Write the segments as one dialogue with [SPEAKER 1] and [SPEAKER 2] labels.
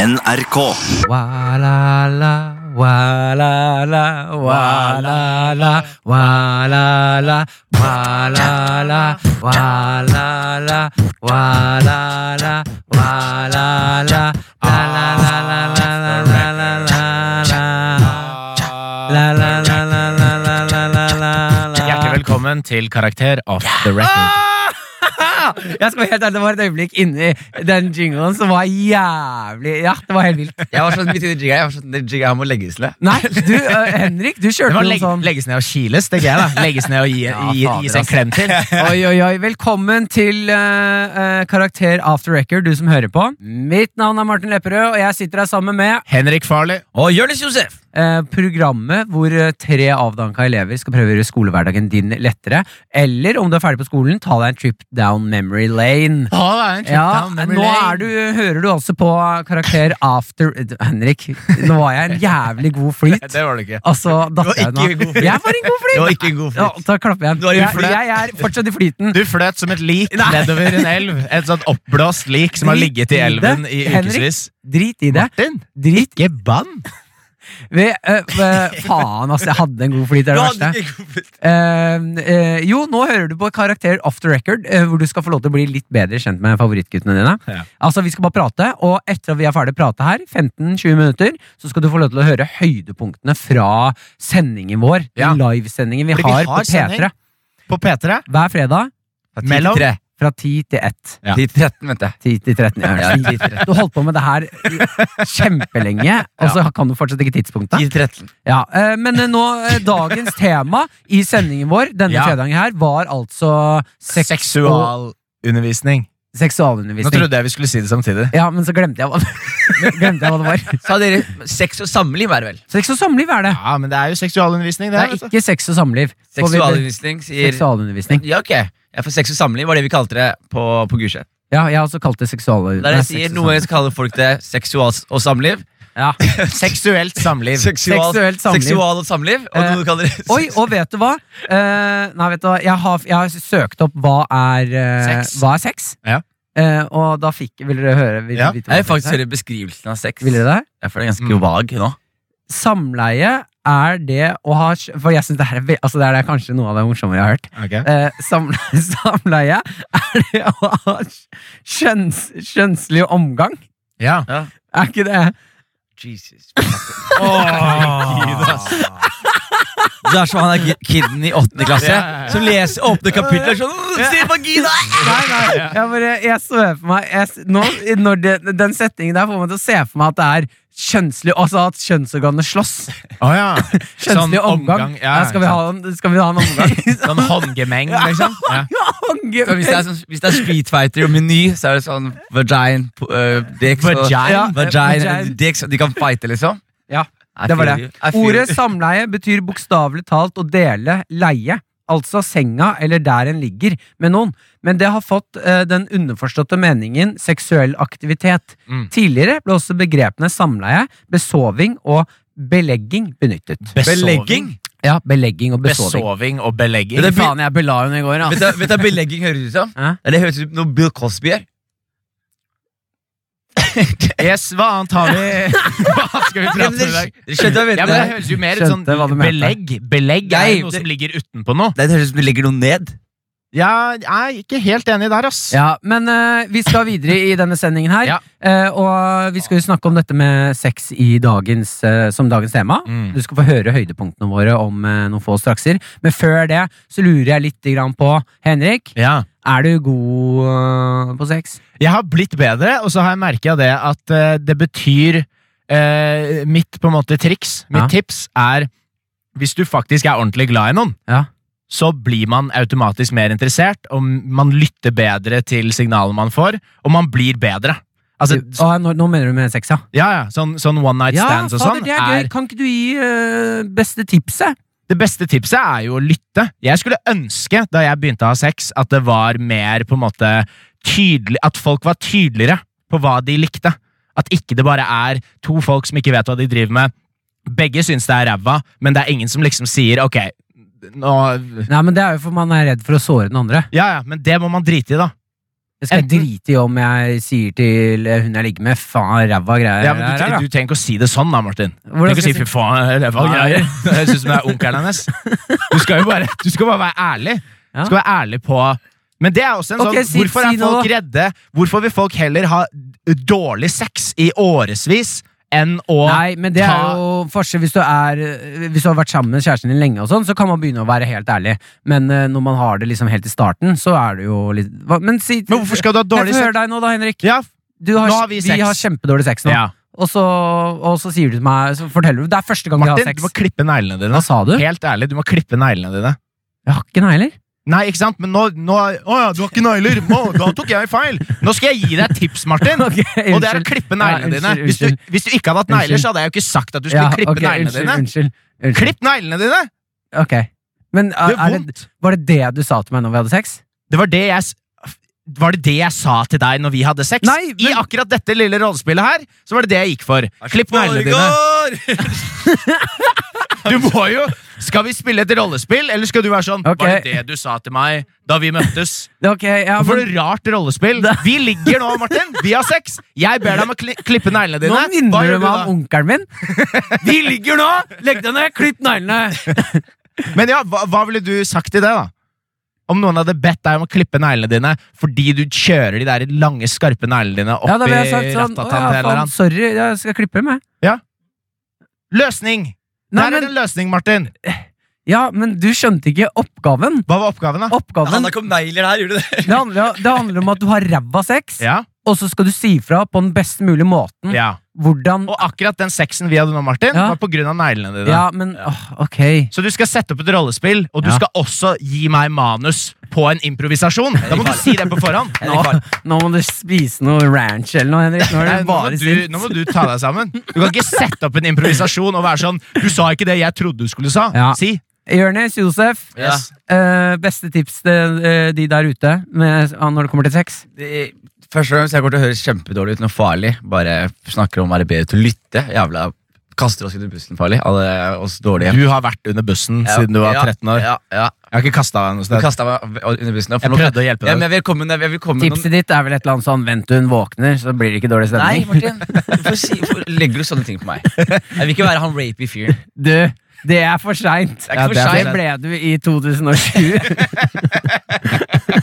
[SPEAKER 1] NRK.
[SPEAKER 2] Wa-la-la, wa-la-la, wa-la-la, wa-la-la, wa-la-la, wa-la-la, wa-la-la, wa-la-la, la-la-la-la-la-la-la-la. La-la-la-la-la-la-la-la.
[SPEAKER 3] Hjertelig velkommen til Karakter off the record.
[SPEAKER 2] Ah! Jeg skal være helt ærlig, Det var et øyeblikk inni den jinglen som var jævlig Ja, det var helt vilt.
[SPEAKER 4] Jeg var sånn midt i det jigga, jeg var sånn, det jigga her må legges ned.
[SPEAKER 2] Nei, du, eh, Henrik, du
[SPEAKER 3] Det
[SPEAKER 2] kjørte
[SPEAKER 3] må
[SPEAKER 2] noe
[SPEAKER 3] legg,
[SPEAKER 2] sånn
[SPEAKER 3] legges ned og kiles, tenker jeg. da Legges ned og gi,
[SPEAKER 2] Ja,
[SPEAKER 3] gi,
[SPEAKER 2] fader,
[SPEAKER 3] gis en
[SPEAKER 2] ass.
[SPEAKER 3] klem til.
[SPEAKER 2] Oi, oi, oi. Velkommen til eh, eh, Karakter after record, du som hører på. Mitt navn er Martin Lepperød, og jeg sitter her sammen med
[SPEAKER 3] Henrik Farley.
[SPEAKER 4] Og Jonis Josef!
[SPEAKER 2] eh, programmet hvor eh, tre avdanka elever skal prøve å gjøre skolehverdagen din lettere. Eller om du er ferdig på skolen, ta deg en trip down memory lane.
[SPEAKER 3] Å, det er en
[SPEAKER 2] Ja, nå er du, hører du altså på Karakter after eh, Henrik, nå var jeg en jævlig god flyt.
[SPEAKER 4] Det var det ikke.
[SPEAKER 2] Altså,
[SPEAKER 4] var
[SPEAKER 2] datt jeg
[SPEAKER 4] ikke en
[SPEAKER 2] nå.
[SPEAKER 4] god flyt.
[SPEAKER 2] Jeg var en god
[SPEAKER 4] Det var
[SPEAKER 2] flyt!
[SPEAKER 4] ikke en
[SPEAKER 2] Ja,
[SPEAKER 4] god flyt.
[SPEAKER 2] da klapper jeg.
[SPEAKER 4] Du var i
[SPEAKER 2] Jeg,
[SPEAKER 4] flyt.
[SPEAKER 2] jeg er fortsatt i flyten.
[SPEAKER 3] Du fløt som et lik
[SPEAKER 2] Nei.
[SPEAKER 3] nedover en elv. Et sånt oppblåst lik som har
[SPEAKER 2] Drit
[SPEAKER 3] ligget
[SPEAKER 2] i
[SPEAKER 3] i
[SPEAKER 2] det,
[SPEAKER 3] elven i
[SPEAKER 2] Henrik.
[SPEAKER 3] ukevis.
[SPEAKER 2] Drit i det.
[SPEAKER 3] Martin,
[SPEAKER 2] Drit
[SPEAKER 3] ikke bann!
[SPEAKER 2] ved, øh, øh, Faen, altså. Jeg hadde en god flyt. Det er det verste. Eh, eh, jo, nå hører du på Karakter off the record, eh, hvor du skal få lov til å bli litt bedre kjent med favorittguttene dine.
[SPEAKER 3] Ja.
[SPEAKER 2] Altså, Vi skal bare prate, og etter at vi er ferdig å prate her, 15-20 minutter, så skal du få lov til å høre høydepunktene fra sendingen vår.
[SPEAKER 3] Ja.
[SPEAKER 2] Den livesendingen vi
[SPEAKER 3] Fordi vi
[SPEAKER 2] har,
[SPEAKER 3] har
[SPEAKER 2] på P3
[SPEAKER 3] sending. På P3
[SPEAKER 2] hver fredag
[SPEAKER 3] mellom
[SPEAKER 4] Mellom?
[SPEAKER 2] fra 10 til 1.
[SPEAKER 3] Ja.
[SPEAKER 4] 10 13, vent jeg.
[SPEAKER 2] 10 til 13. Ja, Du holdt på med det her kjempelenge, og så kan du fortsatt ikke tidspunktet.
[SPEAKER 4] 10 13.
[SPEAKER 2] Ja, eh, Men eh, nå, eh, dagens tema i sendingen vår denne
[SPEAKER 3] Ja.
[SPEAKER 2] fredagen her var altså seks- og-
[SPEAKER 3] seksualundervisning. Nå
[SPEAKER 2] seksualundervisning.
[SPEAKER 3] trodde jeg vi skulle si det samtidig.
[SPEAKER 2] Ja, men så glemte jeg hva, glemte jeg hva det var.
[SPEAKER 4] Sa dere sex og samliv, er det vel?
[SPEAKER 2] Sex og samliv er det.
[SPEAKER 3] Ja, altså. men det er jo seksualundervisning, det.
[SPEAKER 2] Det
[SPEAKER 3] her,
[SPEAKER 2] er
[SPEAKER 3] vet du.
[SPEAKER 2] ikke sex og samliv. Får vi-
[SPEAKER 4] Seksualundervisning sier
[SPEAKER 2] Seksualundervisning.
[SPEAKER 4] Ja, ok. Ja, for sex og samliv var det vi kalte det på, på Gulset.
[SPEAKER 2] Ja, jeg har også kalt det seksualundervisning.
[SPEAKER 4] Der jeg sier noe så kaller folk det seksual og samliv.
[SPEAKER 2] Ja.
[SPEAKER 3] Seksuelt samliv.
[SPEAKER 4] Seksual,
[SPEAKER 2] Seksuelt samliv.
[SPEAKER 4] Seksual og samliv. Og
[SPEAKER 2] Eh,
[SPEAKER 4] noe kaller det
[SPEAKER 2] Oi, og vet du hva? Eh, nei, vet du hva? Jeg har, jeg har søkt opp hva er eh,
[SPEAKER 3] Sex.
[SPEAKER 2] Hva er sex?
[SPEAKER 3] Ja.
[SPEAKER 2] Eh, og da fikk Vil dere høre? Vil dere
[SPEAKER 3] Ja.
[SPEAKER 2] vite hva
[SPEAKER 4] Jeg vil
[SPEAKER 2] sex
[SPEAKER 4] faktisk
[SPEAKER 2] er?
[SPEAKER 4] høre beskrivelsen av sex.
[SPEAKER 2] Vil Mm. dere det?
[SPEAKER 4] Jeg føler det er ganske vag nå.
[SPEAKER 2] Samleie er det å ha For jeg synes det her er, ve- altså det her er kanskje noe av det morsomme jeg har hørt.
[SPEAKER 3] Ok.
[SPEAKER 2] Eh, samle, samleie er det å ha kjønns, kjønnslig omgang.
[SPEAKER 3] Ja.
[SPEAKER 2] Er ikke det?
[SPEAKER 4] Jesus.
[SPEAKER 3] Åh.
[SPEAKER 4] Det er som han er kiden i åttende klasse
[SPEAKER 3] Ja, ja, ja.
[SPEAKER 4] som leser åpne kapitler sånn «Åh, Se vagina!
[SPEAKER 2] Nei, nei, jeg bare Jeg så for meg jeg, s- nå, når det, Den setningen der får meg til å se for meg at det er kjønnslig Altså at kjønnsorganene slåss.
[SPEAKER 3] Å ja.
[SPEAKER 4] Sånn
[SPEAKER 2] Kjønnslig omgang. Ja, skal, vi ha en, skal vi ha en omgang?
[SPEAKER 3] Sånn håndgemeng, liksom. Ja.
[SPEAKER 4] Så hvis, det er sånn, hvis det er Street Fighter og Meny, så er det sånn vagine, po- øh, dicks og-
[SPEAKER 3] Vagine?
[SPEAKER 4] Ja,
[SPEAKER 2] Vagine.
[SPEAKER 4] vagine, dicks, og De kan fighte, liksom?
[SPEAKER 2] Ja,
[SPEAKER 4] I
[SPEAKER 2] det var
[SPEAKER 4] feel
[SPEAKER 2] det.
[SPEAKER 4] you. I feel
[SPEAKER 2] Ordet
[SPEAKER 4] you.
[SPEAKER 2] samleie betyr bokstavelig talt å dele leie, altså senga eller der en ligger, med noen. Men det har fått eh, den underforståtte meningen seksuell aktivitet.
[SPEAKER 3] Mm.
[SPEAKER 2] Tidligere ble også begrepene samleie, besoving og belegging benyttet.
[SPEAKER 3] Besoving.
[SPEAKER 2] Ja, belegging og besoving.
[SPEAKER 3] Besoving og belegging.
[SPEAKER 4] Men det blir-
[SPEAKER 2] jeg bela henne i går,
[SPEAKER 4] Vet du- Vet du hva belegging høres ut som?
[SPEAKER 2] Hæ?
[SPEAKER 4] Det høres ut som noe Bill Cosby gjør.
[SPEAKER 3] Yes, hva annet har vi Hva skal vi prate
[SPEAKER 4] Ja,
[SPEAKER 3] om
[SPEAKER 4] men
[SPEAKER 3] i dag?
[SPEAKER 4] dere- dere skjønte hva jeg
[SPEAKER 3] Ja,
[SPEAKER 4] mente.
[SPEAKER 3] men Det høres jo mer ut sånn
[SPEAKER 2] Skjønte hva du mente.
[SPEAKER 3] belegg. Belegg er
[SPEAKER 4] Nei,
[SPEAKER 3] jo noe
[SPEAKER 4] det-
[SPEAKER 3] som ligger utenpå noe.
[SPEAKER 4] Det høres ut som du legger noe ned.
[SPEAKER 3] Ja, jeg er ikke helt enig der, ass.
[SPEAKER 2] Ja, men eh, vi skal videre i denne sendingen her.
[SPEAKER 3] Ja.
[SPEAKER 2] eh, og vi skal jo snakke om dette med sex i dagens, eh, som dagens tema.
[SPEAKER 3] Mm.
[SPEAKER 2] Du skal få høre høydepunktene våre om eh, noen få strakser. Men før det så lurer jeg litt grann på Henrik,
[SPEAKER 3] Ja.
[SPEAKER 2] er du god eh, på sex?
[SPEAKER 3] Jeg har blitt bedre, og så har jeg merka det at eh, det betyr eh, Mitt på en måte triks, mitt
[SPEAKER 2] Ja.
[SPEAKER 3] tips, er hvis du faktisk er ordentlig glad i noen,
[SPEAKER 2] Ja.
[SPEAKER 3] så blir man automatisk mer interessert, og man lytter bedre til signalene man får, og man blir bedre. Altså, s-
[SPEAKER 2] Å, nå, nå mener du med sex, ja?
[SPEAKER 3] ja, ja, sånn, sånn one night stands og sånn
[SPEAKER 2] det er gøy. Kan ikke du gi eh, beste tipset?
[SPEAKER 3] Det beste tipset er jo å lytte. Jeg skulle ønske, da jeg begynte å ha sex, at det var mer på en måte tydelig At folk var tydeligere på hva de likte. At ikke det bare er to folk som ikke vet hva de driver med. Begge syns det er ræva, men det er ingen som liksom sier ok, nå
[SPEAKER 2] Nei, men Det er jo for man er redd for å såre den andre.
[SPEAKER 3] Ja ja, men det må man drite i, da.
[SPEAKER 2] Det skal jeg
[SPEAKER 3] Enten-
[SPEAKER 2] drite i om jeg sier til eh, hun jeg ligger med, faen ræva greier
[SPEAKER 3] Ja, men
[SPEAKER 2] det her, da.
[SPEAKER 3] Eh, du, du trenger ikke å si det sånn, da, Martin. Du
[SPEAKER 2] Hvordan
[SPEAKER 3] trenger ikke å
[SPEAKER 2] skal
[SPEAKER 3] si
[SPEAKER 2] jeg
[SPEAKER 3] 'fy faen, ræva
[SPEAKER 2] Nei.
[SPEAKER 3] greier'. Det høres ut som det er onkelen hennes. Du skal jo bare, du skal bare være ærlig.
[SPEAKER 2] Ja.
[SPEAKER 3] Du skal være ærlig på Men det er også en sånn
[SPEAKER 2] Ok, si-
[SPEAKER 3] Hvorfor
[SPEAKER 2] si
[SPEAKER 3] er
[SPEAKER 2] noe,
[SPEAKER 3] folk redde? Hvorfor vil folk heller ha dårlig sex i årevis enn å
[SPEAKER 2] Nei, men det
[SPEAKER 3] ta-
[SPEAKER 2] er jo forskjell hvis du, er, eh, hvis du har vært sammen med kjæresten din lenge, og sånn, så kan man begynne å være helt ærlig. Men eh, når man har det liksom helt i starten, så er det jo litt hva, Men si
[SPEAKER 3] Men hvorfor skal du ha
[SPEAKER 2] Jeg
[SPEAKER 3] dårlig
[SPEAKER 2] får
[SPEAKER 3] sex?
[SPEAKER 2] høre deg nå, da, Henrik.
[SPEAKER 3] Ja,
[SPEAKER 2] Du har,
[SPEAKER 3] Nå har vi
[SPEAKER 2] vi,
[SPEAKER 3] sex.
[SPEAKER 2] har kjempedårlig sex nå.
[SPEAKER 3] ja.
[SPEAKER 2] Og, så, og så sier du til meg så forteller du, Det er første gang vi har
[SPEAKER 3] Martin, du må
[SPEAKER 2] sex.
[SPEAKER 3] klippe neglene dine.
[SPEAKER 2] Hva sa du?
[SPEAKER 3] Helt ærlig, du må klippe neglene dine.
[SPEAKER 2] Jeg har ikke negler.
[SPEAKER 3] Nei, ikke sant? Men nå, nå Å ja, du har ikke negler! Å, Da tok jeg feil! Nå skal jeg gi deg et tips, Martin!
[SPEAKER 2] Ok,
[SPEAKER 3] Og det er å
[SPEAKER 2] unnskyld.
[SPEAKER 3] klippe neglene
[SPEAKER 2] Ja,
[SPEAKER 3] dine.
[SPEAKER 2] unnskyld,
[SPEAKER 3] Hvis du,
[SPEAKER 2] unnskyld.
[SPEAKER 3] hvis du ikke hadde hatt negler,
[SPEAKER 2] Unnskyld.
[SPEAKER 3] så hadde jeg jo ikke sagt at du skulle
[SPEAKER 2] Ja,
[SPEAKER 3] klippe
[SPEAKER 2] ok,
[SPEAKER 3] neglene
[SPEAKER 2] unnskyld,
[SPEAKER 3] dine.
[SPEAKER 2] Unnskyld. unnskyld.
[SPEAKER 3] Klipp neglene dine!
[SPEAKER 2] Ok. Men eh,
[SPEAKER 3] Det
[SPEAKER 2] er,
[SPEAKER 3] gjør
[SPEAKER 2] er det,
[SPEAKER 3] vondt.
[SPEAKER 2] var det det du sa til meg når vi hadde sex?
[SPEAKER 3] Det var det jeg s- var det det jeg sa til deg når vi hadde sex?
[SPEAKER 2] Nei, men-
[SPEAKER 3] I akkurat dette lille rollespillet her, så var det det jeg gikk for. Klipp neglene dine.
[SPEAKER 4] Borgård!
[SPEAKER 3] Du må jo Skal vi spille et rollespill, eller skal du være sånn
[SPEAKER 2] Ok.
[SPEAKER 3] Var det det du sa til meg da vi møttes?
[SPEAKER 2] Ok, ja,
[SPEAKER 3] For
[SPEAKER 2] men,
[SPEAKER 3] et rart rollespill. Vi ligger nå, Martin. Vi har sex. Jeg ber deg om å kli klippe neglene dine.
[SPEAKER 2] nå
[SPEAKER 3] Hva
[SPEAKER 2] minner
[SPEAKER 3] gjør
[SPEAKER 2] du meg
[SPEAKER 3] da?
[SPEAKER 2] om onkelen min. Vi ligger nå! Legg deg ned, klipp neglene!
[SPEAKER 3] Men ja, hva, hva ville du sagt til det, da? Om noen hadde bedt deg om å klippe neglene dine fordi du kjører de der lange, skarpe neglene dine opp
[SPEAKER 2] Ja, da
[SPEAKER 3] i
[SPEAKER 2] ville jeg sagt sånn Å
[SPEAKER 3] rattatan
[SPEAKER 2] ja,
[SPEAKER 3] til en eller
[SPEAKER 2] faen,
[SPEAKER 3] annen.
[SPEAKER 2] sorry, jeg skal klippe dem, jeg.
[SPEAKER 3] Løsning!
[SPEAKER 2] Nei,
[SPEAKER 3] der er det
[SPEAKER 2] men,
[SPEAKER 3] en løsning, Martin.
[SPEAKER 2] ja, men du skjønte ikke oppgaven.
[SPEAKER 3] Hva var oppgaven, da?
[SPEAKER 4] Det
[SPEAKER 2] Oppgaven
[SPEAKER 4] handla ikke om negler her, gjorde det?
[SPEAKER 2] det handler, det handler om at du har ræva sex,
[SPEAKER 3] Ja,
[SPEAKER 2] og så skal du si fra på den best mulige måten.
[SPEAKER 3] ja.
[SPEAKER 2] Hvordan
[SPEAKER 3] Og akkurat den sexen vi hadde nå, Martin,
[SPEAKER 2] mm. Ja.
[SPEAKER 3] var på grunn av neglene dine.
[SPEAKER 2] Ja, men åh, ok.
[SPEAKER 3] Så du skal sette opp et rollespill, og du
[SPEAKER 2] Ja.
[SPEAKER 3] skal også gi meg manus på en improvisasjon. Da må du si det på forhånd.
[SPEAKER 2] Nå, nå må du spise noe ranch eller noe, Henrik. Nå er
[SPEAKER 3] Nei,
[SPEAKER 2] det
[SPEAKER 3] Eh, nå, må
[SPEAKER 2] bare
[SPEAKER 3] du,
[SPEAKER 2] sint.
[SPEAKER 3] nå må du ta deg sammen. Du kan ikke sette opp en improvisasjon og være sånn Du sa ikke det jeg trodde du skulle sa.
[SPEAKER 2] Ja.
[SPEAKER 3] Si.
[SPEAKER 2] Jonis, Josef.
[SPEAKER 4] Yes.
[SPEAKER 2] eh, beste tips til eh, de der ute med, ah, når det kommer til sex?
[SPEAKER 4] Det- Først og fremst, jeg kommer til å høres kjempedårlig ut, noe farlig. Bare snakker om å være bedre til å lytte. Jævla kaster oss under bussen, farlig. Alle oss dårlige.
[SPEAKER 3] Du har vært under bussen siden du var 13 år.
[SPEAKER 4] Ja, ja.
[SPEAKER 3] Jeg har ikke kasta deg noe
[SPEAKER 4] Du
[SPEAKER 3] sted.
[SPEAKER 4] kastet meg under bussen. nå, for
[SPEAKER 3] Jeg
[SPEAKER 4] nå-
[SPEAKER 3] prøvde å hjelpe
[SPEAKER 4] Ja, men
[SPEAKER 3] deg.
[SPEAKER 4] jeg vil komme, med- jeg vil komme med noen
[SPEAKER 2] Tipset ditt er vel et eller annet sånn vent til hun våkner, så blir det ikke dårlig
[SPEAKER 4] Nei,
[SPEAKER 2] stemning.
[SPEAKER 4] Martin. Hvorfor, si, hvorfor legger du sånne ting på meg? Jeg vil ikke være han rapey fyren.
[SPEAKER 2] Du, det er for seint.
[SPEAKER 4] Det er
[SPEAKER 3] Ja,
[SPEAKER 4] ikke
[SPEAKER 3] det er
[SPEAKER 4] for
[SPEAKER 2] Det
[SPEAKER 3] for
[SPEAKER 2] ble
[SPEAKER 4] seint.
[SPEAKER 2] du i 2007.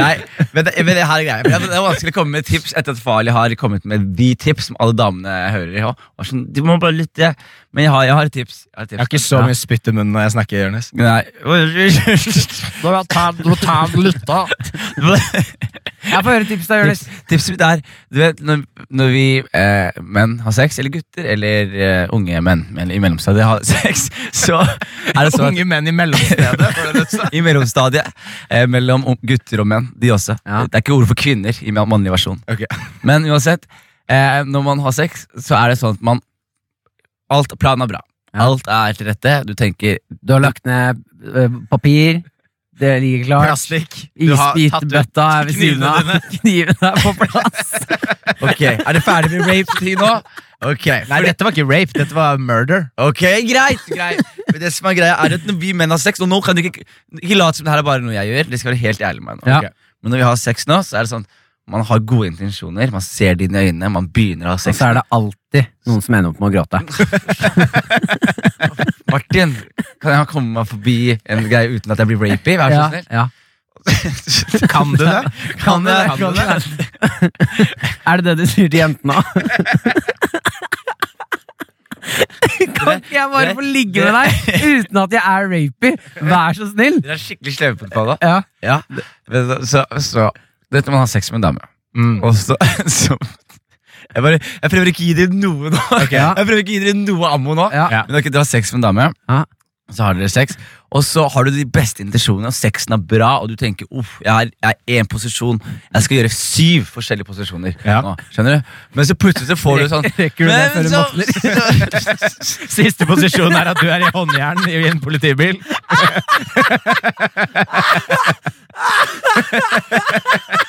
[SPEAKER 4] Nei, men det, men det her er greia. Men Det er vanskelig å komme med tips etter at Farley har kommet med de tips som alle damene hører. i, og- Og sånn, du må bare lytte. Men jeg har, jeg har et tips. Jeg har et
[SPEAKER 3] Jeg har
[SPEAKER 4] tips.
[SPEAKER 3] ikke så mye spytt i munnen når jeg snakker. Jonas.
[SPEAKER 4] Nei.
[SPEAKER 2] Jeg får høre tipset av Jonis.
[SPEAKER 4] Tips, tipset mitt er du vet, når, når vi eh, menn har sex, eller gutter, eller eh, unge menn men i mellomstadiet har sex, så er det sånn at
[SPEAKER 3] Unge menn i mellomstedet. var det det du sa?
[SPEAKER 4] i mellomstadiet eh, mellom ung- gutter og menn. De også.
[SPEAKER 2] Ja.
[SPEAKER 4] Det er ikke ord for kvinner i man- mannlig versjon.
[SPEAKER 3] Ok.
[SPEAKER 4] Men uansett, eh, når man har sex, så er det sånn at man Alt Planen er bra.
[SPEAKER 2] Ja.
[SPEAKER 4] Alt er til rette. Du tenker
[SPEAKER 2] Du har lagt ned eh, papir. Det ligger klart.
[SPEAKER 3] Plastikk. Du har tatt ut
[SPEAKER 2] Isbitebøtta er ved siden av.
[SPEAKER 3] knivene dine.
[SPEAKER 2] Knivene er på plass.
[SPEAKER 4] Ok, er det ferdig med rape-tid nå? Ok,
[SPEAKER 3] Nei,
[SPEAKER 4] for-
[SPEAKER 3] dette var ikke rape. Dette var murder.
[SPEAKER 4] Ok, greit, greit. Men det som er greia er at når vi menn har sex Og nå kan du ikke, ikke late som det her er bare noe jeg gjør. Det skal være helt ærlig med meg nå
[SPEAKER 2] Ja.
[SPEAKER 4] ok? Men når vi har sex nå, så er det sånn man har gode intensjoner, man ser det inn i øynene, man begynner å ha
[SPEAKER 2] Og
[SPEAKER 4] sex.
[SPEAKER 3] Altså-
[SPEAKER 2] så er det alltid noen som ender opp med å gråte.
[SPEAKER 4] Martin, kan jeg komme meg forbi en greie uten at jeg blir rapey? Vær så
[SPEAKER 2] Ja,
[SPEAKER 4] snill.
[SPEAKER 2] ja.
[SPEAKER 3] Kan du det?
[SPEAKER 2] Kan du det?
[SPEAKER 3] Kan du det?
[SPEAKER 2] Er det det du sier til jentene òg? Kan ikke jeg bare få ligge med deg uten at jeg er rapey? Vær så snill!
[SPEAKER 4] Dere er skikkelig sløve på det, Paula.
[SPEAKER 2] Ja.
[SPEAKER 4] Ja. Vet du, Så, så Dette når man har sex med en dame.
[SPEAKER 3] Mm.
[SPEAKER 4] Og så, så jeg, bare, jeg prøver ikke å gi dere noe nå.
[SPEAKER 2] Ja.
[SPEAKER 4] Jeg prøver ikke å gi dere noe ammo nå.
[SPEAKER 2] Ja.
[SPEAKER 3] Ja.
[SPEAKER 4] Men dere dere har sex med en dame,
[SPEAKER 2] Ja.
[SPEAKER 4] så har dere sex, og så har du de beste intensjonene, og sexen er bra, og du tenker uff, jeg har- jeg er én posisjon, jeg skal gjøre syv forskjellige posisjoner.
[SPEAKER 3] Ja.
[SPEAKER 4] Nå, skjønner du? Men så plutselig så får du sånn
[SPEAKER 2] Rekker du det før du
[SPEAKER 4] så-
[SPEAKER 2] modner?
[SPEAKER 3] Siste posisjon er at du er i håndjern i en politibil.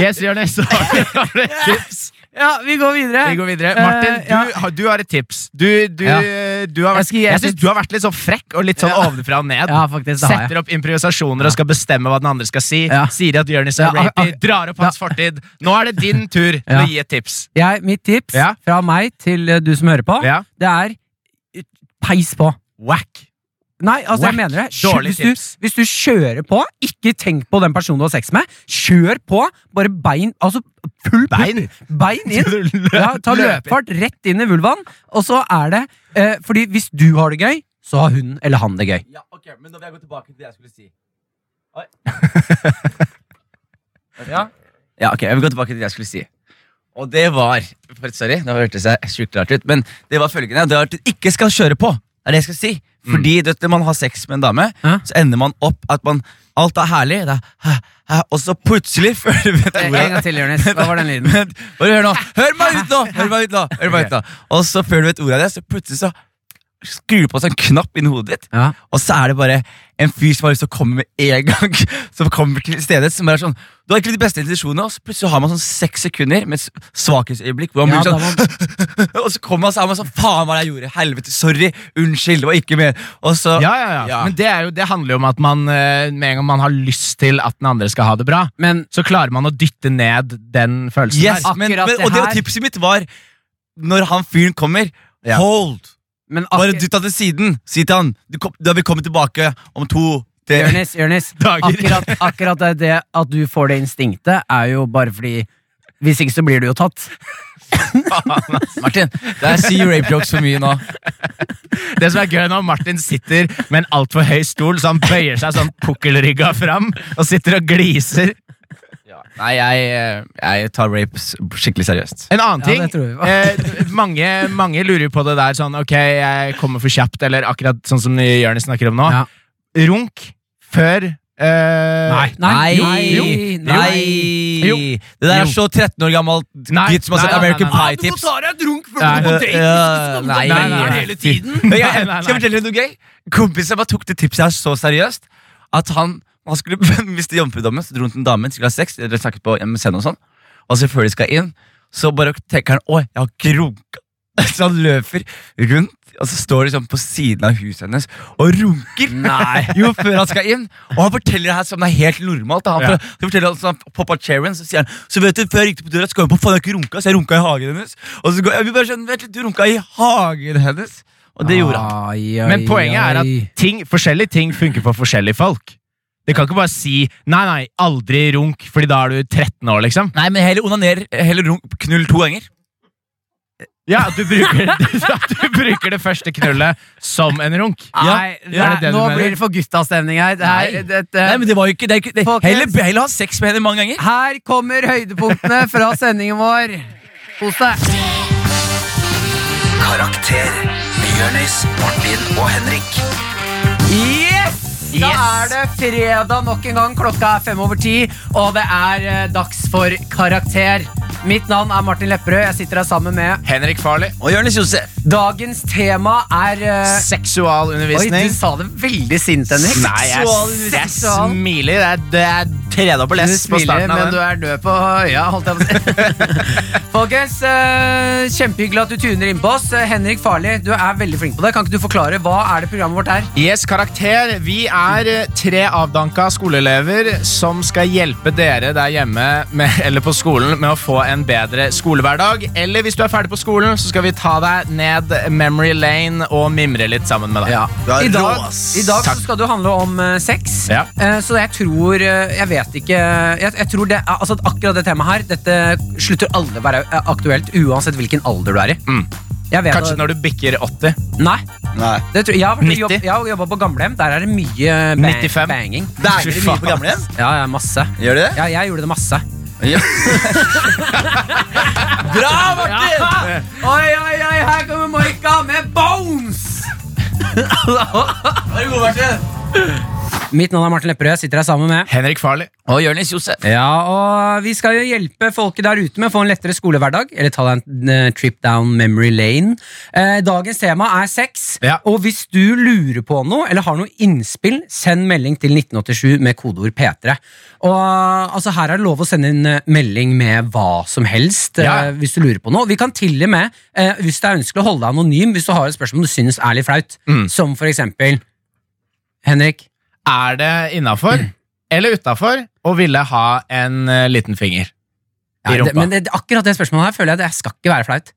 [SPEAKER 3] Yes, Jonis. så har du- har du et tips?
[SPEAKER 2] Ja, vi går videre.
[SPEAKER 3] Vi går videre. Martin,
[SPEAKER 2] Eh, ja.
[SPEAKER 3] du, har- du har et tips. Du, du
[SPEAKER 2] Ja.
[SPEAKER 3] eh, du har
[SPEAKER 2] Jeg
[SPEAKER 3] vært,
[SPEAKER 2] skal gi-
[SPEAKER 3] jeg syns du har vært litt sånn frekk og litt sånn ovenfra og ned.
[SPEAKER 2] Ja, faktisk, det har jeg.
[SPEAKER 3] Setter opp improvisasjoner og skal bestemme hva den andre skal si.
[SPEAKER 2] Ja.
[SPEAKER 3] Sier at Jonis
[SPEAKER 2] Ja,
[SPEAKER 3] er rapey,
[SPEAKER 2] ak-
[SPEAKER 3] drar opp hans fortid. Nå er det din tur til
[SPEAKER 2] Ja.
[SPEAKER 3] å gi et tips.
[SPEAKER 2] Jeg, mitt tips
[SPEAKER 3] Ja.
[SPEAKER 2] fra meg til eh, du som hører på,
[SPEAKER 3] Ja.
[SPEAKER 2] det er eh, peis på.
[SPEAKER 3] Whack.
[SPEAKER 2] Nei, altså
[SPEAKER 3] Whack.
[SPEAKER 2] jeg mener det. Kjø-
[SPEAKER 3] Dårlig
[SPEAKER 2] hvis,
[SPEAKER 3] tips.
[SPEAKER 2] du, hvis du kjører på, ikke tenk på den personen du har sex med. Kjør på, bare bein Altså full pupp.
[SPEAKER 3] Bein.
[SPEAKER 2] Bein inn.
[SPEAKER 3] Løp-
[SPEAKER 2] Ja, ta
[SPEAKER 3] løp inn.
[SPEAKER 2] løpefart rett inn i vulvaen, og så er det eh, Fordi hvis du har det gøy, så har hun eller han det gøy.
[SPEAKER 4] Ja, ok, men da vil jeg gå tilbake til det jeg skulle si. Oi. ja? ja, ok, jeg vil gå tilbake til det jeg skulle si. Og det var for- Sorry, nå hørtes jeg sjukt rart ut, men det var følgende. Det var at du ikke skal kjøre på. er det jeg skal si. Fordi du vet, når man har sex med en dame,
[SPEAKER 2] Ja.
[SPEAKER 4] så ender man opp at man Alt er herlig, det er, hæ, hæ, og så plutselig før du vet
[SPEAKER 2] Eh, En
[SPEAKER 4] ordet-
[SPEAKER 2] gang til, Jonis. Hva var den lyden?
[SPEAKER 4] men, bare hør nå. Hør meg ut nå! Hør meg ut nå, hør meg ut nå. Og så før du vet ordet av det, så plutselig så skrur du på en sånn knapp inni hodet ditt.
[SPEAKER 2] Ja.
[SPEAKER 4] Og så er det bare en fyr som har lyst til å komme med en gang. Som kommer til stedet Som er sånn Du har ikke de beste intensjonene, og så plutselig har man sånn seks sekunder med s- svakhetsøyeblikk. Hvor man
[SPEAKER 2] Ja, da
[SPEAKER 4] blir sånn Og så kommer man, så er man sånn Faen, hva er det jeg gjorde? Helvete, sorry, unnskyld, det var ikke mer. Og så
[SPEAKER 3] Ja, ja, ja.
[SPEAKER 4] Ja.
[SPEAKER 3] Men det, er jo, det handler jo om at man eh, med en gang man har lyst til at den andre skal ha det bra,
[SPEAKER 2] Men
[SPEAKER 3] så klarer man å dytte ned den følelsen.
[SPEAKER 4] Yes,
[SPEAKER 3] der.
[SPEAKER 4] men,
[SPEAKER 2] Akkurat
[SPEAKER 4] men,
[SPEAKER 2] det
[SPEAKER 4] Og det
[SPEAKER 2] her-
[SPEAKER 4] var tipset mitt var når han fyren kommer,
[SPEAKER 3] Ja.
[SPEAKER 4] hold!
[SPEAKER 2] Men
[SPEAKER 4] Bare
[SPEAKER 2] akkur-
[SPEAKER 4] dytt han til siden. Si til han du, kom, du er velkommen tilbake om to tre
[SPEAKER 2] Jonis, Jonis.
[SPEAKER 3] Dager.
[SPEAKER 2] Akkurat, akkurat det, det at du får det instinktet, er jo bare fordi Hvis ikke så blir du jo tatt.
[SPEAKER 4] Martin, der sier rape jokes for mye nå.
[SPEAKER 3] Det som er gøy når Martin sitter med en altfor høy stol, så han bøyer seg sånn pukkelrygga fram og sitter og gliser.
[SPEAKER 4] Nei, jeg, eh, jeg tar rape s- skikkelig seriøst.
[SPEAKER 3] En annen
[SPEAKER 2] Ja,
[SPEAKER 3] ting
[SPEAKER 2] det tror
[SPEAKER 3] eh, mange, mange lurer jo på det der sånn Ok, jeg kommer for kjapt, eller akkurat sånn som Jonis snakker om nå.
[SPEAKER 2] Ja.
[SPEAKER 3] Runk før eh,
[SPEAKER 2] Nei,
[SPEAKER 4] nei,
[SPEAKER 2] jo, jo,
[SPEAKER 4] nei.
[SPEAKER 3] jo.
[SPEAKER 4] Det der
[SPEAKER 3] Jo.
[SPEAKER 4] er så 13 år gammel
[SPEAKER 3] Nei,
[SPEAKER 4] gutt som har sett
[SPEAKER 3] nei, nei,
[SPEAKER 4] American
[SPEAKER 3] nei, nei.
[SPEAKER 4] Pie-tips.
[SPEAKER 2] deg en runk før
[SPEAKER 3] Nei,
[SPEAKER 4] Ja, ja, Nei,
[SPEAKER 3] Nei,
[SPEAKER 4] nei,
[SPEAKER 3] nei, nei.
[SPEAKER 4] nei.
[SPEAKER 3] hele tiden.
[SPEAKER 4] Men jeg-
[SPEAKER 3] Nei, nei, nei.
[SPEAKER 4] Skal jeg fortelle deg noe gøy? Kompisen min tok det tipset her så seriøst at han, han skulle miste jomfrudommen. Så dro han til en dame skulle ha sex. Dere snakket på MSN og sånn. Og så før de skal inn, så bare tenker han Å, jeg har ikke runka. Så han løper rundt, og så står de sånn på siden av huset hennes og runker. Nei Jo, før han skal inn. Og han forteller det her som det er helt normalt. da. Han
[SPEAKER 3] Ja.
[SPEAKER 4] for- så forteller han sånn, Papa Cheren, så sier han Så vet du, før jeg gikk på døra, så kom jeg på faen, jeg har ikke runka, så jeg runka i hagen hennes. Og så går jeg, vi bare skjønner, vent litt, du runka i hagen hennes. Og det gjorde han.
[SPEAKER 3] Men poenget er at ting, forskjellige ting funker for forskjellige folk. Det kan ikke bare si 'nei, nei, aldri runk', fordi da er du 13 år, liksom.
[SPEAKER 4] Nei, men heller onaner, heller runk, knull to ganger.
[SPEAKER 3] Ja, at du bruker, at du bruker det første knullet som en runk.
[SPEAKER 2] Nei,
[SPEAKER 3] Ja, er det det du
[SPEAKER 2] nå
[SPEAKER 3] mener?
[SPEAKER 2] blir det for guttastemning her. Det
[SPEAKER 4] Nei.
[SPEAKER 2] her, dette-
[SPEAKER 4] Nei, men det var jo ikke, det er ikke det,
[SPEAKER 2] Folkens.
[SPEAKER 4] heller, heller ha sex med henne mange ganger.
[SPEAKER 2] her kommer høydepunktene fra sendingen vår. Kos deg.
[SPEAKER 1] Karakter med Jonis, Martin og Henrik.
[SPEAKER 2] Yes! Da er det fredag nok en gang. Klokka er fem over ti, og det er eh, dags for karakter. Mitt navn er Martin Lepperød. Jeg sitter her sammen med
[SPEAKER 3] Henrik Farley.
[SPEAKER 4] Og Jonis Josef.
[SPEAKER 2] Dagens tema er eh, Oi,
[SPEAKER 3] Seksualundervisning.
[SPEAKER 2] du sa det veldig sint, Henrik.
[SPEAKER 3] Nei, jeg,
[SPEAKER 2] Seksualundervisning.
[SPEAKER 3] jeg smiler. Det er, det er tredobbel
[SPEAKER 2] Du
[SPEAKER 3] S på
[SPEAKER 2] smiler,
[SPEAKER 3] starten av
[SPEAKER 2] men du
[SPEAKER 3] den.
[SPEAKER 2] er død på øya, holdt jeg på å si. Folkens, eh, kjempehyggelig at du tuner inn på oss. Eh, Henrik Farli, du er veldig flink på det. Kan ikke du forklare hva er det programmet vårt er?
[SPEAKER 3] Yes, karakter. Vi er eh, tre avdanka skoleelever som skal hjelpe dere der hjemme med, eller på skolen med å få en bedre skolehverdag. Eller hvis du er ferdig på skolen, så skal vi ta deg ned memory lane og mimre litt sammen med deg.
[SPEAKER 2] I dag,
[SPEAKER 4] rå, ass.
[SPEAKER 2] i dag så
[SPEAKER 3] Takk.
[SPEAKER 2] skal det jo handle om eh, sex.
[SPEAKER 3] Ja.
[SPEAKER 2] Eh, så jeg tror eh, Jeg vet ikke jeg, jeg tror det, er- altså at Akkurat det temaet her Dette slutter aldri å være eh, aktuelt, uansett hvilken alder du er i.
[SPEAKER 3] Mm.
[SPEAKER 2] Jeg vet
[SPEAKER 3] Kanskje
[SPEAKER 2] at,
[SPEAKER 3] når du bikker 80.
[SPEAKER 2] Nei.
[SPEAKER 4] Nei.
[SPEAKER 2] Det tror, jeg har vært-
[SPEAKER 3] 90?
[SPEAKER 2] jobb- jeg har jobba på gamlehjem. Der er det mye bang,
[SPEAKER 3] 95?
[SPEAKER 2] banging.
[SPEAKER 4] Dager
[SPEAKER 3] Fy
[SPEAKER 4] mye på
[SPEAKER 3] faen.
[SPEAKER 4] gamlehjem?
[SPEAKER 2] Ja, ja, masse.
[SPEAKER 4] Gjør du det?
[SPEAKER 2] Ja, jeg gjorde det masse.
[SPEAKER 4] Ja. Bra, Martin!
[SPEAKER 2] Ja! Oi, oi, oi, her kommer Moika med bones!
[SPEAKER 4] Ha det god, Martin.
[SPEAKER 2] Mitt navn er Martin Lepperød. Jeg sitter her sammen med
[SPEAKER 3] Henrik Farley.
[SPEAKER 4] Og Jonis Josef.
[SPEAKER 2] Ja, og vi skal jo hjelpe folket der ute med å få en lettere skolehverdag, eller ta deg en eh, trip down memory lane. Eh, dagens tema er sex,
[SPEAKER 3] Ja.
[SPEAKER 2] og hvis du lurer på noe, eller har noe innspill, send melding til 1987 med kodeord P3. Og altså, her er det lov å sende inn eh, melding med hva som helst, eh,
[SPEAKER 3] Ja.
[SPEAKER 2] hvis du lurer på noe. Vi kan til og med, eh, hvis det er ønskelig, holde deg anonym hvis du har et spørsmål du synes er litt flaut,
[SPEAKER 3] Mm.
[SPEAKER 2] som for eksempel, Henrik,
[SPEAKER 3] Er det innafor
[SPEAKER 2] Mm.
[SPEAKER 3] eller utafor å ville ha en eh, liten finger i
[SPEAKER 2] ja, det,
[SPEAKER 3] rumpa?
[SPEAKER 2] men det, akkurat det spørsmålet her føler jeg at jeg skal ikke være flaut.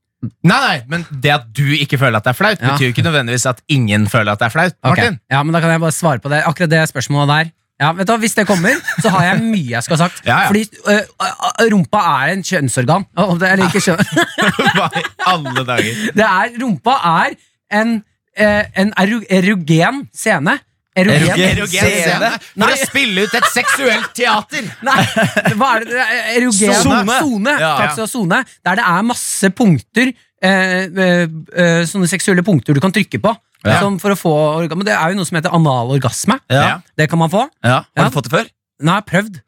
[SPEAKER 3] Nei, nei, men det at du ikke føler at det er flaut,
[SPEAKER 2] Ja.
[SPEAKER 3] betyr jo ikke nødvendigvis at ingen føler at det er flaut.
[SPEAKER 2] Ok.
[SPEAKER 3] Martin.
[SPEAKER 2] Ja, men da kan jeg bare svare på det. Akkurat det spørsmålet der. Ja, vet du, hva, Hvis det kommer, så har jeg mye jeg skal ha sagt.
[SPEAKER 3] Ja, ja.
[SPEAKER 2] Fordi øh, øh, rumpa er en kjønnsorgan. Å, det- Eller ikke kjønn.
[SPEAKER 3] Hva i alle dager?
[SPEAKER 2] Det er, rumpa er en, eh, en eru- erogen scene. Erogen,
[SPEAKER 4] Erogen
[SPEAKER 3] Scene
[SPEAKER 4] Scene.
[SPEAKER 3] for å spille ut et seksuelt teater!
[SPEAKER 2] Nei, hva er det? det? er Erogen
[SPEAKER 4] Sone.
[SPEAKER 2] Sone.
[SPEAKER 4] Ja.
[SPEAKER 2] Takk skal du ha, sone. Der det er masse punkter, eh, eh, eh, sånne seksuelle punkter du kan trykke på.
[SPEAKER 4] Ja.
[SPEAKER 2] Som for å få orgasme. Det er jo noe som heter anal orgasme.
[SPEAKER 4] Ja.
[SPEAKER 2] Det kan man få.
[SPEAKER 4] Ja.
[SPEAKER 2] Ja.
[SPEAKER 4] Har du fått det før?
[SPEAKER 2] Nei, jeg har prøvd.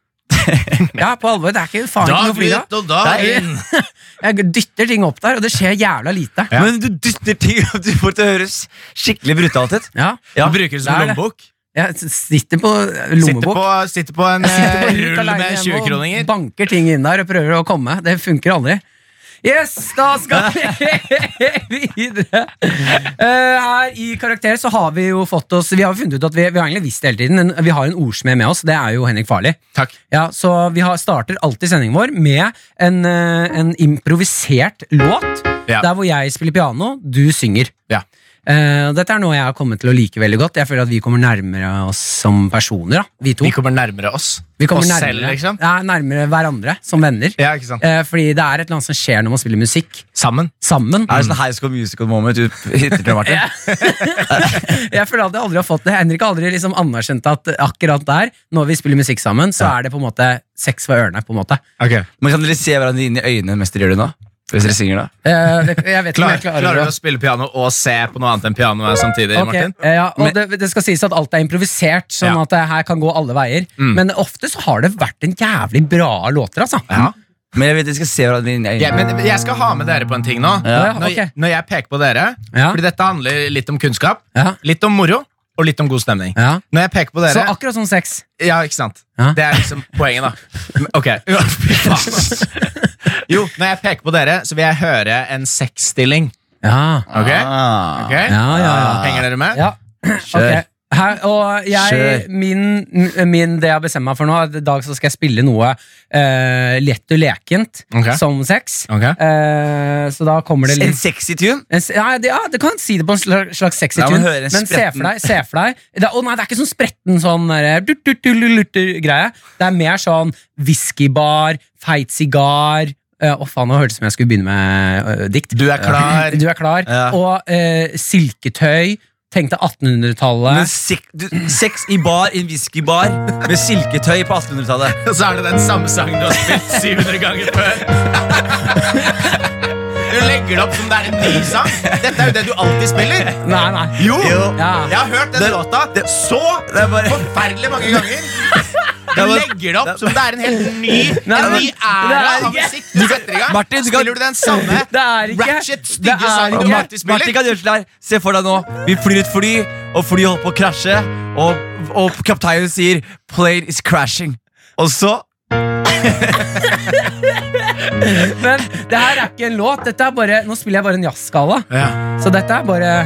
[SPEAKER 2] ja, på alvor. Det er ikke faen ikke noe flyga.
[SPEAKER 3] og da
[SPEAKER 4] Der.
[SPEAKER 2] Jeg dytter ting opp der, og det skjer jævla lite.
[SPEAKER 3] Ja.
[SPEAKER 4] Men du dytter ting og du får det til å høres skikkelig brutalt ut.
[SPEAKER 2] Ja,
[SPEAKER 4] Ja.
[SPEAKER 3] Du bruker det som
[SPEAKER 2] Det er det.
[SPEAKER 3] lommebok.
[SPEAKER 2] Jeg s- sitter på eh,
[SPEAKER 3] Sitter
[SPEAKER 2] lommebok.
[SPEAKER 3] på, sitter på en
[SPEAKER 2] Jeg sitter
[SPEAKER 3] eh,
[SPEAKER 2] på rut
[SPEAKER 3] rull
[SPEAKER 2] alene
[SPEAKER 3] med
[SPEAKER 2] hjemme og
[SPEAKER 3] 20-kroninger.
[SPEAKER 2] Banker ting inn der og prøver å komme. Det funker aldri. Yes, da skal vi videre. Eh, her i Karakter så har vi jo fått oss Vi har jo funnet ut at vi, vi har egentlig visst det hele tiden. men Vi har en ordsmed med oss. Det er jo Henrik Farli.
[SPEAKER 3] Takk.
[SPEAKER 2] Ja, så vi har, starter alltid sendingen vår med en, eh, en improvisert låt,
[SPEAKER 3] Ja.
[SPEAKER 2] der hvor jeg spiller piano, du synger.
[SPEAKER 3] Ja.
[SPEAKER 2] Eh, og dette er noe jeg har kommet til å like veldig godt. Jeg føler at vi kommer nærmere oss som personer, da. vi to.
[SPEAKER 3] Vi kommer nærmere oss.
[SPEAKER 2] Vi kommer
[SPEAKER 3] oss
[SPEAKER 2] nærmere,
[SPEAKER 3] selv, liksom.
[SPEAKER 2] ja, nærmere hverandre som venner.
[SPEAKER 3] Ja, ikke sant?
[SPEAKER 2] Eh, fordi det er et eller annet som skjer når man spiller musikk
[SPEAKER 3] Sammen.
[SPEAKER 2] sammen.
[SPEAKER 4] Er det sånn High School Musical moment du hitter til Martin?
[SPEAKER 2] Jeg føler at jeg aldri har fått det. Henrik har aldri liksom anerkjent at akkurat der, når vi spiller musikk sammen, så er det på en måte sex for ørene. på en måte.
[SPEAKER 4] Men kan dere se hverandre inn i øynene mens dere gjør det nå? Hvis dere synger da?
[SPEAKER 2] Eh, det, jeg vet ikke om
[SPEAKER 3] Klar,
[SPEAKER 2] jeg klarer,
[SPEAKER 3] klarer
[SPEAKER 2] å-
[SPEAKER 3] du å spille piano og se på noe annet enn piano samtidig?
[SPEAKER 2] Ok,
[SPEAKER 3] Martin?
[SPEAKER 2] eh, Ja, og det, det skal sies at alt er improvisert, sånn
[SPEAKER 3] Ja. Mm.
[SPEAKER 2] at det her kan gå alle veier. Men ofte så har det vært en jævlig bra låter, altså.
[SPEAKER 3] Ja.
[SPEAKER 4] Men jeg vil at dere skal se hverandre inn i
[SPEAKER 3] Jeg,
[SPEAKER 4] øynene.
[SPEAKER 3] men jeg skal ha med dere på en ting nå.
[SPEAKER 2] Ja,
[SPEAKER 3] Når,
[SPEAKER 2] ok.
[SPEAKER 3] jeg, når jeg peker på dere,
[SPEAKER 2] Ja.
[SPEAKER 3] fordi dette handler litt om kunnskap,
[SPEAKER 2] Ja.
[SPEAKER 3] litt om moro og litt om god stemning.
[SPEAKER 2] Ja.
[SPEAKER 3] Når jeg peker på
[SPEAKER 2] Så
[SPEAKER 3] dere
[SPEAKER 2] akkurat som sex.
[SPEAKER 3] Ja, ikke sant?
[SPEAKER 2] Ja.
[SPEAKER 3] Det er liksom poenget, da. Men, Ok. Fy faen. Jo, når jeg peker på dere, så vil jeg høre en sexstilling.
[SPEAKER 2] Ja,
[SPEAKER 3] Ok?
[SPEAKER 4] Ah.
[SPEAKER 3] Ok?
[SPEAKER 2] ja, ja.
[SPEAKER 3] Henger dere med?
[SPEAKER 2] ja.
[SPEAKER 4] Kjør.
[SPEAKER 2] ok. Her, og jeg,
[SPEAKER 4] Kjør.
[SPEAKER 2] min, min, det jeg har bestemt meg for nå, er at i dag så skal jeg spille noe eh, lett og lekent
[SPEAKER 3] Ok.
[SPEAKER 2] som sex.
[SPEAKER 3] Ok.
[SPEAKER 2] Eh, så da kommer det
[SPEAKER 4] En
[SPEAKER 2] litt
[SPEAKER 4] sexy tune?
[SPEAKER 2] En s- Ja, det, ja, du kan si det på en sla- slags sexy
[SPEAKER 4] Ja,
[SPEAKER 2] tune,
[SPEAKER 4] men
[SPEAKER 2] men,
[SPEAKER 4] hører en
[SPEAKER 2] se for
[SPEAKER 4] spretten-
[SPEAKER 2] deg, se for deg det, er- Å nei, det er ikke sånn spretten sånn der, du, du, du, lu, lu, du, greie. Det er mer sånn whiskybar, feit sigar eh, Å faen, nå hørtes det ut som jeg skulle begynne med eh, dikt.
[SPEAKER 3] Du er klar.
[SPEAKER 2] Du er klar.
[SPEAKER 4] Ja.
[SPEAKER 2] Og eh, silketøy. Tenk deg
[SPEAKER 4] Men
[SPEAKER 2] 1800-tallet.
[SPEAKER 4] sek- du, sex i bar, i en whiskybar, med silketøy på 1800-tallet.
[SPEAKER 3] Og så er det den samme sangen du har spilt 700 ganger før. Du legger det opp som det er en ny sang. Dette er jo det du alltid spiller.
[SPEAKER 2] Nei, nei.
[SPEAKER 3] Jo!
[SPEAKER 2] Ja.
[SPEAKER 3] Jeg har hørt den
[SPEAKER 4] Det-
[SPEAKER 3] låta så
[SPEAKER 4] Det er bare
[SPEAKER 3] forferdelig mange ganger. Du
[SPEAKER 4] Det var-
[SPEAKER 3] legger det opp som det er en helt ny
[SPEAKER 2] Nei,
[SPEAKER 3] En
[SPEAKER 2] men-
[SPEAKER 3] ny æra
[SPEAKER 2] Nei,
[SPEAKER 3] av musikk du setter i gang.
[SPEAKER 4] Martin, du kan-
[SPEAKER 3] Spiller du den samme
[SPEAKER 2] Det er ikke-
[SPEAKER 3] ratchet,
[SPEAKER 2] det er
[SPEAKER 3] stygge sangen
[SPEAKER 2] ikke-
[SPEAKER 3] du
[SPEAKER 4] Martin,
[SPEAKER 3] alltid
[SPEAKER 4] Martin
[SPEAKER 3] spiller?
[SPEAKER 4] kan gjøre sånn her. Se for deg nå. Vi flyr et fly, og flyet holder på å krasje. Og, og kapteinen sier 'plane is crashing'. Og så
[SPEAKER 2] Men det her er ikke en låt. Dette er bare, nå spiller jeg bare en jazzskala.
[SPEAKER 3] Ja.
[SPEAKER 2] Så dette er bare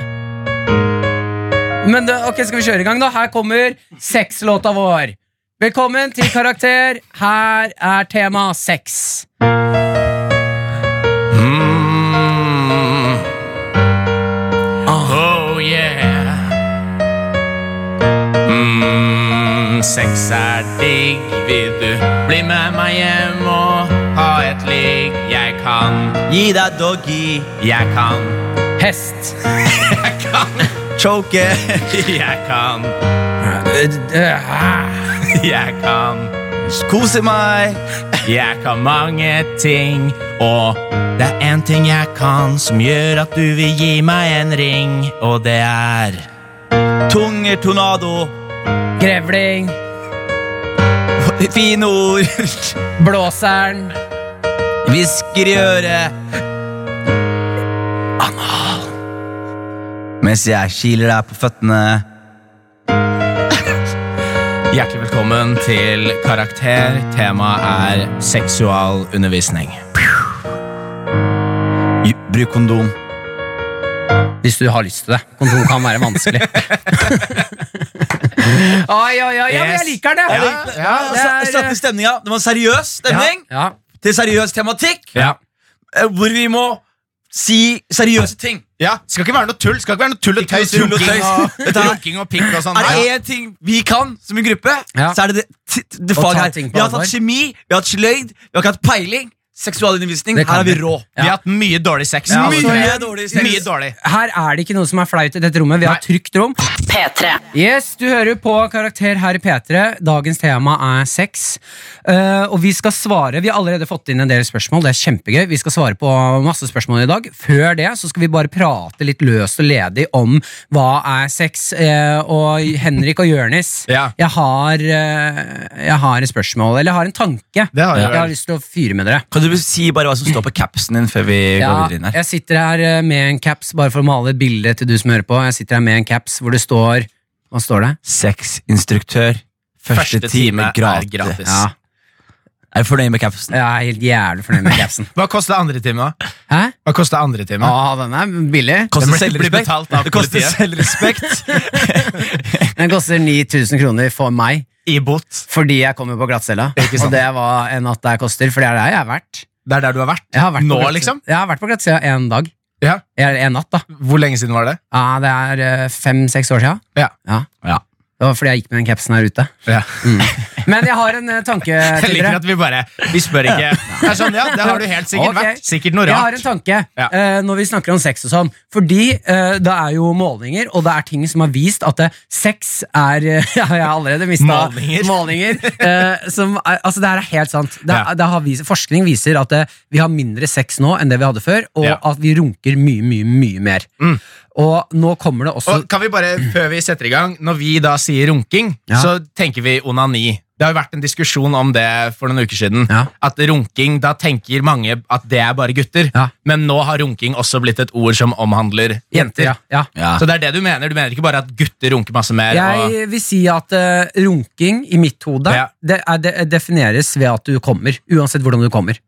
[SPEAKER 2] Men det, ok, skal vi kjøre i gang, da? Her kommer sexlåta vår. Velkommen til Karakter. Her er tema sex.
[SPEAKER 3] Mm. Oh yeah. Mm, sex er digg. Vil du bli med meg hjem og ha et ligg? Jeg kan,
[SPEAKER 4] gi deg doggy,
[SPEAKER 3] jeg kan,
[SPEAKER 2] Hest.
[SPEAKER 3] jeg kan,
[SPEAKER 4] choke.
[SPEAKER 3] jeg kan,
[SPEAKER 2] Hva
[SPEAKER 3] jeg kan.
[SPEAKER 4] Kose meg.
[SPEAKER 3] Jeg kan mange ting, og det er én ting jeg kan som gjør at du vil gi meg en ring, og det er
[SPEAKER 4] Tungertornado.
[SPEAKER 2] Grevling,
[SPEAKER 4] Fine ord.
[SPEAKER 2] blåseren
[SPEAKER 4] Hvisker i øret. Anal. Mens jeg kiler deg på føttene.
[SPEAKER 3] Hjertelig velkommen til Karakter. Temaet er seksualundervisning.
[SPEAKER 4] Ju- Bruk kondom.
[SPEAKER 2] Hvis du har lyst til det. Kondom kan være vanskelig. oi, oi, oi, ja, men jeg
[SPEAKER 3] Yes.
[SPEAKER 2] liker det.
[SPEAKER 4] Ja, ja,
[SPEAKER 2] det er-
[SPEAKER 4] Satte stemninga. Det var en seriøs stemning
[SPEAKER 2] Ja,
[SPEAKER 4] til seriøs tematikk,
[SPEAKER 3] Ja.
[SPEAKER 4] eh, hvor vi må si seriøse ting.
[SPEAKER 3] ja. Skal ikke være noe tull Skal ikke være noe tull og
[SPEAKER 4] Ikke noe
[SPEAKER 3] tøys.
[SPEAKER 4] tull og
[SPEAKER 3] runking
[SPEAKER 4] tøys. Dette er-
[SPEAKER 3] runking og pikk og sånn.
[SPEAKER 4] Er det
[SPEAKER 3] Ja.
[SPEAKER 4] én ting vi kan som en gruppe,
[SPEAKER 2] Ja.
[SPEAKER 4] så er det det, t- t- det
[SPEAKER 2] Å
[SPEAKER 4] faget
[SPEAKER 2] ta
[SPEAKER 4] her.
[SPEAKER 2] ting på
[SPEAKER 4] Vi har
[SPEAKER 2] alvor.
[SPEAKER 4] tatt kjemi, vi har hatt sløyd, vi har ikke hatt peiling. Seksualundervisning.
[SPEAKER 2] Det kan
[SPEAKER 4] Her er vi
[SPEAKER 2] vi.
[SPEAKER 4] rå.
[SPEAKER 3] Vi har hatt mye dårlig sex.
[SPEAKER 4] Ja, altså,
[SPEAKER 3] Mye
[SPEAKER 4] mye dårlig sex.
[SPEAKER 3] Mye dårlig.
[SPEAKER 2] Her er det ikke noe som er flaut i dette rommet. Vi har
[SPEAKER 3] Nei.
[SPEAKER 2] et trygt rom.
[SPEAKER 5] P3.
[SPEAKER 2] Yes, Du hører på Karakter her i P3. Dagens tema er sex. Eh, og vi skal svare Vi har allerede fått inn en del spørsmål. Det er kjempegøy. Vi skal svare på masse spørsmål i dag. Før det så skal vi bare prate litt løst og ledig om hva er sex. Eh, og Henrik og Jørnis,
[SPEAKER 3] Ja.
[SPEAKER 2] jeg, har, eh, jeg har et spørsmål, eller jeg har en tanke.
[SPEAKER 3] Det har du
[SPEAKER 2] jeg
[SPEAKER 3] vel.
[SPEAKER 2] har lyst til å fyre med dere.
[SPEAKER 4] Kan du si bare hva som står på capsen din før vi går
[SPEAKER 2] Ja,
[SPEAKER 4] videre inn her?
[SPEAKER 2] jeg sitter her eh, med en caps, bare for å male et bilde til du som hører på. Jeg sitter her med en caps hvor det står Hva står det?
[SPEAKER 4] Sexinstruktør. Første,
[SPEAKER 3] Første time
[SPEAKER 4] time
[SPEAKER 3] er
[SPEAKER 4] gratis.
[SPEAKER 3] gratis.
[SPEAKER 4] Ja. Er du fornøyd med capsen?
[SPEAKER 2] Jeg er helt jævlig fornøyd med capsen.
[SPEAKER 3] Hva koster andre time? da?
[SPEAKER 2] Hæ?
[SPEAKER 3] Hva koster andre time?
[SPEAKER 2] Ja, den er billig.
[SPEAKER 4] Koster
[SPEAKER 3] Det blir- blir
[SPEAKER 4] selvrespekt.
[SPEAKER 3] betalt av
[SPEAKER 4] Det koster
[SPEAKER 3] politiet.
[SPEAKER 4] selvrespekt.
[SPEAKER 2] Den koster 9000 kroner for meg
[SPEAKER 3] I bot.
[SPEAKER 2] fordi jeg kommer på glattcella.
[SPEAKER 3] Ikke sant.
[SPEAKER 2] Og det var en natt der koster, for det er der jeg har vært.
[SPEAKER 3] Det er der du har vært?
[SPEAKER 2] Jeg har vært på
[SPEAKER 3] Nå,
[SPEAKER 2] glattcella-
[SPEAKER 3] liksom?
[SPEAKER 2] Jeg har vært på glattcella en dag.
[SPEAKER 3] Ja.
[SPEAKER 2] Eller en natt, da.
[SPEAKER 3] Hvor lenge siden var det?
[SPEAKER 2] Ja, det er fem-seks år siden.
[SPEAKER 3] Ja.
[SPEAKER 4] Ja.
[SPEAKER 2] Det var fordi jeg gikk med den capsen her ute.
[SPEAKER 3] Ja.
[SPEAKER 2] Men jeg har en eh, tanke
[SPEAKER 3] Jeg
[SPEAKER 2] til
[SPEAKER 3] liker
[SPEAKER 2] dere.
[SPEAKER 3] at vi bare Vi spør ikke. Det er sånn, ja, det har du helt sikkert
[SPEAKER 2] Ok.
[SPEAKER 3] vært. Sikkert noe
[SPEAKER 2] Jeg har en
[SPEAKER 3] rart.
[SPEAKER 2] tanke
[SPEAKER 3] Ja.
[SPEAKER 2] eh, når vi snakker om sex og sånn. Fordi eh, det er jo målinger, og det er ting som har vist at eh, sex er eh, Jeg har allerede mista
[SPEAKER 3] Målinger.
[SPEAKER 2] eh, som er, altså det her er helt sant. Det, er-
[SPEAKER 3] Ja.
[SPEAKER 2] det har vist, forskning viser at eh, vi har mindre sex nå enn det vi hadde før, og
[SPEAKER 3] Ja. Mm.
[SPEAKER 2] at vi runker mye, mye, mye mer. Og nå kommer det også
[SPEAKER 3] Og kan vi bare, Før vi setter i gang, når vi da sier runking,
[SPEAKER 2] Ja.
[SPEAKER 3] så tenker vi onani. Det har jo vært en diskusjon om det for noen uker siden.
[SPEAKER 2] Ja.
[SPEAKER 3] At runking, Da tenker mange at det er bare gutter.
[SPEAKER 2] Ja.
[SPEAKER 3] Men nå har runking også blitt et ord som omhandler
[SPEAKER 2] jenter.
[SPEAKER 3] jenter.
[SPEAKER 2] Ja. ja.
[SPEAKER 4] Ja.
[SPEAKER 3] Så det er det du mener? Du mener ikke bare at gutter runker masse mer? og,
[SPEAKER 2] Jeg vil si at eh, runking i mitt hode
[SPEAKER 3] Ja.
[SPEAKER 2] det, er, det defineres ved at du kommer. Uansett hvordan du kommer.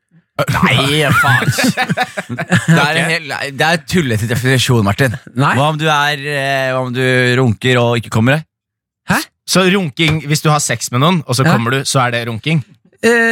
[SPEAKER 4] Nei, faen. Det er, en hel, det er tullete definisjon, Martin.
[SPEAKER 2] Nei.
[SPEAKER 4] Hva om du er eh, Hva om du runker og ikke kommer deg?
[SPEAKER 3] Så runking, hvis du har sex med noen, og så
[SPEAKER 2] Ja.
[SPEAKER 3] kommer du, så er det runking?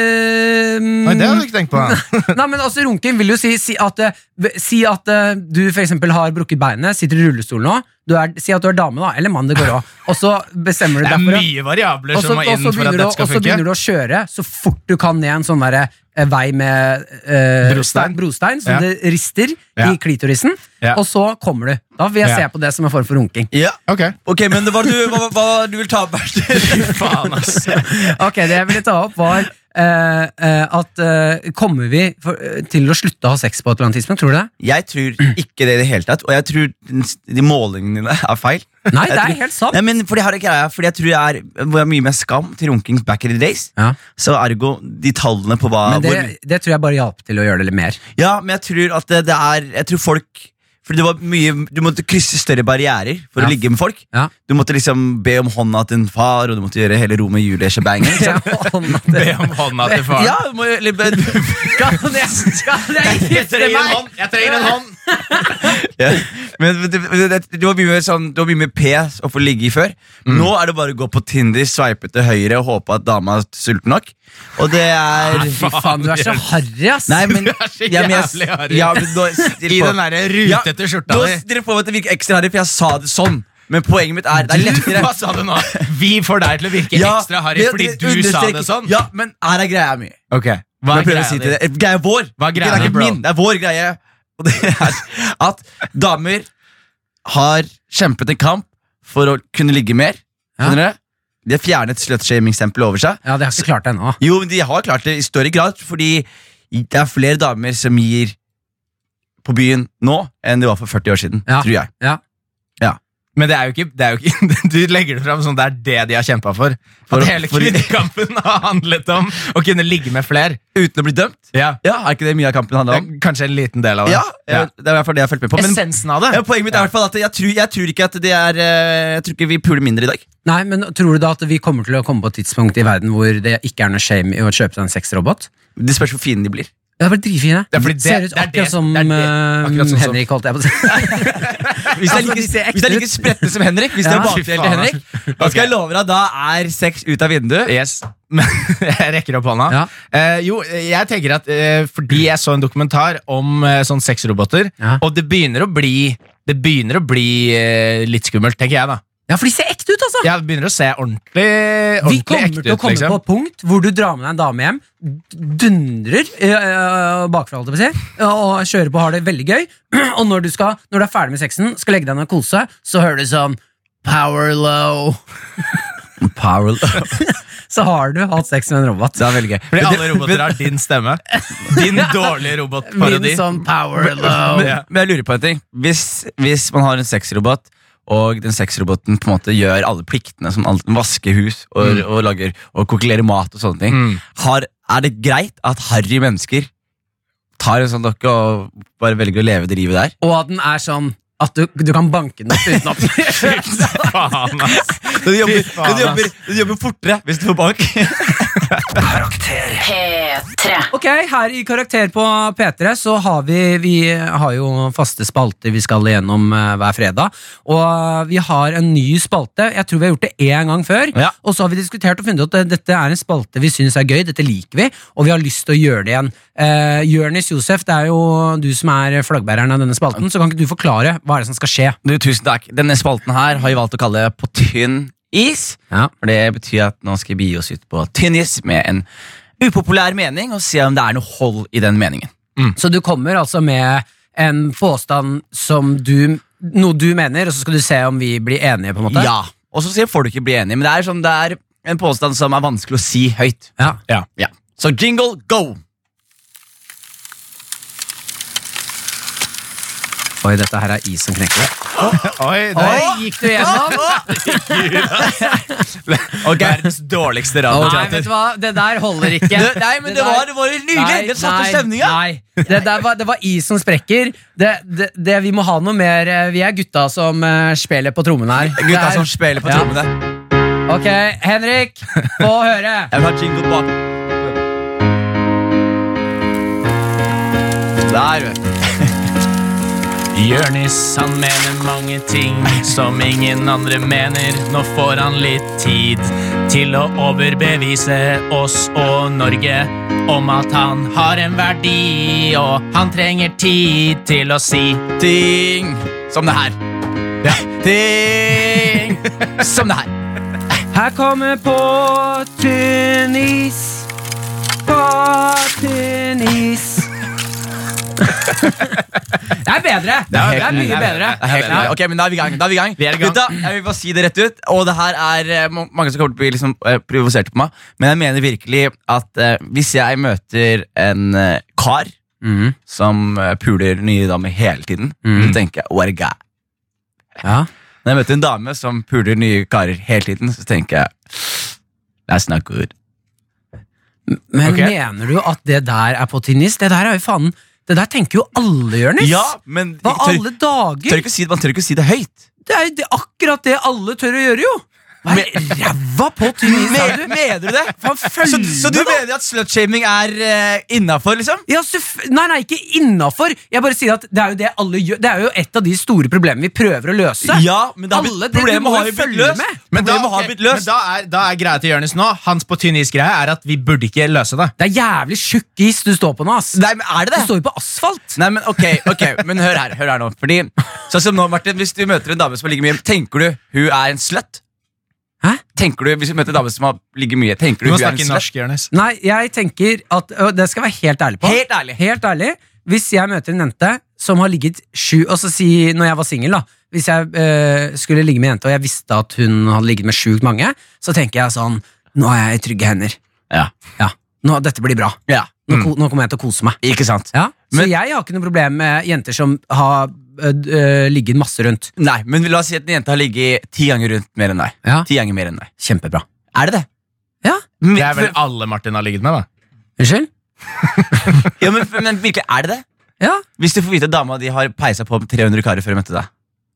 [SPEAKER 2] Ehm,
[SPEAKER 3] Oi, det hadde du ikke tenkt på.
[SPEAKER 2] Nei, men altså Runken vil jo si, si at, eh, v- si at eh, du for eksempel har brukket beinet, sitter i rullestol nå. Du er, si at du er dame, da, eller mann, det går òg. Og så bestemmer du
[SPEAKER 3] Det
[SPEAKER 2] deg
[SPEAKER 3] er
[SPEAKER 2] for å-
[SPEAKER 3] mye variabler
[SPEAKER 2] og så-
[SPEAKER 3] som må
[SPEAKER 2] og
[SPEAKER 3] inn
[SPEAKER 2] så
[SPEAKER 3] for at
[SPEAKER 2] begynner, du
[SPEAKER 3] dette
[SPEAKER 2] å-
[SPEAKER 3] skal
[SPEAKER 2] og så
[SPEAKER 3] funke.
[SPEAKER 2] begynner du å kjøre så fort du kan ned en sånn derre, eh, vei med eh,
[SPEAKER 3] Brostein.
[SPEAKER 2] brostein som
[SPEAKER 3] Ja.
[SPEAKER 2] det rister
[SPEAKER 3] Ja.
[SPEAKER 2] i klitorisen,
[SPEAKER 3] Ja.
[SPEAKER 2] og så kommer du. Da vil jeg
[SPEAKER 3] Ja.
[SPEAKER 2] se på det som en form for runking.
[SPEAKER 4] Ja.
[SPEAKER 3] Ok.
[SPEAKER 4] Ok, men hva du, hva, hva du vil ta opp først?
[SPEAKER 3] Faen, ass.
[SPEAKER 2] Ok, det jeg ville ta opp var eh, eh, at eh, kommer vi for, eh, til å slutte å ha sex på et eller annet tidspunkt? Tror du det?
[SPEAKER 4] Jeg tror ikke det i det hele tatt, og jeg tror den s- de målingene dine er feil.
[SPEAKER 2] Nei,
[SPEAKER 4] Jeg
[SPEAKER 2] det er
[SPEAKER 4] tror-
[SPEAKER 2] helt sant.
[SPEAKER 4] Nei, men fordi jeg har en greie, fordi jeg tror jeg er, hvor jeg er mye mer skam til runking back in the days.
[SPEAKER 2] Ja.
[SPEAKER 4] Så ergo de tallene på hva
[SPEAKER 2] Men det,
[SPEAKER 4] hvor,
[SPEAKER 2] det tror jeg bare hjalp til å gjøre det litt mer.
[SPEAKER 4] Ja, men jeg tror at det, det er Jeg tror folk Fordi det var mye Du måtte krysse større barrierer for
[SPEAKER 2] Ja.
[SPEAKER 4] å ligge med folk.
[SPEAKER 2] Ja.
[SPEAKER 4] Du måtte liksom be om hånda til en far, og du måtte gjøre hele rommet juleshabangen.
[SPEAKER 2] Ja,
[SPEAKER 3] Be om hånda til faren.
[SPEAKER 4] Ja, du må, eller,
[SPEAKER 2] Kan jeg, kan jeg gifte meg?
[SPEAKER 3] Jeg trenger en hånd!
[SPEAKER 4] ja. Men det, det, det var mye mer sånn Det var mye mer pes å få ligge i før.
[SPEAKER 3] Mm.
[SPEAKER 4] Nå er det bare å gå på Tinder, sveipe til høyre og håpe at dama er sulten nok. Og det er
[SPEAKER 2] Fy faen, du er så harry, ass.
[SPEAKER 4] Nei, men
[SPEAKER 3] Du er så
[SPEAKER 4] ja, men jeg-
[SPEAKER 3] jævlig harry.
[SPEAKER 4] ja, men nå-
[SPEAKER 3] I den derre rutete skjorta
[SPEAKER 4] Nå,
[SPEAKER 3] di.
[SPEAKER 4] dere får meg til å virke ekstra harry, for jeg sa det sånn. Men poenget mitt er det er lettere.
[SPEAKER 3] Hva sa du nå? Vi får deg til å virke
[SPEAKER 4] Ja,
[SPEAKER 3] ekstra harry
[SPEAKER 4] men-
[SPEAKER 3] fordi du
[SPEAKER 4] understreker-
[SPEAKER 3] sa det sånn.
[SPEAKER 4] Ja, men her er greia mi.
[SPEAKER 3] Ok, Hva
[SPEAKER 4] Hva
[SPEAKER 3] er greia
[SPEAKER 4] si
[SPEAKER 3] di?
[SPEAKER 4] til det? Greia er vår.
[SPEAKER 3] Hva er
[SPEAKER 4] Det
[SPEAKER 3] greia di,
[SPEAKER 4] ikke
[SPEAKER 3] bro?
[SPEAKER 4] min, det er vår greie. Og det er at damer har kjempet en kamp for å kunne ligge mer.
[SPEAKER 2] Ja.
[SPEAKER 4] Skjønner dere? De har fjernet slutshaming-stempelet over seg.
[SPEAKER 2] Ja, det har jeg ikke klart det ennå.
[SPEAKER 4] Jo, men de har klart det i større grad, fordi det er flere damer som gir på byen nå enn det var for 40 år siden,
[SPEAKER 2] Ja.
[SPEAKER 4] tror jeg.
[SPEAKER 2] Ja.
[SPEAKER 4] Ja.
[SPEAKER 3] Men det er jo ikke, det er jo ikke du legger det fram som det er det de har kjempa for.
[SPEAKER 4] For-
[SPEAKER 3] At hele
[SPEAKER 4] for-
[SPEAKER 3] kvinnekampen har handlet om å kunne ligge med flere.
[SPEAKER 4] Uten å bli dømt?
[SPEAKER 3] Ja.
[SPEAKER 4] Ja, Er ikke det mye av kampen
[SPEAKER 3] Det
[SPEAKER 4] handler
[SPEAKER 3] er
[SPEAKER 4] om?
[SPEAKER 3] kanskje en liten del av det.
[SPEAKER 4] Ja, ja. Det er i hvert fall det jeg har fulgt med på. Men
[SPEAKER 3] Essensen av det.
[SPEAKER 4] ja, poenget mitt er i hvert fall at jeg tror, jeg tror ikke at det er eh, Jeg tror ikke vi puler mindre i dag.
[SPEAKER 2] Nei, men Tror du da at vi kommer til å komme på et tidspunkt i verden hvor det ikke er noe shame i å kjøpe seg en sexrobot?
[SPEAKER 4] Det spørs hvor fine de blir.
[SPEAKER 2] Det er bare dritfine.
[SPEAKER 3] Det er fordi det-
[SPEAKER 2] Ser ut
[SPEAKER 3] det er
[SPEAKER 2] akkurat
[SPEAKER 3] det-
[SPEAKER 2] som
[SPEAKER 3] det er det-
[SPEAKER 2] eh,
[SPEAKER 3] akkurat sånn som-
[SPEAKER 2] Henrik, holdt jeg på å si.
[SPEAKER 4] Hvis det er
[SPEAKER 2] Altså, de ser
[SPEAKER 4] like,
[SPEAKER 2] ekte
[SPEAKER 4] hvis det er
[SPEAKER 2] ut.
[SPEAKER 4] like spredte som Henrik, hvis det
[SPEAKER 2] Ja.
[SPEAKER 4] er bakdel til Henrik,
[SPEAKER 3] altså.
[SPEAKER 4] da skal jeg love deg, da er sex ut av vinduet.
[SPEAKER 3] Yes. jeg rekker opp hånda.
[SPEAKER 2] Ja.
[SPEAKER 3] Eh, jo, jeg tenker at eh, fordi jeg så en dokumentar om eh, sånn sexroboter,
[SPEAKER 2] Ja.
[SPEAKER 3] og det begynner å bli det begynner å bli eh, litt skummelt, tenker jeg. da
[SPEAKER 2] Ja, for de ser ekte ut, altså!
[SPEAKER 3] Jeg begynner å se ordentlig,
[SPEAKER 2] Vi
[SPEAKER 3] ordentlig
[SPEAKER 2] kommer
[SPEAKER 3] ekte
[SPEAKER 2] til å
[SPEAKER 3] ut.
[SPEAKER 2] komme på
[SPEAKER 3] Liksom.
[SPEAKER 2] et punkt hvor du drar med deg en dame hjem, dundrer øh, bakfra holdt jeg på å si, og kjører på og har det veldig gøy. Og når du, skal, når du er ferdig med sexen, skal legge deg ned og kose, så hører du sånn Power low. Så har du hatt sex med en robot.
[SPEAKER 4] Det er veldig gøy.
[SPEAKER 3] Fordi
[SPEAKER 4] Men det-
[SPEAKER 3] alle roboter har din stemme. Din dårlige robotparodi.
[SPEAKER 2] Min sånn power low.
[SPEAKER 4] Men, men jeg lurer på en ting. Hvis, hvis man har en sexrobot, og den sexroboten på en måte gjør alle pliktene, som alt, vasker hus og, og lager og kokulerer mat og sånne ting,
[SPEAKER 3] Mm.
[SPEAKER 4] har, er det greit at harry mennesker tar en sånn dokke og bare velger å leve det livet der?
[SPEAKER 2] Og at den er sånn at du, du kan banke den opp uten at
[SPEAKER 3] Faen, ass.
[SPEAKER 4] Den jobber,
[SPEAKER 3] Fy faen,
[SPEAKER 4] den jobber, den jobber fortere hvis du får bank.
[SPEAKER 5] P3.
[SPEAKER 2] Ok, her i Karakter på P3 så har vi Vi har jo faste spalter vi skal igjennom eh, hver fredag. Og eh, vi har en ny spalte. Jeg tror vi har gjort det én gang før.
[SPEAKER 4] Ja.
[SPEAKER 2] Og så har vi diskutert og funnet ut at dette er en spalte vi syns er gøy, dette liker vi, og vi har lyst til å gjøre det igjen. Uh, Jørnis Josef, det er jo du som er flaggbæreren av denne spalten, så kan ikke du forklare hva er det som skal skje?
[SPEAKER 4] Du, tusen takk. Denne spalten her har jeg valgt å kalle På tynn is.
[SPEAKER 2] Ja.
[SPEAKER 4] For det betyr at nå skal vi gi oss ut på tynn is med en upopulær mening og se om det er noe hold i den meningen.
[SPEAKER 2] Så du kommer altså med en påstand som du Noe du mener, og så skal du se om vi blir enige, på en måte?
[SPEAKER 4] Ja. Og så sier folk ikke bli enig, men det er, sånn, det er en påstand som er vanskelig å si høyt.
[SPEAKER 2] ja.
[SPEAKER 4] Ja. Så jingle, go!
[SPEAKER 2] Oi, dette her er is som knekker.
[SPEAKER 3] Oi, der
[SPEAKER 2] Oi, gikk du gjennom?
[SPEAKER 4] Ok.
[SPEAKER 3] Verdens dårligste
[SPEAKER 2] Nei, vet
[SPEAKER 3] radioteater.
[SPEAKER 2] du hva, det der holder ikke.
[SPEAKER 4] Det, nei, men det,
[SPEAKER 2] der-
[SPEAKER 4] var, det var jo nydelig! Det satte stemninga!
[SPEAKER 2] Nei, det, der var, det var is som sprekker. Det, det, det, vi må ha noe mer eh, Vi er gutta som eh, spiller på trommene her.
[SPEAKER 4] Gutta
[SPEAKER 2] Det er-
[SPEAKER 4] som spiller på
[SPEAKER 2] Ja.
[SPEAKER 4] trommene.
[SPEAKER 2] Ok, Henrik, få høre.
[SPEAKER 4] Jeg vil ha jingle bak. Der, vet du.
[SPEAKER 3] Jørnis, han mener mange ting som ingen andre mener. Nå får han litt tid til å overbevise oss og Norge om at han har en verdi, og han trenger tid til å si
[SPEAKER 4] Ting som det her. Ting som det her.
[SPEAKER 2] Her kommer På tynn is. På tynn is. Det er bedre. Det er,
[SPEAKER 4] helt
[SPEAKER 2] mye bedre.
[SPEAKER 4] Det er helt nydelig. Ok, men Da er vi i gang. Da er vi i gang.
[SPEAKER 3] Vi er i gang.
[SPEAKER 4] Gutta, jeg vil bare si det rett ut. Og det her er eh, ma- mange som kommer til å bli liksom, eh, provoserte på meg, men jeg mener virkelig at eh, hvis jeg møter en eh, kar
[SPEAKER 2] Mhm,
[SPEAKER 4] som eh, puler nye damer hele tiden,
[SPEAKER 2] Mm.
[SPEAKER 4] så tenker jeg what a guy.
[SPEAKER 2] ja.
[SPEAKER 4] Når jeg møter en dame som puler nye karer hele tiden, så tenker jeg that's not good.
[SPEAKER 2] Men
[SPEAKER 3] Ok.
[SPEAKER 2] mener du at det der er på tynn is? Det der er jo faen Det der tenker jo alle, Jonis!
[SPEAKER 4] Ja, men
[SPEAKER 2] Hva
[SPEAKER 4] jeg tør,
[SPEAKER 2] alle dager?
[SPEAKER 4] tør ikke å si det, man tør ikke å si det høyt.
[SPEAKER 2] Det er jo det, akkurat det alle tør å gjøre, jo! Hva er ræva på tynn is, sa
[SPEAKER 4] Men-
[SPEAKER 2] du?
[SPEAKER 4] Mener du det?
[SPEAKER 2] Faen, følg
[SPEAKER 4] Så, så du
[SPEAKER 2] med, da!
[SPEAKER 4] mener at slutshaming er uh, innafor, liksom?
[SPEAKER 2] Ja, selvf- nei, nei, ikke innafor. Jeg bare sier at det er jo det alle gjør. Det er jo et av de store problemene vi prøver å løse.
[SPEAKER 4] Ja, men det har blitt-
[SPEAKER 2] Alle, det- du
[SPEAKER 4] problemet
[SPEAKER 2] må
[SPEAKER 4] har
[SPEAKER 2] jo
[SPEAKER 4] jo blitt
[SPEAKER 2] følge
[SPEAKER 4] løst.
[SPEAKER 2] med.
[SPEAKER 3] Men da,
[SPEAKER 4] Problemet har
[SPEAKER 3] ok,
[SPEAKER 4] blitt løst.
[SPEAKER 3] men da, er, da er greia til Jørnis nå Hans på tynn is-greie er at vi burde ikke løse det.
[SPEAKER 2] Det er jævlig tjukk is du står på nå, ass.
[SPEAKER 4] Nei, men er
[SPEAKER 2] Du
[SPEAKER 4] det det?
[SPEAKER 2] står jo på asfalt.
[SPEAKER 4] Nei, men ok, ok, men hør her, hør her nå Fordi, sånn som nå, Martin, hvis du møter en dame som har ligget mye Tenker du hun er en sløtt?
[SPEAKER 2] Hæ?
[SPEAKER 4] Tenker du, hvis du møter en dame som har ligget mye Tenker
[SPEAKER 3] Du
[SPEAKER 4] du
[SPEAKER 3] må
[SPEAKER 4] hun er en
[SPEAKER 3] snakke
[SPEAKER 4] sløtt?
[SPEAKER 3] norsk, Jørnis.
[SPEAKER 2] Nei, jeg tenker at og Det skal jeg være helt ærlig på.
[SPEAKER 4] Helt ærlig.
[SPEAKER 2] Helt ærlig Hvis jeg møter en jente som har ligget sju Og så si når jeg var singel, da. Hvis jeg eh, skulle ligge med en jente og jeg visste at hun hadde ligget med sjukt mange, så tenker jeg sånn Nå er jeg i trygge hender.
[SPEAKER 4] Ja.
[SPEAKER 2] Ja. Nå, dette blir bra.
[SPEAKER 4] Ja,
[SPEAKER 2] Nå, ko- nå kommer jeg til å kose meg.
[SPEAKER 4] ikke sant?
[SPEAKER 2] Ja. Så
[SPEAKER 4] Mm. Men-
[SPEAKER 2] jeg har ikke noe problem med jenter som har øh, d- øh, ligget masse rundt.
[SPEAKER 4] Nei, men la oss si at en jente har ligget ti ganger rundt mer enn deg.
[SPEAKER 2] Ja.
[SPEAKER 4] Ti ganger mer enn deg.
[SPEAKER 2] Kjempebra.
[SPEAKER 4] Er det det?
[SPEAKER 2] Ja.
[SPEAKER 4] Men,
[SPEAKER 3] Det er vel
[SPEAKER 4] for,
[SPEAKER 3] alle Martin har ligget med, da.
[SPEAKER 2] Unnskyld?
[SPEAKER 4] ja, men, for, men virkelig, er det det?
[SPEAKER 2] Ja.
[SPEAKER 4] Hvis du får vite at dama di har peisa på 300 karer før hun møtte deg.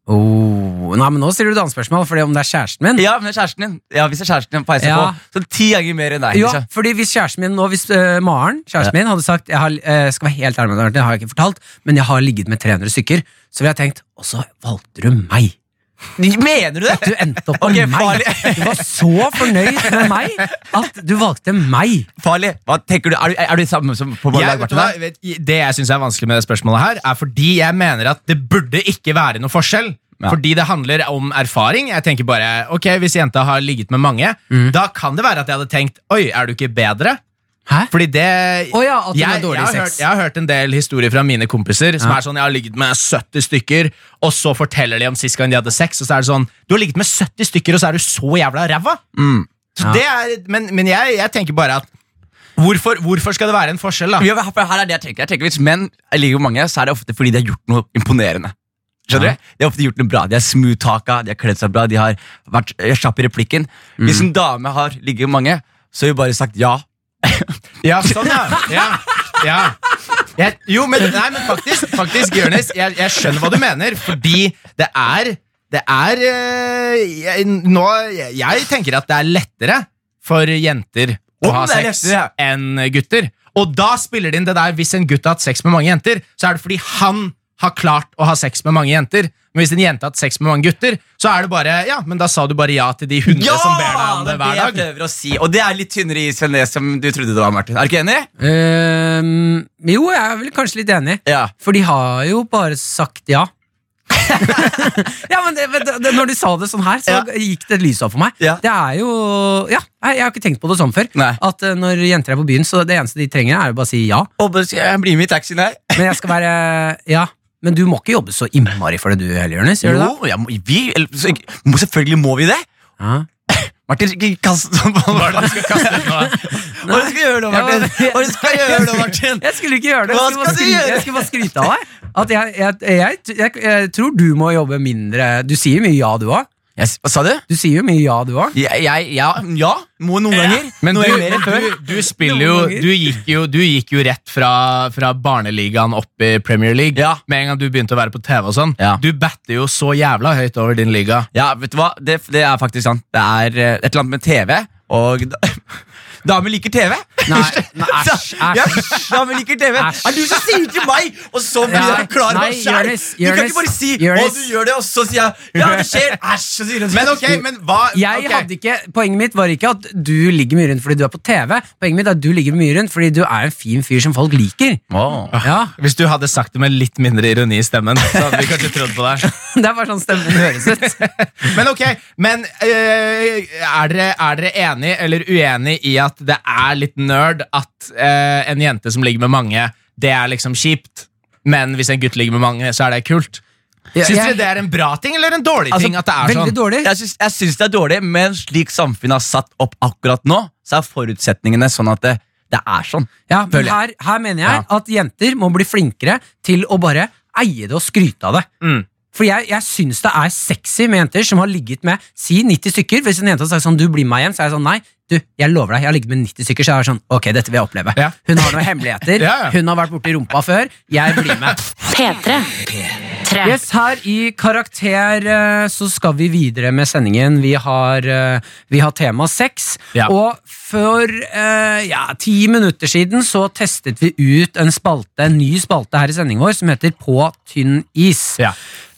[SPEAKER 2] Oh, nei, men nå stiller du dansespørsmål, fordi om det er kjæresten min
[SPEAKER 4] Ja, men det er kjæresten din. Ja, hvis det er kjæresten din peisa
[SPEAKER 2] Ja.
[SPEAKER 4] på, så ti ganger mer enn deg.
[SPEAKER 2] Ja,
[SPEAKER 4] liksom.
[SPEAKER 2] fordi hvis kjæresten min nå Hvis øh, Maren, kjæresten min, hadde sagt Jeg har, øh, skal være helt ærlig med deg, Martin, det har jeg ikke fortalt Men jeg har ligget med 300 stykker Så ville jeg tenkt, og så valgte du meg
[SPEAKER 4] Mener du
[SPEAKER 2] At
[SPEAKER 4] det?
[SPEAKER 2] du endte opp
[SPEAKER 4] Ok,
[SPEAKER 2] med meg
[SPEAKER 4] farlig.
[SPEAKER 2] Du var så fornøyd med meg At du valgte meg
[SPEAKER 4] Farlig. Hva tenker du? Er du, er du samme som på
[SPEAKER 3] Jeg,
[SPEAKER 4] Bård
[SPEAKER 3] vet du hva,
[SPEAKER 4] Martin?
[SPEAKER 3] vet, det jeg syns er vanskelig med det spørsmålet, her er fordi jeg mener at det burde ikke være noe forskjell.
[SPEAKER 4] Ja.
[SPEAKER 3] Fordi det handler om erfaring. Jeg tenker bare, ok, Hvis jenta har ligget med mange,
[SPEAKER 4] Mm.
[SPEAKER 3] da kan det være at jeg hadde tenkt Oi, er du ikke bedre?
[SPEAKER 2] Hæ?
[SPEAKER 3] Fordi det
[SPEAKER 2] Å ja, at hun er
[SPEAKER 3] jeg,
[SPEAKER 2] dårlig
[SPEAKER 3] jeg,
[SPEAKER 2] i
[SPEAKER 3] har
[SPEAKER 2] sex.
[SPEAKER 3] hørt, jeg har hørt en del historier fra mine kompiser som
[SPEAKER 2] Ja.
[SPEAKER 3] er sånn Jeg har ligget med 70 stykker, og så forteller de om sist gang de hadde sex, og så er det sånn Du har ligget med 70 stykker, og så er du så jævla ræva!
[SPEAKER 4] Mm.
[SPEAKER 3] Så det er, men men jeg, jeg tenker bare at hvorfor, hvorfor skal det være en forskjell, da?
[SPEAKER 4] Ja, men her- her er det jeg tenker. Jeg tenker Hvis menn ligger med mange, så er det ofte fordi de har gjort noe imponerende. Skjønner
[SPEAKER 2] Ja.
[SPEAKER 4] du? De har ofte gjort noe bra. De har smooth haka, de har kledd seg bra, de har vært eh, kjapp i replikken. Hvis en dame har ligget med mange, så har hun bare sagt ja.
[SPEAKER 3] Ja, sånn ja. ja. ja. Jeg, jo, men, nei, men faktisk, faktisk Jonis, jeg, jeg skjønner hva du mener, fordi det er Det er eh, jeg, Nå jeg, jeg tenker at det er lettere for jenter å
[SPEAKER 4] Om
[SPEAKER 3] ha
[SPEAKER 4] det er
[SPEAKER 3] sex
[SPEAKER 4] lettere,
[SPEAKER 3] enn gutter. Og da spiller det inn det der hvis en gutt har hatt sex med mange jenter, så er det fordi han har klart å ha sex med mange jenter. Men hvis en jente har hatt sex med mange gutter, så er det bare Ja, men da sa du bare ja til de hundre som ber deg om det hver
[SPEAKER 4] jeg
[SPEAKER 3] dag.
[SPEAKER 4] prøver å si. Og det er litt tynnere is enn det som du trodde det var, Martin. Er du ikke enig?
[SPEAKER 2] Øhm, ehm, Jo, jeg er vel kanskje litt enig
[SPEAKER 4] Ja.
[SPEAKER 2] For de har jo bare sagt ja ja, men det, det, det, når du sa det sånn her Så
[SPEAKER 4] Ja.
[SPEAKER 2] gikk det et lys opp for meg
[SPEAKER 4] Ja.
[SPEAKER 2] Det er jo, ja, jeg, jeg har ikke tenkt på det sånn før
[SPEAKER 4] Nei.
[SPEAKER 2] At eh, når jenter er på byen Så det eneste de trenger er å bare si ja
[SPEAKER 4] Og bare si, jeg blir med i taxien her.
[SPEAKER 2] Men jeg skal være, ja Men du må ikke jobbe så innmari for det du heller, Jonas Gjør du det?
[SPEAKER 4] Jo, jeg må, vi, eller, så, må- selvfølgelig må vi det.
[SPEAKER 2] Ja.
[SPEAKER 4] Martin, ikke kast sånn på
[SPEAKER 3] Hva er det du skal kaste ut nå?
[SPEAKER 4] Hva er det du skal gjøre nå, Martin? Hva er det du skal gjøre nå, Martin?
[SPEAKER 2] Jeg skulle ikke gjøre det.
[SPEAKER 4] Hva
[SPEAKER 2] Jeg skulle bare
[SPEAKER 4] skal du
[SPEAKER 2] skryte,
[SPEAKER 4] gjøre?
[SPEAKER 2] jeg skulle bare skryte av deg. At jeg, jeg, jeg, jeg, jeg tror du må jobbe mindre Du sier mye ja, du òg.
[SPEAKER 4] Yes, Hva sa du?
[SPEAKER 2] Du sier jo mye ja, du òg.
[SPEAKER 4] Jeg, jeg, ja, ja, må noen ganger.
[SPEAKER 3] Men
[SPEAKER 4] Noe
[SPEAKER 3] du,
[SPEAKER 4] er mer enn før.
[SPEAKER 3] du, du spiller jo
[SPEAKER 2] Noen ganger.
[SPEAKER 3] Du gikk jo, du gikk jo rett fra, fra barneligaen opp i Premier League.
[SPEAKER 4] Ja.
[SPEAKER 3] Med en gang du begynte å være på TV og sånn.
[SPEAKER 4] Ja.
[SPEAKER 3] Du batter jo så jævla høyt over din liga.
[SPEAKER 4] Ja, vet du hva? Det, det er faktisk sant. Det er eh, et eller annet med TV, og da, damer liker TV.
[SPEAKER 2] Nei, nei, æsj, æsj.
[SPEAKER 4] Ja, damer liker TV.
[SPEAKER 2] Æsj.
[SPEAKER 4] Er du som sier til meg, og så blir
[SPEAKER 2] Ja,
[SPEAKER 4] jeg klar
[SPEAKER 2] nei,
[SPEAKER 4] over selv?
[SPEAKER 2] Jonis,
[SPEAKER 4] Du kan
[SPEAKER 2] Jonis,
[SPEAKER 4] ikke bare si å,
[SPEAKER 2] Jonis.
[SPEAKER 4] du gjør det, og så sier jeg ja, det skjer. Æsj. så sier hun-
[SPEAKER 3] Men ok, men hva
[SPEAKER 2] Jeg
[SPEAKER 3] ok.
[SPEAKER 2] hadde ikke, Poenget mitt var ikke at du ligger mye rundt fordi du er på TV. Poenget mitt er at du ligger mye rundt fordi du er en fin fyr som folk liker.
[SPEAKER 4] Åh.
[SPEAKER 2] Ja,
[SPEAKER 3] Hvis du hadde sagt det med litt mindre ironi i stemmen, så hadde vi kanskje trodd på deg.
[SPEAKER 2] Det er bare sånn stemmen høres ut.
[SPEAKER 3] Men ok, men eh, er, dere, er dere enig eller uenig i at det er litt nerd at eh, en jente som ligger med mange, det er liksom kjipt? Men hvis en gutt ligger med mange, så er det kult?
[SPEAKER 2] Jeg-
[SPEAKER 3] Syns dere
[SPEAKER 2] jeg-
[SPEAKER 3] det er en bra ting eller en dårlig
[SPEAKER 4] Altså,
[SPEAKER 3] ting? at det er
[SPEAKER 2] Veldig
[SPEAKER 3] sånn?
[SPEAKER 2] dårlig.
[SPEAKER 4] Jeg syns, jeg syns det er dårlig, men slik samfunnet har satt opp akkurat nå, så er forutsetningene sånn at det, det er sånn.
[SPEAKER 2] Ja, men
[SPEAKER 4] Føler jeg.
[SPEAKER 2] her, her mener jeg at jenter må bli flinkere til å bare eie det og skryte av det.
[SPEAKER 3] Mm.
[SPEAKER 2] For jeg, jeg syns det er sexy med jenter som har ligget med si 90 stykker. Hvis en jente har sagt sånn, du blir meg hjem, så er jeg sånn nei. Du, jeg lover deg, jeg har ligget med 90 stykker, så jeg er sånn, ok, dette vil jeg oppleve.
[SPEAKER 3] Ja.
[SPEAKER 2] Hun har noen hemmeligheter,
[SPEAKER 3] Ja, ja.
[SPEAKER 2] hun har vært borti rumpa før, jeg blir med.
[SPEAKER 5] P3. Tre.
[SPEAKER 2] Yes, her i Karakter eh, så skal vi videre med sendingen. Vi har, eh, vi har tema sex.
[SPEAKER 3] Ja.
[SPEAKER 2] Og for eh, ja, ti minutter siden så testet vi ut en spalte, en ny spalte her i sendingen vår som heter På tynn is.
[SPEAKER 3] Ja.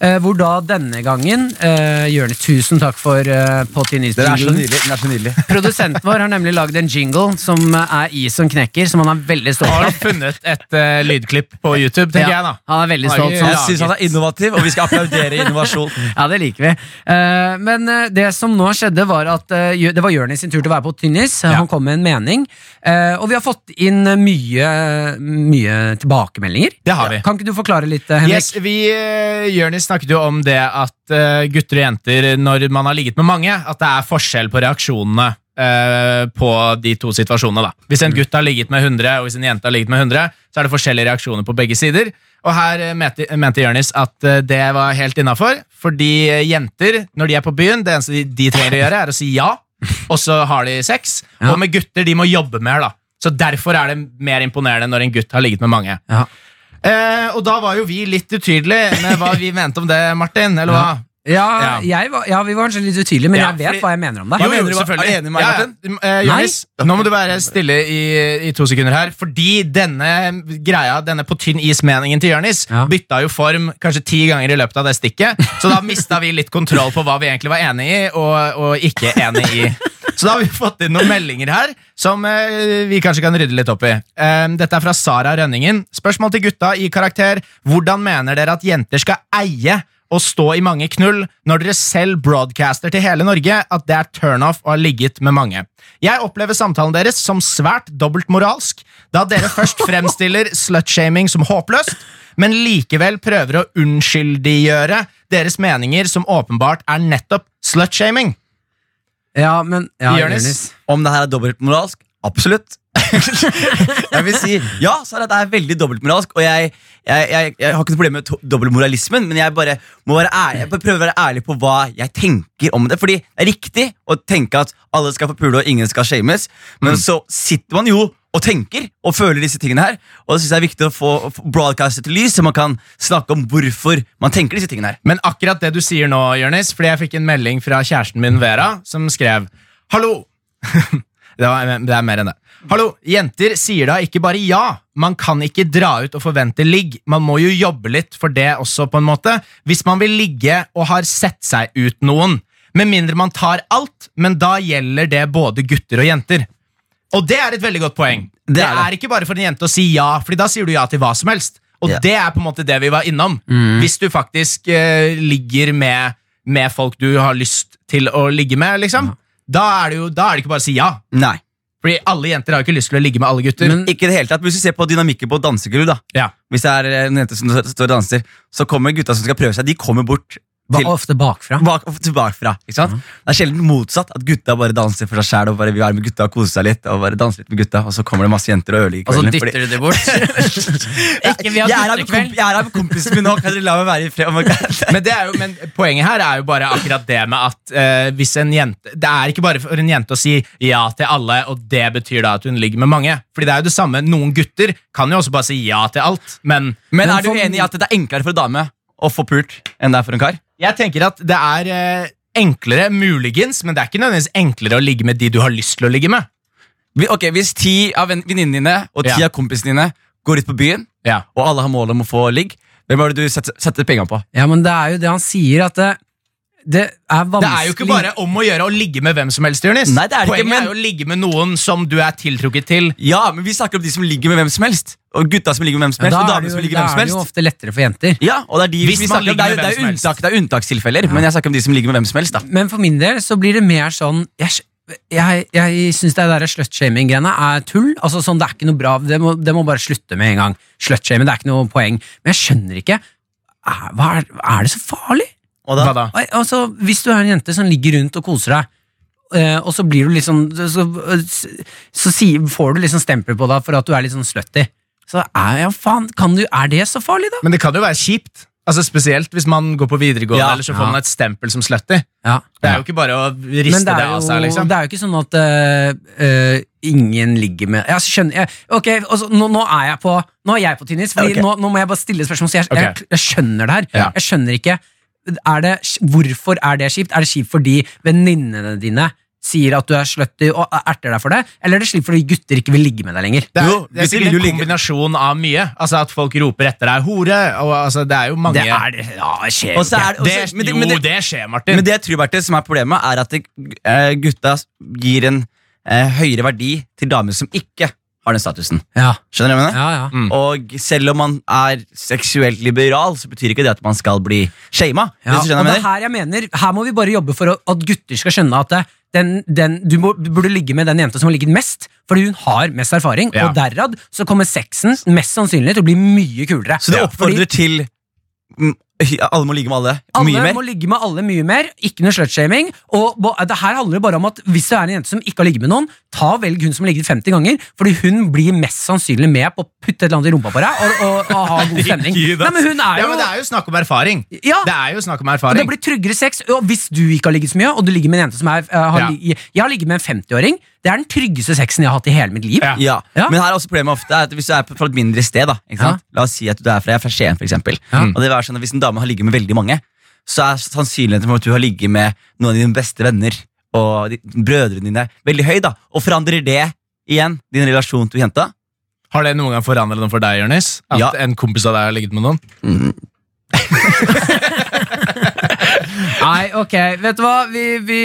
[SPEAKER 2] Eh, hvor da denne gangen uh, Jørnes, tusen takk for eh, På tynn is. jinglen.
[SPEAKER 4] nydelig. Den er så nydelig.
[SPEAKER 2] Produsenten vår har nemlig lagd en jingle som eh, er is som knekker, som han er veldig stolt
[SPEAKER 3] Har
[SPEAKER 2] av.
[SPEAKER 3] du funnet et eh, lydklipp på YouTube, tenker
[SPEAKER 2] Ja,
[SPEAKER 3] jeg da.
[SPEAKER 2] Han er veldig
[SPEAKER 3] Har
[SPEAKER 2] stolt.
[SPEAKER 3] jeg-
[SPEAKER 2] så han
[SPEAKER 4] Jeg syns han er innovativ, og vi skal applaudere innovasjon.
[SPEAKER 2] Ja, det liker vi. Eh, men eh, det som nå skjedde, var at eh, Jø- det var Jonis sin tur til å være på Tynnis. Eh,
[SPEAKER 3] Ja.
[SPEAKER 2] Han kom med en mening. Eh, og vi har fått inn eh, mye, mye tilbakemeldinger.
[SPEAKER 3] Det har vi.
[SPEAKER 2] Kan ikke du forklare litt, eh, Henrik?
[SPEAKER 3] Yes, vi, eh, Jørnis snakket jo om det at eh, gutter og jenter, når man har ligget med mange, at det er forskjell på reaksjonene. eh, på de to situasjonene. da. Hvis
[SPEAKER 2] Mm.
[SPEAKER 3] en gutt har ligget med 100, og hvis en jente har ligget med 100, så er det forskjellige reaksjoner på begge sider. Og her eh, mente, mente Jonis at eh, det var helt innafor, fordi eh, jenter, når de er på byen, det eneste de, de trenger å gjøre, er å si ja, og så har de sex.
[SPEAKER 2] Ja.
[SPEAKER 3] Og med gutter, de må jobbe mer, da. Så derfor er det mer imponerende når en gutt har ligget med mange.
[SPEAKER 2] Ja.
[SPEAKER 3] Eh, og da var jo vi litt utydelige med hva vi mente om det, Martin. eller hva?
[SPEAKER 2] Ja,
[SPEAKER 3] Ja.
[SPEAKER 2] Jeg var, ja, vi var kanskje litt utydelige, men
[SPEAKER 3] Ja,
[SPEAKER 2] jeg vet
[SPEAKER 3] fordi-
[SPEAKER 2] hva jeg mener om det.
[SPEAKER 4] Jo,
[SPEAKER 3] Hva
[SPEAKER 4] jo,
[SPEAKER 3] mener du, hva-
[SPEAKER 4] selvfølgelig.
[SPEAKER 3] Er du enig med meg,
[SPEAKER 4] Ja, ja.
[SPEAKER 3] Martin? Eh, Jonis, nå må du være stille i, i to sekunder her. Fordi denne greia, denne på tynn is-meningen til Jonis
[SPEAKER 2] Ja.
[SPEAKER 3] bytta jo form kanskje ti ganger i løpet av det stikket. Så da mista vi litt kontroll på hva vi egentlig var enig i og, og ikke enig i. Så da har vi fått inn noen meldinger her som eh, vi kanskje kan rydde litt opp i. Eh, dette er fra Sara Rønningen. Spørsmål til gutta i karakter. Hvordan mener dere at jenter skal eie og stå i mange knull når dere selv broadcaster til hele Norge at det er turnoff å ha ligget med mange? Jeg opplever samtalen deres som svært dobbeltmoralsk, da dere først fremstiller slutshaming som håpløst, men likevel prøver å unnskyldiggjøre deres meninger som åpenbart er nettopp slutshaming.
[SPEAKER 2] Ja, men ja,
[SPEAKER 3] Jonis?
[SPEAKER 2] Jonis.
[SPEAKER 4] Om det her er dobbeltmoralsk? Absolutt. jeg vil si ja, så er det er veldig dobbeltmoralsk. Og jeg, jeg, jeg, jeg har ikke noe problem med to- dobbeltmoralismen, men jeg bare må være ærlig, jeg bare prøver å være ærlig på hva jeg tenker om det. Fordi det er riktig å tenke at alle skal få pule og ingen skal shames, men så sitter man jo og tenker og føler disse tingene her. Og det synes jeg er viktig å få å få broadcastet til lys, så man kan snakke om hvorfor man tenker disse tingene her.
[SPEAKER 3] Men akkurat det du sier nå, Jørnis, fordi jeg fikk en melding fra kjæresten min, Vera, som skrev Hallo! det, var, det er mer enn det. Hallo, jenter sier da ikke bare ja. Man kan ikke dra ut og forvente ligg. Man må jo jobbe litt for det også, på en måte. Hvis man vil ligge og har sett seg ut noen. Med mindre man tar alt, men da gjelder det både gutter og jenter. Og det er et veldig godt poeng. Det
[SPEAKER 4] Det
[SPEAKER 3] er,
[SPEAKER 4] er det.
[SPEAKER 3] ikke bare for en jente å si ja, Fordi da sier du ja til hva som helst. Og
[SPEAKER 4] Ja. Mm.
[SPEAKER 3] det er på en måte det vi var innom. Hvis du faktisk eh, ligger med, med folk du har lyst til å ligge med, liksom, da, er det jo, da er det ikke bare å si ja.
[SPEAKER 4] Nei.
[SPEAKER 3] Fordi alle jenter har jo ikke lyst til å ligge med alle gutter.
[SPEAKER 2] Men-
[SPEAKER 4] Ikke i det hele tatt. men Hvis du ser på dynamikken på dansegulv, da.
[SPEAKER 3] ja.
[SPEAKER 4] Hvis det er eh, en jente som står og danser, så kommer gutta som skal prøve seg, de kommer bort
[SPEAKER 2] Ba,
[SPEAKER 4] til,
[SPEAKER 2] ofte bakfra.
[SPEAKER 4] bak, tilbakefra. Ikke sant? Det er sjelden motsatt at gutta bare danser for seg sjæl og bare vil være med gutta og kose seg litt. Og bare danse litt med gutta Og så kommer det masse jenter og
[SPEAKER 2] Og
[SPEAKER 4] ødelegger
[SPEAKER 2] så
[SPEAKER 4] kvelden.
[SPEAKER 2] dytter du det bort. ikke vi
[SPEAKER 4] jeg,
[SPEAKER 2] har
[SPEAKER 4] er her med komp-
[SPEAKER 2] guttekveld.
[SPEAKER 4] jeg er her med kompisen min nå, kan dere la meg være i fred? Oh my God.
[SPEAKER 3] men, det er jo, men poenget her er jo bare akkurat det med at eh, hvis en jente Det er ikke bare for en jente å si ja til alle, og det betyr da at hun ligger med mange. Fordi det er jo det samme, Noen gutter kan jo også bare si ja til alt, men
[SPEAKER 4] Men
[SPEAKER 2] Men
[SPEAKER 4] er du
[SPEAKER 2] for-
[SPEAKER 4] enig i at det er enklere for en dame å få pult enn det er for en kar?
[SPEAKER 3] Jeg tenker at det er eh, enklere, muligens, men det er ikke nødvendigvis enklere å ligge med de du har lyst til å ligge med.
[SPEAKER 4] Vi- Ok, Hvis ti av venn- venninnene dine og ti
[SPEAKER 3] Ja.
[SPEAKER 4] av kompisene dine går ut på byen,
[SPEAKER 3] Ja.
[SPEAKER 4] og alle har mål om å få ligg, hvem er det du setter, setter penga på?
[SPEAKER 2] Ja, men det er jo det han sier, at det, det er vanskelig
[SPEAKER 3] Det er jo ikke bare om å gjøre å ligge med hvem som helst, Jonis.
[SPEAKER 4] Nei, det er det
[SPEAKER 3] Poenget
[SPEAKER 4] ikke, men-
[SPEAKER 3] er jo å ligge med noen som du er tiltrukket til.
[SPEAKER 4] Ja, men vi snakker om de som ligger med hvem som helst. Og gutta som ligger med hvem som
[SPEAKER 2] Men
[SPEAKER 4] helst,
[SPEAKER 2] da
[SPEAKER 4] og
[SPEAKER 2] er
[SPEAKER 4] damene
[SPEAKER 2] det
[SPEAKER 4] som
[SPEAKER 2] jo,
[SPEAKER 4] ligger
[SPEAKER 2] da
[SPEAKER 4] med hvem
[SPEAKER 2] er det
[SPEAKER 4] som
[SPEAKER 2] jo
[SPEAKER 4] helst.
[SPEAKER 2] ofte lettere for jenter.
[SPEAKER 4] Ja, og det er de
[SPEAKER 3] Hvis
[SPEAKER 4] vi
[SPEAKER 3] man
[SPEAKER 4] snakker om.
[SPEAKER 3] ligger
[SPEAKER 4] Det er, jo- det
[SPEAKER 3] med
[SPEAKER 4] er,
[SPEAKER 3] hvem som
[SPEAKER 4] jo
[SPEAKER 3] helst.
[SPEAKER 4] unntak, det er unntakstilfeller, men jeg snakker om de som ligger med hvem som helst. da
[SPEAKER 2] Men for min del så blir det mer sånn Jeg, jeg, jeg syns det der slutshaming-greiene er tull. Altså sånn, Det er ikke noe bra Det må, det må bare slutte med en gang. Slutshaming, det er ikke noe poeng. Men jeg skjønner ikke er, hva er, er det så farlig?
[SPEAKER 3] Hva da?
[SPEAKER 2] Al- Altså, Hvis du er en jente som ligger rundt og koser deg, eh, og så blir du litt sånn Så, så, så si, får du liksom stempel på deg for at du er litt sånn slutty. Så er, ja, faen, kan du, er det så farlig, da?
[SPEAKER 3] Men det kan jo være kjipt. Altså Spesielt hvis man går på videregående,
[SPEAKER 4] Ja.
[SPEAKER 3] eller så får
[SPEAKER 2] Ja.
[SPEAKER 3] man et stempel som slutty.
[SPEAKER 2] Ja.
[SPEAKER 3] Det er jo ikke bare å riste
[SPEAKER 2] Men
[SPEAKER 3] det,
[SPEAKER 2] det er,
[SPEAKER 3] av
[SPEAKER 2] jo,
[SPEAKER 3] seg, liksom.
[SPEAKER 2] det er jo ikke sånn at eh, eh, ingen ligger med Jeg skjønner jeg, Ok, altså, nå, nå er jeg på Nå er jeg på tynnis, Fordi
[SPEAKER 4] Ok.
[SPEAKER 2] nå, nå må jeg bare stille spørsmål. Så jeg, jeg, jeg skjønner det her.
[SPEAKER 3] Ja.
[SPEAKER 2] Jeg skjønner ikke er det, Hvorfor er det kjipt? Er det kjipt fordi venninnene dine sier at du er slutty og erter deg for det? Eller er det kjipt fordi gutter ikke vil ligge med deg lenger?
[SPEAKER 3] Det er,
[SPEAKER 4] Jo,
[SPEAKER 3] det er
[SPEAKER 4] gutter
[SPEAKER 3] sikkert
[SPEAKER 4] vil jo
[SPEAKER 3] en
[SPEAKER 4] ligge-
[SPEAKER 3] kombinasjon av mye. Altså At folk roper etter deg 'hore'. Og, altså, det er jo mange
[SPEAKER 2] Det er altså, det Ja, det skjer jo
[SPEAKER 4] Og så
[SPEAKER 2] ikke.
[SPEAKER 4] er det, og så-
[SPEAKER 3] Det-
[SPEAKER 4] men det-
[SPEAKER 3] Jo,
[SPEAKER 4] men det-
[SPEAKER 3] det skjer, Martin.
[SPEAKER 4] men det jeg tror Bertil, som er problemet, er at det, eh, gutta gir en eh, høyere verdi til damer som ikke har den statusen.
[SPEAKER 2] Ja,
[SPEAKER 4] Skjønner du hva jeg mener?
[SPEAKER 2] ja, ja.
[SPEAKER 3] Mm.
[SPEAKER 4] Og selv om man er seksuelt liberal, så betyr ikke det at man skal bli shama.
[SPEAKER 2] Ja,
[SPEAKER 4] hvis du skjønner
[SPEAKER 2] og
[SPEAKER 4] hva
[SPEAKER 2] det
[SPEAKER 4] jeg
[SPEAKER 2] er
[SPEAKER 4] mener.
[SPEAKER 2] her jeg mener Her må vi bare jobbe for å- at gutter skal skjønne at det, den, den, du, må, du burde ligge med den jenta som har ligget mest, fordi hun har mest erfaring.
[SPEAKER 3] Ja.
[SPEAKER 2] Og derad så kommer sexen mest sannsynlig til å bli mye kulere.
[SPEAKER 4] Så det
[SPEAKER 2] Ja,
[SPEAKER 4] oppfordrer til mm, Alle må ligge med alle.
[SPEAKER 2] Alle
[SPEAKER 4] Mye mer.
[SPEAKER 2] må ligge med alle mye mer. Ikke noe slutshaming. Og bo- det her handler jo bare om at hvis du er en jente som ikke har ligget med noen, ta velg hun som har ligget 50 ganger, fordi hun blir mest sannsynlig med på å putte et eller annet i rumpa på deg og, og, og ha god stemning.
[SPEAKER 4] Gud,
[SPEAKER 2] Nei,
[SPEAKER 4] ass.
[SPEAKER 2] men hun er
[SPEAKER 3] Ja,
[SPEAKER 2] jo
[SPEAKER 3] men Det er jo snakk om erfaring.
[SPEAKER 2] Ja.
[SPEAKER 3] Det er jo snakk om
[SPEAKER 2] og det
[SPEAKER 3] erfaring.
[SPEAKER 2] blir tryggere sex. Og hvis du ikke har ligget så mye, og du ligger med en jente som er eh, har,
[SPEAKER 3] Ja.
[SPEAKER 2] li- Jeg har ligget med en 50-åring. Det er den tryggeste sexen jeg har hatt i hele mitt liv.
[SPEAKER 3] Ja.
[SPEAKER 4] Ja.
[SPEAKER 2] Ja.
[SPEAKER 4] Men her er også problemet ofte er at hvis du er på- fra et mindre sted da, ikke sant? La oss si at du er fra, jeg er fra Skien, for eksempel. Og det vil være sånn at Hvis en dame har ligget med veldig mange, så er sannsynligheten for at du har ligget med noen av dine beste venner og de, brødrene dine, veldig høy. da Og forandrer det igjen din relasjon til jenta?
[SPEAKER 3] Har det noen gang forandret noe for deg, Jonis? At
[SPEAKER 4] Ja.
[SPEAKER 3] en kompis av deg har ligget med noen?
[SPEAKER 2] Nei, ok, vet du hva? Vi, vi,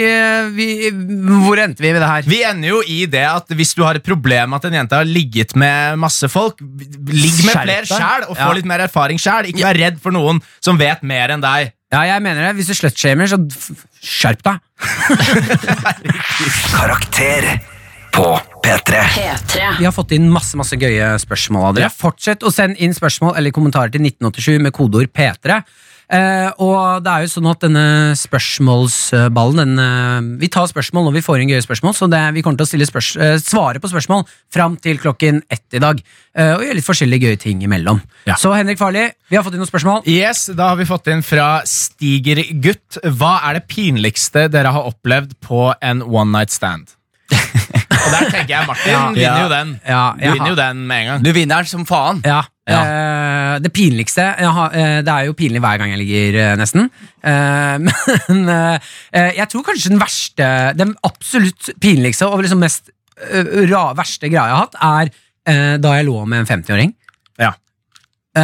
[SPEAKER 2] vi, hvor endte vi med det her?
[SPEAKER 3] Vi ender jo i det at hvis du har et problem at en jente har ligget med masse folk, ligg med
[SPEAKER 2] Skjerp
[SPEAKER 3] flere
[SPEAKER 2] deg.
[SPEAKER 3] sjæl og få
[SPEAKER 2] Ja.
[SPEAKER 3] litt mer erfaring sjæl. Ikke vær redd for noen som vet mer enn deg.
[SPEAKER 2] Ja, jeg mener det. Hvis du slutshamer, så f- skjerp deg.
[SPEAKER 1] Karakter på P3.
[SPEAKER 5] P3.
[SPEAKER 2] Vi har fått inn masse masse gøye spørsmål av dere. Fortsett å sende inn spørsmål eller kommentarer til 1987 med kodeord P3. Eh, og det er jo sånn at denne spørsmålsballen den, eh, Vi tar spørsmål når vi får inn gøye spørsmål, så det, vi kommer til å stille spørs eh, svare på spørsmål fram til klokken ett i dag. Eh, og gjøre litt forskjellige gøye ting imellom.
[SPEAKER 3] Ja.
[SPEAKER 2] Så Henrik Farli, vi har fått inn noen spørsmål.
[SPEAKER 3] Yes, Da har vi fått inn fra Stigergutt. Hva er det pinligste dere har opplevd på en one night stand? og der tenker jeg Martin vinner jo den.
[SPEAKER 2] Ja,
[SPEAKER 3] Du
[SPEAKER 2] jeg
[SPEAKER 3] vinner
[SPEAKER 2] har-
[SPEAKER 3] jo den med en gang.
[SPEAKER 4] Du vinner den som faen.
[SPEAKER 2] Ja. eh, det pinligste jeg har, eh, Det er jo pinlig hver gang jeg ligger, eh, nesten. Eh, men eh, eh, jeg tror kanskje den verste Den absolutt pinligste og liksom mest eh, ra, verste greia jeg har hatt, er eh, da jeg lå med en 50-åring.
[SPEAKER 3] Ja.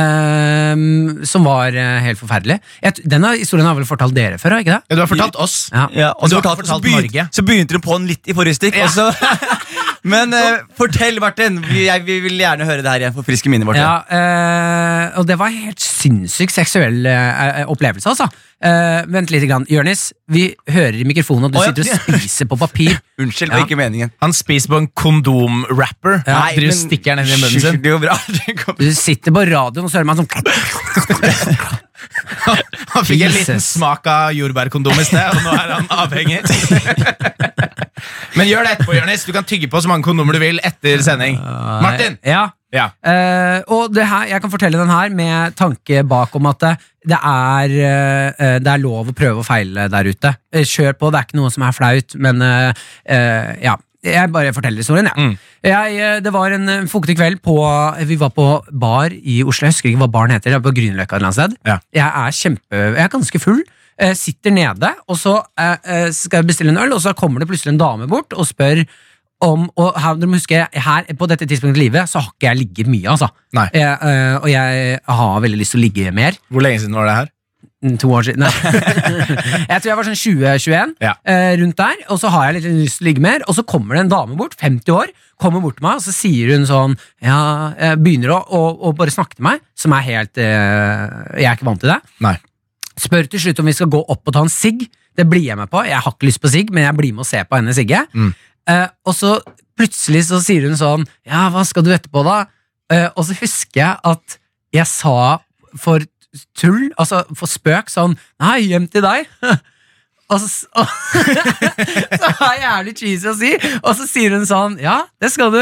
[SPEAKER 2] Eh, som var eh, helt forferdelig. Jeg, t- denne historien har jeg vel fortalt dere før? har jeg Ikke det?
[SPEAKER 3] Ja, Du har fortalt oss.
[SPEAKER 2] Ja.
[SPEAKER 4] Ja, og
[SPEAKER 3] Men du
[SPEAKER 4] så,
[SPEAKER 3] har ikke
[SPEAKER 4] fortalte- så,
[SPEAKER 3] fortalt Norge.
[SPEAKER 4] begynte, så begynte du på den litt i forrige stikk. og så- Men eh, fortell, Martin. Vi, jeg, vi vil gjerne høre det her igjen. For friske minner, Martin.
[SPEAKER 2] Ja, eh, og det var en helt sinnssykt seksuell eh, eh, opplevelse, altså. Eh, vent litt. Grann. Jørnis, vi hører i mikrofonen at du
[SPEAKER 4] Å, ja.
[SPEAKER 2] sitter og spiser på papir.
[SPEAKER 4] Unnskyld,
[SPEAKER 2] Ja.
[SPEAKER 4] det var ikke meningen.
[SPEAKER 3] Han spiser på en kondomwrapper. Ja,
[SPEAKER 4] Nei,
[SPEAKER 3] Driver og
[SPEAKER 4] men-
[SPEAKER 3] stikker den inn i munnen sin.
[SPEAKER 4] Det går bra. Det går bra.
[SPEAKER 2] Du sitter på radioen og så hører man sånn
[SPEAKER 3] Han fikk en liten
[SPEAKER 2] Jesus.
[SPEAKER 3] smak av jordbærkondom i sted, og nå er han avhengig. Men gjør det etterpå, Jonis. Du kan tygge på så mange kondomer du vil etter sending. Martin!
[SPEAKER 2] Ja.
[SPEAKER 3] Ja.
[SPEAKER 2] Eh, og det her, jeg kan fortelle den her med tanke bak om at det- det er, eh, det er lov å prøve og feile der ute. Eh, Kjør på, det er ikke noe som er flaut, men eh, eh, ja. Jeg bare forteller historien, jeg. jeg. eh, Det var en eh, fuktig kveld på Vi var på bar i Oslo, jeg husker ikke hva baren heter, det er på Grünerløkka et eller annet sted.
[SPEAKER 3] Ja.
[SPEAKER 2] Jeg er kjempe Jeg er ganske full. eh, Sitter nede, og så eh, eh, skal jeg bestille en øl, og så kommer det plutselig en dame bort og spør om Og her, dere må huske, her på dette tidspunktet i livet så har ikke jeg ligget mye, altså.
[SPEAKER 3] Nei.
[SPEAKER 2] Jeg, eh, og jeg har veldig lyst til å ligge mer.
[SPEAKER 3] Hvor lenge siden var det her?
[SPEAKER 2] Mm, To år siden. Nei. jeg tror jeg var sånn 20-21,
[SPEAKER 3] Ja.
[SPEAKER 2] eh, rundt der. Og så har jeg litt lyst til å ligge mer, og så kommer det en dame bort, 50 år, kommer bort til meg, og så sier hun sånn ja, eh, Begynner å, å, å bare snakke til meg, som er helt eh, Jeg er ikke vant til det.
[SPEAKER 3] Nei.
[SPEAKER 2] Spør til slutt om vi skal gå opp og ta en sigg. Det blir jeg med på. Jeg har ikke lyst på sigg, men jeg blir med og ser på henne sigge.
[SPEAKER 3] Mm.
[SPEAKER 2] Eh, og så plutselig så sier hun sånn Ja, hva skal du etterpå, da? Eh, og så husker jeg at jeg sa for tull, altså for spøk, sånn Nei, hjem til deg. og så, s- og så er jeg jævlig cheesy å si. Og så sier hun sånn Ja, det skal du.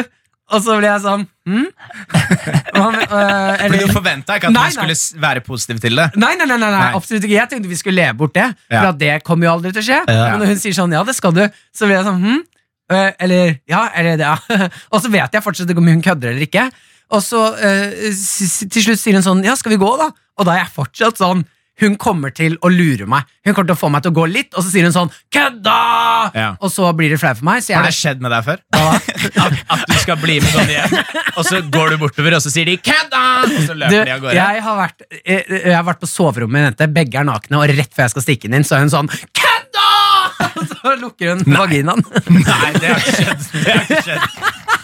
[SPEAKER 2] Og så blir jeg sånn Hm? Hva med- eh,
[SPEAKER 3] Fordi
[SPEAKER 2] eller-
[SPEAKER 3] Du forventa ikke at
[SPEAKER 2] Nei,
[SPEAKER 3] du skulle s- være positiv til det.
[SPEAKER 2] Nei, nei, nei, nei, nei,
[SPEAKER 3] Nei.
[SPEAKER 2] absolutt ikke. Jeg tenkte vi skulle leve bort det. For
[SPEAKER 3] Ja.
[SPEAKER 2] at det kommer jo aldri til å skje. Men når hun sier sånn, ja, det skal du, så blir jeg sånn, hm? Eh, Eller, ja, eller det, ja. Og så vet jeg fortsatt ikke om hun kødder eller ikke. Og så eh, s- s- til slutt sier hun sånn, ja, skal vi gå da? Og da er jeg fortsatt sånn, hun kommer til å lure meg. Hun kommer til å få meg til å gå litt, og så sier hun sånn, kødda!
[SPEAKER 3] Ja.
[SPEAKER 2] Og så blir det flaut for meg, så jeg
[SPEAKER 3] Har det skjedd med deg før? At, at du skal bli med sånn hjem, og så går du bortover, og så sier de 'kødda!' Og så løper de av
[SPEAKER 2] Du,
[SPEAKER 3] gårde.
[SPEAKER 2] jeg, har vært, jeg, jeg har vært på soverommet med en jente, begge er nakne, og rett før jeg skal stikke den inn, så er hun sånn Kødda! Og så lukker hun vaginaen.
[SPEAKER 3] Nei, det har ikke skjedd.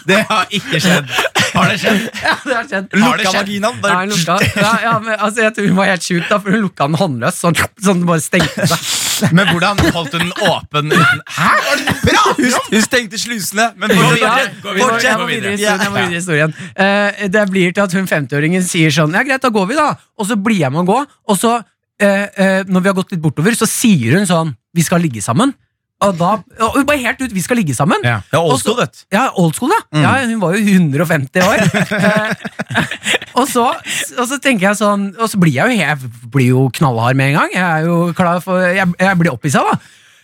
[SPEAKER 3] Det har ikke skjedd. Det har ikke skjedd. Har det skjedd?
[SPEAKER 2] ja, det har skjedd.
[SPEAKER 3] Har det
[SPEAKER 4] Lukka
[SPEAKER 3] skjedd?
[SPEAKER 4] vaginaen.
[SPEAKER 2] Ja,
[SPEAKER 4] Bare,
[SPEAKER 2] hun lukka, ja, ja, men, altså, jeg tror hun var helt sjuk, da, for hun lukka den håndløs. Sånn, sånn den bare stengte seg.
[SPEAKER 3] Men hvordan holdt hun den åpen uten Hæ? Var det bra?
[SPEAKER 4] hun, hun stengte slusene, men
[SPEAKER 3] Gå
[SPEAKER 2] Ja,
[SPEAKER 3] videre, gå videre,
[SPEAKER 2] jeg må
[SPEAKER 3] gå videre.
[SPEAKER 2] videre i historien, jeg må videre i historien. Eh, det blir til at hun 50-åringen sier sånn Ja, greit, da går vi, da. Og så blir jeg med å gå, og så eh, eh, når vi har gått litt bortover, så sier hun sånn Vi skal ligge sammen. Og da og hun Bare helt ut. Vi skal ligge sammen.
[SPEAKER 3] Ja.
[SPEAKER 4] Det er
[SPEAKER 2] Og
[SPEAKER 4] old
[SPEAKER 2] så-
[SPEAKER 4] school, vet du.
[SPEAKER 2] Ja, old school, ja. ja. Hun var jo 150 år. Eh, og, så, og så tenker jeg sånn Og så blir jeg jo, jeg blir jo knallhard med en gang. Jeg er jo klar for Jeg, jeg blir opphissa, da.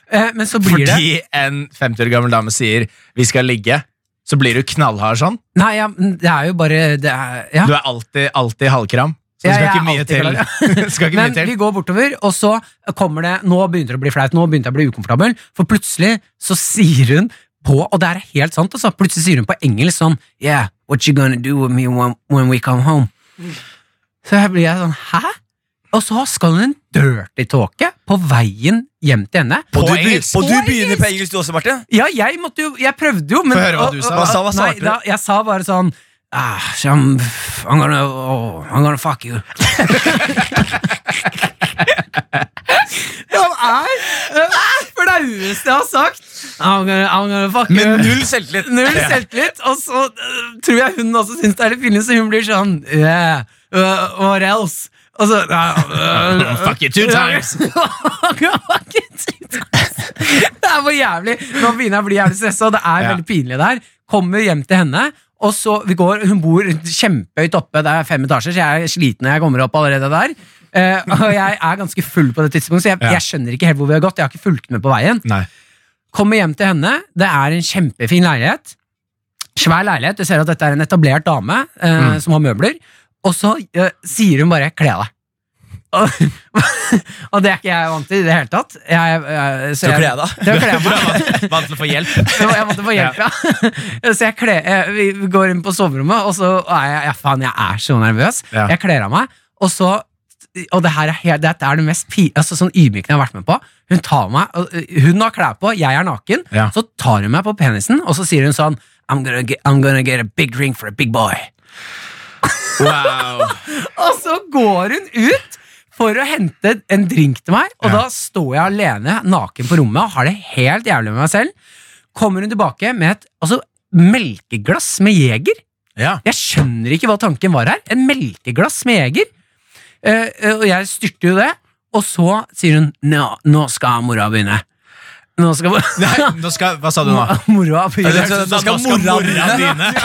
[SPEAKER 2] Eh, Men så blir det
[SPEAKER 3] Fordi en 50 år gammel dame sier 'vi skal ligge', så blir du knallhard sånn.
[SPEAKER 2] Nei, ja, men det er jo bare det er, ja.
[SPEAKER 3] Du er alltid, alltid halvkram. Så det
[SPEAKER 2] Ja,
[SPEAKER 3] skal
[SPEAKER 2] jeg
[SPEAKER 3] ikke
[SPEAKER 2] er
[SPEAKER 3] mye
[SPEAKER 2] alltid
[SPEAKER 3] til.
[SPEAKER 2] klar.
[SPEAKER 3] skal ikke
[SPEAKER 2] Men
[SPEAKER 3] mye til.
[SPEAKER 2] vi går bortover, og så kommer det Nå begynte det å bli flaut, nå begynte jeg å bli ukomfortabel, for plutselig så sier hun på, og det er helt sant, altså, plutselig sier hun på engelsk sånn Yeah, what you gonna do with me when, when we come home? Så her blir jeg sånn, hæ? Og så skal hun en dirty tåke på veien hjem til henne.
[SPEAKER 3] På
[SPEAKER 4] Og du, be-
[SPEAKER 3] engelsk.
[SPEAKER 4] og du
[SPEAKER 2] På
[SPEAKER 4] begynner på engelsk du også, Martin?
[SPEAKER 2] Ja, jeg måtte jo Jeg prøvde jo, men
[SPEAKER 3] Få høre hva du sa, da.
[SPEAKER 4] Hva sa- hva
[SPEAKER 2] nei,
[SPEAKER 4] svarte du?
[SPEAKER 2] da, Jeg sa bare sånn ah, I'm, I'm, gonna, oh, I'm gonna fuck you. Han er den flaueste jeg har sagt. I'm gonna, I'm gonna fuck you.
[SPEAKER 4] Med null selvtillit.
[SPEAKER 2] Null selvtillit, og så øh, tror jeg hun også syns det er litt pinlig, så hun blir sånn yeah, uh, What else? Og så uh, uh,
[SPEAKER 3] Fuck you two times!
[SPEAKER 2] det er for jævlig. Nå begynner jeg å bli jævlig stressa, og det er
[SPEAKER 3] Ja.
[SPEAKER 2] veldig pinlig der. Kommer hjem til henne, og så vi går, hun bor kjempehøyt oppe, det er fem etasjer, så jeg er sliten når jeg kommer opp allerede der. Eh, og jeg er ganske full på det tidspunktet, så jeg,
[SPEAKER 3] Ja.
[SPEAKER 2] jeg skjønner ikke helt hvor vi har gått. Jeg har ikke fulgt med på veien.
[SPEAKER 3] Nei.
[SPEAKER 2] Kommer hjem til henne, det er en kjempefin leilighet. Svær leilighet, du ser at dette er en etablert dame eh,
[SPEAKER 4] Mm.
[SPEAKER 2] som har møbler. Og så eh, sier hun bare 'kle av deg'. Og, og det er ikke jeg vant til i det hele tatt. Jeg, jeg, så
[SPEAKER 4] Til å
[SPEAKER 2] jeg-
[SPEAKER 4] kle av deg?
[SPEAKER 2] Til å kle av meg.
[SPEAKER 3] Vant til å få hjelp.
[SPEAKER 2] Jeg må- jeg måtte få hjelp, ja. Så jeg kler, jeg, vi går inn på soverommet, og så er jeg, ja, faen, jeg er så nervøs.
[SPEAKER 3] Ja.
[SPEAKER 2] Jeg kler av meg, og så og det her er, helt, dette er det mest pi- altså, sånn ydmykende jeg har vært med på. Hun tar meg, og, øh, hun har klær på, jeg er naken.
[SPEAKER 3] Ja.
[SPEAKER 2] Så tar hun meg på penisen, og så sier hun sånn I'm gonna, get, I'm gonna get a big drink for a big boy.
[SPEAKER 3] Wow.
[SPEAKER 2] Og så går hun ut for å hente en drink til meg, og
[SPEAKER 3] Ja.
[SPEAKER 2] da står jeg alene naken på rommet og har det helt jævlig med meg selv. Kommer hun tilbake med et altså, melkeglass med Jeger.
[SPEAKER 3] Ja.
[SPEAKER 2] Jeg skjønner ikke hva tanken var her. En melkeglass med Jeger. Eh, eh, og jeg styrter jo det, og så sier hun nå, nå skal mora begynne. Nå skal
[SPEAKER 3] Nei, nå skal, hva sa du nå?
[SPEAKER 2] mora
[SPEAKER 4] det
[SPEAKER 2] begynne.
[SPEAKER 4] er sånn- Nå skal mora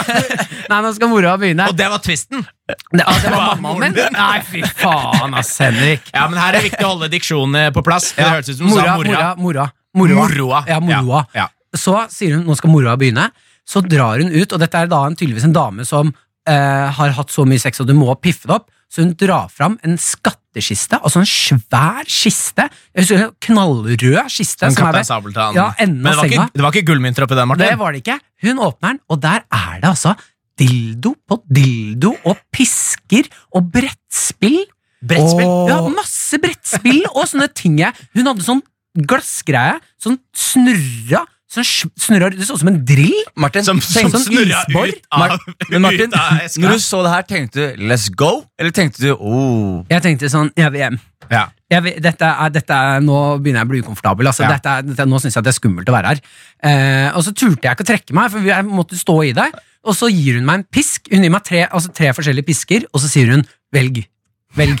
[SPEAKER 2] Nei, nå skal mora begynne.
[SPEAKER 3] Og det var twisten!
[SPEAKER 2] Det, ah, det var mammaen min? Nei, fy faen, ass, Henrik.
[SPEAKER 3] Ja, men Her er det viktig å holde diksjonen på plass. Det hørtes ut som du
[SPEAKER 2] Mora,
[SPEAKER 3] sa mora.
[SPEAKER 2] mora, mora. Moroa.
[SPEAKER 3] Moroa.
[SPEAKER 2] Ja, moroa.
[SPEAKER 3] Ja.
[SPEAKER 2] Så sier hun nå skal moroa begynne. Så drar hun ut, og dette er da en, tydeligvis en dame som eh, har hatt så mye sex, og du må piffe det opp. Så hun drar fram en skattkiste, altså en svær kiste. Jeg husker en Knallrød kiste. som
[SPEAKER 3] Den
[SPEAKER 2] er
[SPEAKER 3] Kaptein
[SPEAKER 2] ved-
[SPEAKER 3] Sabeltann.
[SPEAKER 2] Ja, enden
[SPEAKER 3] men det
[SPEAKER 2] av
[SPEAKER 3] var ikke,
[SPEAKER 2] senga.
[SPEAKER 3] det var ikke gullmynter oppi den, Martin.
[SPEAKER 2] Det var det ikke. Hun åpner den, og der er det altså dildo på dildo og pisker og brettspill.
[SPEAKER 3] Brettspill?
[SPEAKER 2] Åh. Ja, masse brettspill og sånne ting. jeg- Hun hadde sånn glassgreie, sånn snurra, sånn sj- snurra, det så ut som en drill.
[SPEAKER 4] Martin,
[SPEAKER 3] Som, som
[SPEAKER 2] Sånn
[SPEAKER 3] snurra
[SPEAKER 2] isbor.
[SPEAKER 3] ut av,
[SPEAKER 4] men Martin,
[SPEAKER 3] ut av eska.
[SPEAKER 4] når du så det her, tenkte du 'let's go'? Eller tenkte du 'oh'?
[SPEAKER 2] Jeg tenkte sånn, jeg vil hjem.
[SPEAKER 3] Ja.
[SPEAKER 2] Jeg vil, dette er, dette er, nå begynner jeg å bli ukomfortabel. Altså,
[SPEAKER 3] Ja.
[SPEAKER 2] dette er, dette, nå syns jeg det er skummelt å være her. Eh, og så turte jeg ikke å trekke meg, for vi- jeg måtte stå i det. Og så gir hun meg en pisk. Hun gir meg tre, altså tre forskjellige pisker, og så sier hun 'velg'. Velg.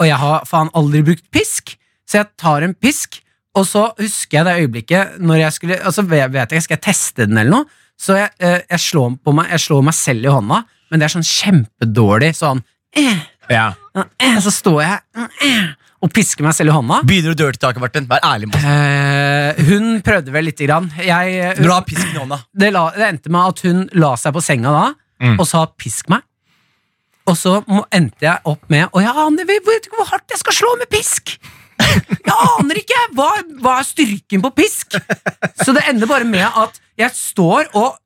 [SPEAKER 2] Og jeg har faen aldri brukt pisk, så jeg tar en pisk, og så husker jeg det øyeblikket når jeg skulle Altså, vet vet jeg, skal jeg teste den eller noe? Så jeg, eh, jeg, slår, på meg, jeg slår meg selv i hånda, men det er sånn kjempedårlig sånn eh,
[SPEAKER 3] ja.
[SPEAKER 2] eh, Så står jeg eh, og pisker meg selv i hånda.
[SPEAKER 4] Begynner du dirty taket, Martin? Vær ærlig. Martin.
[SPEAKER 2] Eh, hun prøvde vel lite grann. Jeg, eh,
[SPEAKER 4] Når du har pisken i hånda.
[SPEAKER 2] det, la, det endte med at hun la seg på senga da
[SPEAKER 3] Mm.
[SPEAKER 2] og sa 'pisk meg'. Og så må, endte jeg opp med Og jeg aner jeg vet ikke hvor hardt jeg skal slå med pisk! Jeg aner ikke! Hva, hva er styrken på pisk? Så det ender bare med at jeg står og,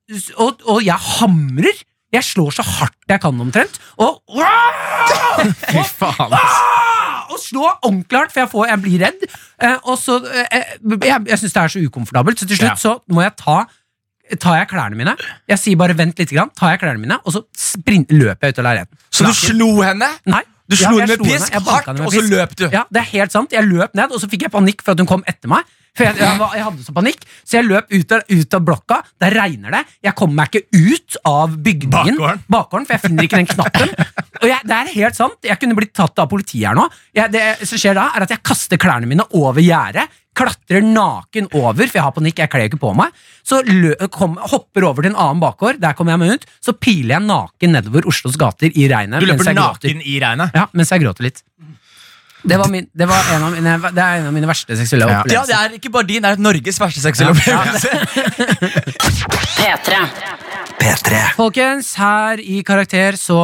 [SPEAKER 2] og, og jeg hamrer. Jeg slår så hardt jeg kan, omtrent. Og,
[SPEAKER 3] Fy faen. ass.
[SPEAKER 2] Ah! Og slå ordentlig hardt, for jeg, får, jeg blir redd. Eh, og så, eh, jeg jeg syns det er så ukomfortabelt, så til slutt
[SPEAKER 3] Ja.
[SPEAKER 2] så må jeg ta Tar jeg klærne mine Jeg sier bare 'vent litt', grann, tar jeg klærne mine og så sprint, løper jeg ut av leiligheten.
[SPEAKER 4] Så du slo henne?
[SPEAKER 2] Nei,
[SPEAKER 4] Du
[SPEAKER 2] Ja,
[SPEAKER 4] slo
[SPEAKER 2] jeg
[SPEAKER 4] henne med
[SPEAKER 2] slo henne.
[SPEAKER 4] pisk
[SPEAKER 2] Jeg banket
[SPEAKER 4] hardt,
[SPEAKER 2] henne med
[SPEAKER 4] og så
[SPEAKER 2] pisk.
[SPEAKER 4] løp du.
[SPEAKER 2] Ja, det er helt sant. Jeg løp ned, og så fikk jeg panikk for at hun kom etter meg. For jeg, jeg, var- jeg hadde så panikk, så jeg løp ut av, ut av blokka. Der regner det. Jeg kommer meg ikke ut av bygningen.
[SPEAKER 3] Bakgården.
[SPEAKER 2] for jeg finner ikke den knappen. Og jeg, det er helt sant. Jeg kunne blitt tatt av politiet her nå. Jeg, det som skjer da, er at jeg kaster klærne mine over gjerdet. Klatrer naken over, for jeg har panikk. jeg kler ikke på meg Så lø, kom, hopper over til en annen bakgård, der kommer jeg meg ut. Så piler jeg naken nedover Oslos gater i regnet.
[SPEAKER 3] Du
[SPEAKER 2] mens
[SPEAKER 3] løper
[SPEAKER 2] jeg gråter.
[SPEAKER 3] naken i regnet.
[SPEAKER 2] Ja, mens jeg gråter litt. Det, var min, det, var en av mine, det er en av mine verste seksuelle
[SPEAKER 3] Ja.
[SPEAKER 4] Ja,
[SPEAKER 2] opplevelser.
[SPEAKER 4] det er ikke bare din, det er Norges verste seksuelle opplevelse.
[SPEAKER 5] P3.
[SPEAKER 1] P3
[SPEAKER 2] Folkens, her i Karakter så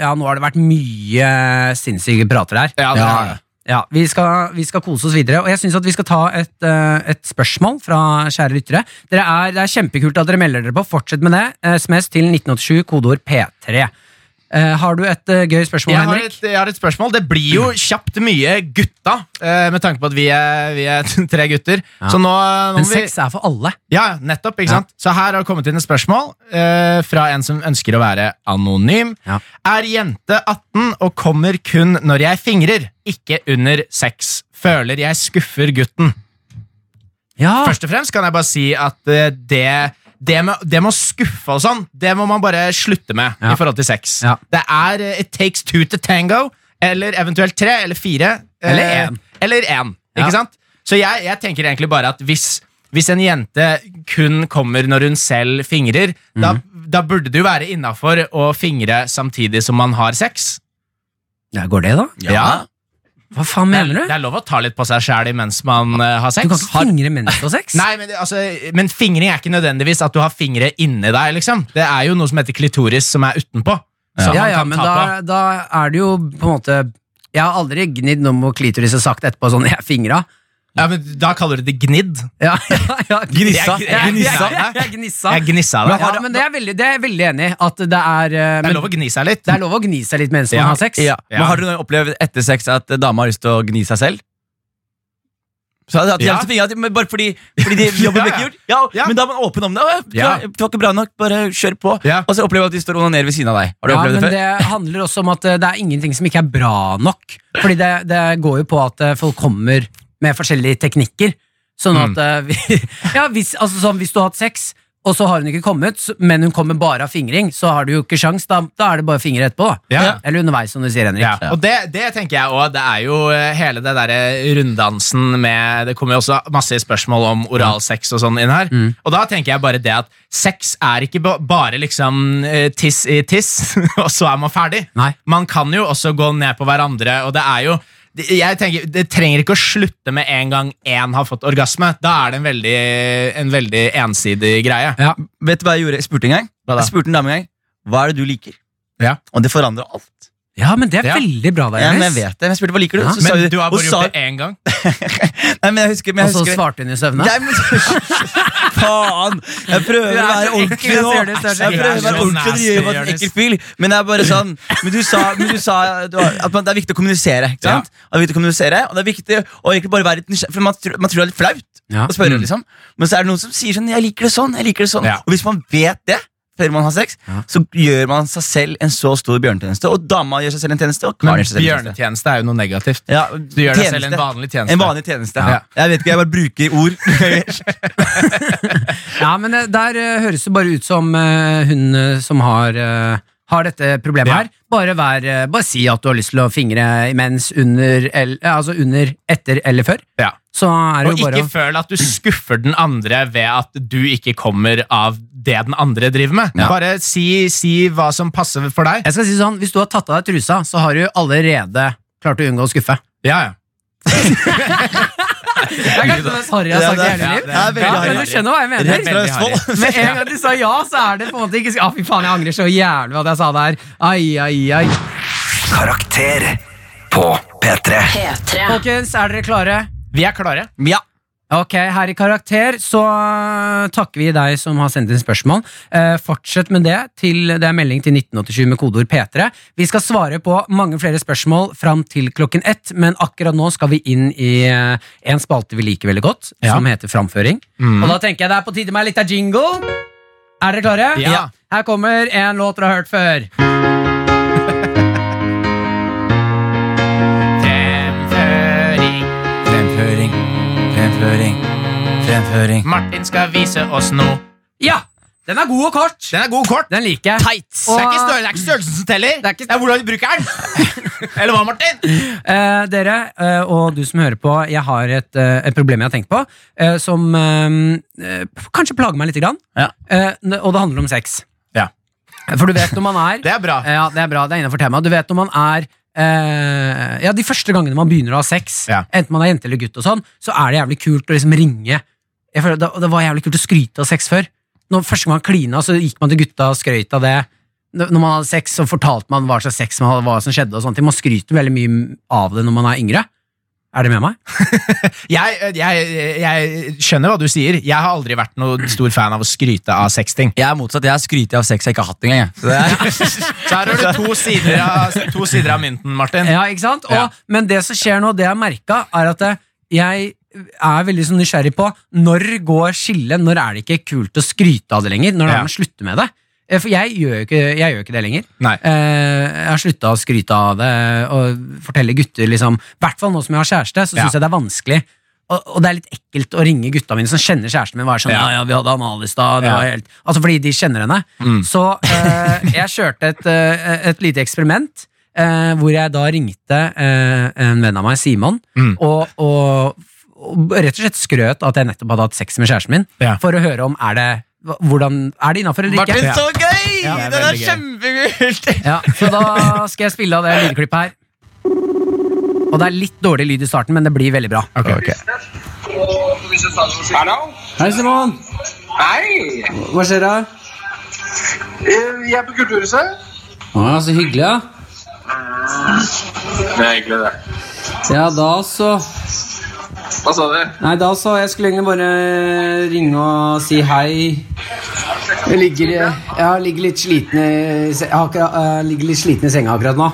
[SPEAKER 2] Ja, nå har det vært mye sinnssyke prater her.
[SPEAKER 3] Ja, det har det.
[SPEAKER 2] Ja, vi, skal, vi skal kose oss videre, og jeg syns vi skal ta et, eh, et spørsmål fra kjære lyttere. Dere er, det er kjempekult at dere melder dere på. Fortsett med det. Eh, SMS til 1987, kodeord P3. Eh, har du et eh, gøy spørsmål,
[SPEAKER 3] Jeg har,
[SPEAKER 2] Henrik?
[SPEAKER 3] et, jeg har et spørsmål. Det blir jo kjapt mye gutta, eh, med tanke på at vi er, vi er tre gutter. Så nå, nå
[SPEAKER 2] Men
[SPEAKER 3] må vi,
[SPEAKER 2] sex er for alle.
[SPEAKER 3] ja, ja, nettopp, ikke sant? Så her har det kommet inn et spørsmål eh, fra en som ønsker å være anonym.
[SPEAKER 2] Ja.
[SPEAKER 3] Er jente 18 og kommer kun når jeg fingrer, ikke under sex. Føler jeg skuffer gutten.
[SPEAKER 2] Ja,
[SPEAKER 3] Først og fremst kan jeg bare si at eh, det det med, det med å skuffe og sånn, det må man bare slutte med.
[SPEAKER 2] Ja.
[SPEAKER 3] i forhold til sex.
[SPEAKER 2] Ja.
[SPEAKER 3] Det er eh, It takes two to tango, eller eventuelt tre eller fire. eh,
[SPEAKER 2] Eller en.
[SPEAKER 3] Eller en,
[SPEAKER 2] Ja.
[SPEAKER 3] ikke sant? Så jeg, jeg tenker egentlig bare at hvis, hvis en jente kun kommer når hun selv fingrer, da,
[SPEAKER 2] Mhm.
[SPEAKER 3] da burde det jo være innafor å fingre samtidig som man har sex.
[SPEAKER 2] Ja, Går det, da?
[SPEAKER 3] Ja.
[SPEAKER 2] Hva faen mener
[SPEAKER 3] Det
[SPEAKER 2] du?
[SPEAKER 3] er lov å ta litt på seg sjæl mens man eh, har
[SPEAKER 2] Du
[SPEAKER 3] sex.
[SPEAKER 2] kan ikke
[SPEAKER 3] Har-
[SPEAKER 2] fingre mens du har sex?
[SPEAKER 3] Nei, men, det- altså, men fingring er ikke nødvendigvis at du har fingre inni deg. liksom Det er jo noe som heter klitoris, som er utenpå. Som
[SPEAKER 2] Ja,
[SPEAKER 3] man
[SPEAKER 2] ja,
[SPEAKER 3] kan
[SPEAKER 2] men
[SPEAKER 3] ta
[SPEAKER 2] da, da er det jo på en måte Jeg har aldri gnidd noe mot klitoris og sagt etterpå sånn Jeg fingra.
[SPEAKER 3] på. Ja, men da kaller du det gnidd.
[SPEAKER 2] Ja, ja, ja.
[SPEAKER 4] Gnissa.
[SPEAKER 2] Jeg, jeg,
[SPEAKER 4] Gnissa.
[SPEAKER 2] jeg, jeg, gnissa.
[SPEAKER 3] Jeg gnissa det.
[SPEAKER 2] ja, men det er, veldig, det er jeg veldig enig i. At det er, eh,
[SPEAKER 3] det
[SPEAKER 2] men,
[SPEAKER 3] er lov å gni seg litt.
[SPEAKER 2] det er lov å gni seg litt mens
[SPEAKER 3] Ja.
[SPEAKER 2] man har sex.
[SPEAKER 4] Ja.
[SPEAKER 3] Ja.
[SPEAKER 4] Men har du noen gang opplevd etter sex at eh, dama har lyst til å gni seg selv? Så at de
[SPEAKER 3] Ja.
[SPEAKER 4] har lyst til å finne, at de- men bare fordi, fordi de jobben ble
[SPEAKER 3] Ja,
[SPEAKER 4] ikke
[SPEAKER 3] ja.
[SPEAKER 4] gjort? Ja,
[SPEAKER 3] Ja.
[SPEAKER 4] Men da er man åpen om det. «Å, Det
[SPEAKER 3] Ja.
[SPEAKER 4] var, det var ikke bra nok, bare kjør på.
[SPEAKER 3] Ja.
[SPEAKER 4] Og så opplever du at de står og onanerer ved siden av deg. Har du
[SPEAKER 2] Ja, men
[SPEAKER 4] opplevd det før?
[SPEAKER 2] det handler også om at eh, det er ingenting som ikke er bra nok. Fordi det, det går jo på at eh, folk kommer med forskjellige teknikker. Sånn at eh, vi, ja, hvis, altså sånn, hvis du har hatt sex, og så har hun ikke kommet, så- men hun kommer bare av fingring, så har du jo ikke sjans. Da, da er det bare fingre etterpå. da.
[SPEAKER 3] Ja.
[SPEAKER 2] Eller underveis, som du sier, Henrik.
[SPEAKER 3] Ja. Og det, det tenker jeg òg. Det er jo eh, hele det derre runddansen med Det kommer jo også masse spørsmål om oralsex og sånn inn her.
[SPEAKER 2] Mm.
[SPEAKER 3] Og da tenker jeg bare det at sex er ikke ba- bare liksom eh, tiss i tiss, og så er man ferdig.
[SPEAKER 2] Nei.
[SPEAKER 3] Man kan jo også gå ned på hverandre, og det er jo det- jeg tenker, Det trenger ikke å slutte med en gang én har fått orgasme. Da er det en veldig, en veldig ensidig greie.
[SPEAKER 2] Ja.
[SPEAKER 4] Vet du hva jeg gjorde? Jeg spurte en gang.
[SPEAKER 3] Hva da?
[SPEAKER 4] Jeg spurte en dame en gang. Hva er det du liker?
[SPEAKER 3] Ja.
[SPEAKER 4] Og det forandrer alt.
[SPEAKER 2] Ja, men det er
[SPEAKER 3] Ja.
[SPEAKER 2] veldig bra, da,
[SPEAKER 4] Ja, men jeg
[SPEAKER 2] Jonis.
[SPEAKER 4] vet det. Men jeg spurte hva liker du?
[SPEAKER 2] Ja.
[SPEAKER 4] Så sa
[SPEAKER 3] Men
[SPEAKER 4] hun-
[SPEAKER 3] du har
[SPEAKER 4] hun
[SPEAKER 3] bare
[SPEAKER 4] sa-
[SPEAKER 3] gjort det én gang.
[SPEAKER 4] Nei, men jeg husker, men
[SPEAKER 2] Og
[SPEAKER 4] jeg
[SPEAKER 2] så
[SPEAKER 4] husker
[SPEAKER 2] svarte hun i søvne.
[SPEAKER 4] Nei, men Faen! Jeg prøver
[SPEAKER 2] Du
[SPEAKER 4] å
[SPEAKER 2] er
[SPEAKER 4] være
[SPEAKER 2] så
[SPEAKER 4] ordentlig
[SPEAKER 2] ekkel,
[SPEAKER 4] nå.
[SPEAKER 2] jeg ser
[SPEAKER 4] Jeg
[SPEAKER 2] det, Større.
[SPEAKER 4] prøver å
[SPEAKER 3] Du er så
[SPEAKER 4] være ordentlig og drive med en
[SPEAKER 3] nasty,
[SPEAKER 4] ekkel fyr, men det er bare sånn Men du sa, men du sa du har, at man, det er viktig å kommunisere, ikke sant? Det er viktig å kommunisere, og det er viktig å egentlig bare være litt nysgjerrig, for man, tror- man tror det er litt flaut
[SPEAKER 2] Ja.
[SPEAKER 4] å spørre, liksom. Men så er det noen som sier sånn 'Jeg liker det sånn', jeg liker det sånn.
[SPEAKER 3] Mm. Ja.
[SPEAKER 4] Og hvis man vet det før man har sex, så gjør man seg selv en så stor bjørnetjeneste, og dama gjør seg selv en tjeneste, og karen
[SPEAKER 3] Men
[SPEAKER 4] gjør seg selv en tjeneste.
[SPEAKER 3] bjørnetjeneste er jo noe negativt.
[SPEAKER 4] Ja,
[SPEAKER 3] Du gjør deg selv en
[SPEAKER 4] tjeneste.
[SPEAKER 3] vanlig tjeneste.
[SPEAKER 4] En vanlig tjeneste.
[SPEAKER 3] Ja.
[SPEAKER 4] Jeg vet ikke, jeg bare bruker ord.
[SPEAKER 2] Ja, men eh, der eh, høres det bare ut som eh, hun eh, som har, eh, har dette problemet
[SPEAKER 3] Ja.
[SPEAKER 2] her. Bare, vær, eh, bare si at du har lyst til å fingre imens, under, el, eh, altså under, etter eller før.
[SPEAKER 3] Ja.
[SPEAKER 2] Så er det
[SPEAKER 3] Og
[SPEAKER 2] jo bare
[SPEAKER 3] ikke føl at du skuffer den andre ved at du ikke kommer av det den andre driver med.
[SPEAKER 4] Ja.
[SPEAKER 3] Bare si, si hå som passer for deg.
[SPEAKER 2] Jeg skal si sånn, Hvis du har tatt av deg trusa, så har du allerede klart å unngå å skuffe.
[SPEAKER 3] Ja, ja.
[SPEAKER 2] Det er kanskje det mest harry jeg har
[SPEAKER 4] Ja,
[SPEAKER 2] sagt i
[SPEAKER 4] det er-
[SPEAKER 2] hele
[SPEAKER 3] ja,
[SPEAKER 2] mitt liv.
[SPEAKER 3] det er
[SPEAKER 4] veldig
[SPEAKER 2] Ja, men
[SPEAKER 4] harry.
[SPEAKER 2] du skjønner hva jeg mener.
[SPEAKER 4] Rett fra
[SPEAKER 3] Veldig harry.
[SPEAKER 4] Østfold.
[SPEAKER 2] Med en gang du sa ja, så er det på en måte ikke Å, fy faen, jeg angrer så jævlig på at jeg sa det her. Ai, ai, ai.
[SPEAKER 1] Karakter På P3
[SPEAKER 5] P3.
[SPEAKER 2] Folkens, er dere klare?
[SPEAKER 3] Vi er klare.
[SPEAKER 4] Ja.
[SPEAKER 2] Ok, her i Karakter så øh, takker vi deg som har sendt inn spørsmål. Eh, fortsett med det til det er melding til 1987 med kodeord P3. Vi skal svare på mange flere spørsmål fram til klokken ett, men akkurat nå skal vi inn i eh, en spalte vi liker veldig godt,
[SPEAKER 3] Ja. Mm.
[SPEAKER 2] som heter Framføring. Og da tenker jeg det er på tide med litt av jingle. Er dere klare?
[SPEAKER 3] Ja.
[SPEAKER 2] Her kommer en låt dere har hørt før.
[SPEAKER 3] Martin skal vise oss noe.
[SPEAKER 2] Ja! Den er god og kort.
[SPEAKER 3] Den er god kort.
[SPEAKER 2] Den liker jeg.
[SPEAKER 3] Tight. Det er ikke større- det er ikke størrelsen som teller.
[SPEAKER 2] Det er ikke-
[SPEAKER 3] hvordan du bruker den. Eller hva, Martin?
[SPEAKER 2] Eh, dere, eh, og du som hører på, jeg har et, eh, et problem jeg har tenkt på, eh, som eh, eh, kanskje plager meg litt. Grann.
[SPEAKER 4] Ja.
[SPEAKER 2] Eh, n- og det handler om sex.
[SPEAKER 3] Ja.
[SPEAKER 2] For du vet når man er
[SPEAKER 3] Det er bra.
[SPEAKER 2] Ja, det er bra, det er innenfor temaet. Du vet når man er eh, Ja, de første gangene man begynner å ha sex,
[SPEAKER 3] Ja.
[SPEAKER 2] enten man er jente eller gutt, og sånn, så er det jævlig kult å liksom ringe. Jeg føler, det, det var jævlig kult å skryte av sex før. Når første gang man klina, så gikk man til gutta og skrøt av det. Når når man hadde sex, så fortalte man hva slags sex man hadde, hva som skjedde. og sånne ting. Man skryter veldig mye av det når man er yngre. Er det med meg?
[SPEAKER 3] Jeg, jeg, jeg skjønner hva du sier. Jeg har aldri vært noen stor fan av å skryte av sexting.
[SPEAKER 4] Jeg er motsatt. Jeg har skrytt av sex jeg ikke har hatt engang. jeg. Så det er,
[SPEAKER 3] Så her har du to sider av, to sider av mynten, Martin.
[SPEAKER 2] Ja, ikke sant? Og,
[SPEAKER 3] Ja.
[SPEAKER 2] Men det som skjer nå, det jeg merka, er at eh, jeg er veldig sånn nysgjerrig på når går skillet, når er det ikke kult å skryte av det lenger? Når
[SPEAKER 3] Ja.
[SPEAKER 2] er det man slutter med det? Eh, For jeg gjør jo ikke, jeg gjør jo ikke det lenger.
[SPEAKER 3] Nei.
[SPEAKER 2] Eh, jeg har slutta å skryte av det og fortelle gutter, liksom. I hvert fall nå som jeg har kjæreste, så
[SPEAKER 3] Ja.
[SPEAKER 2] syns jeg det er vanskelig. Og, og det er litt ekkelt å ringe gutta mine som kjenner kjæresten min. og være sånn,
[SPEAKER 3] Ja.
[SPEAKER 2] ja, ja, vi hadde analis da, det
[SPEAKER 3] Ja. Mm.
[SPEAKER 2] var helt... Altså Fordi de kjenner henne. Så eh, jeg kjørte et, eh, et lite eksperiment. eh, hvor jeg da ringte eh, en venn av meg, Simon,
[SPEAKER 3] Mm.
[SPEAKER 2] og, og, og rett og slett skrøt av at jeg nettopp hadde hatt sex med kjæresten min.
[SPEAKER 3] Ja.
[SPEAKER 2] For å høre om er det hva- hvordan, er det innafor eller ikke.
[SPEAKER 4] Martin, så gøy!
[SPEAKER 2] Ja,
[SPEAKER 3] det er
[SPEAKER 4] det er
[SPEAKER 3] veldig
[SPEAKER 4] kjempekult!
[SPEAKER 2] Ja, så da skal jeg spille av det lydklippet her. Og det er litt dårlig lyd i starten, men det blir veldig bra.
[SPEAKER 6] Hallo?
[SPEAKER 2] Hei, Simon.
[SPEAKER 6] Hei!
[SPEAKER 2] Hva skjer her?
[SPEAKER 6] Eh, Jeg er på Kulturhuset.
[SPEAKER 2] Å, så hyggelig, ja.
[SPEAKER 6] Det er hyggelig, det.
[SPEAKER 2] Ja, da så
[SPEAKER 6] Hva sa du?
[SPEAKER 2] Nei, da så. Jeg skulle egentlig bare ringe og si hei. Jeg ligger, jeg ligger, litt, sliten i, se- jeg har akkurat, jeg ligger litt sliten i senga akkurat nå.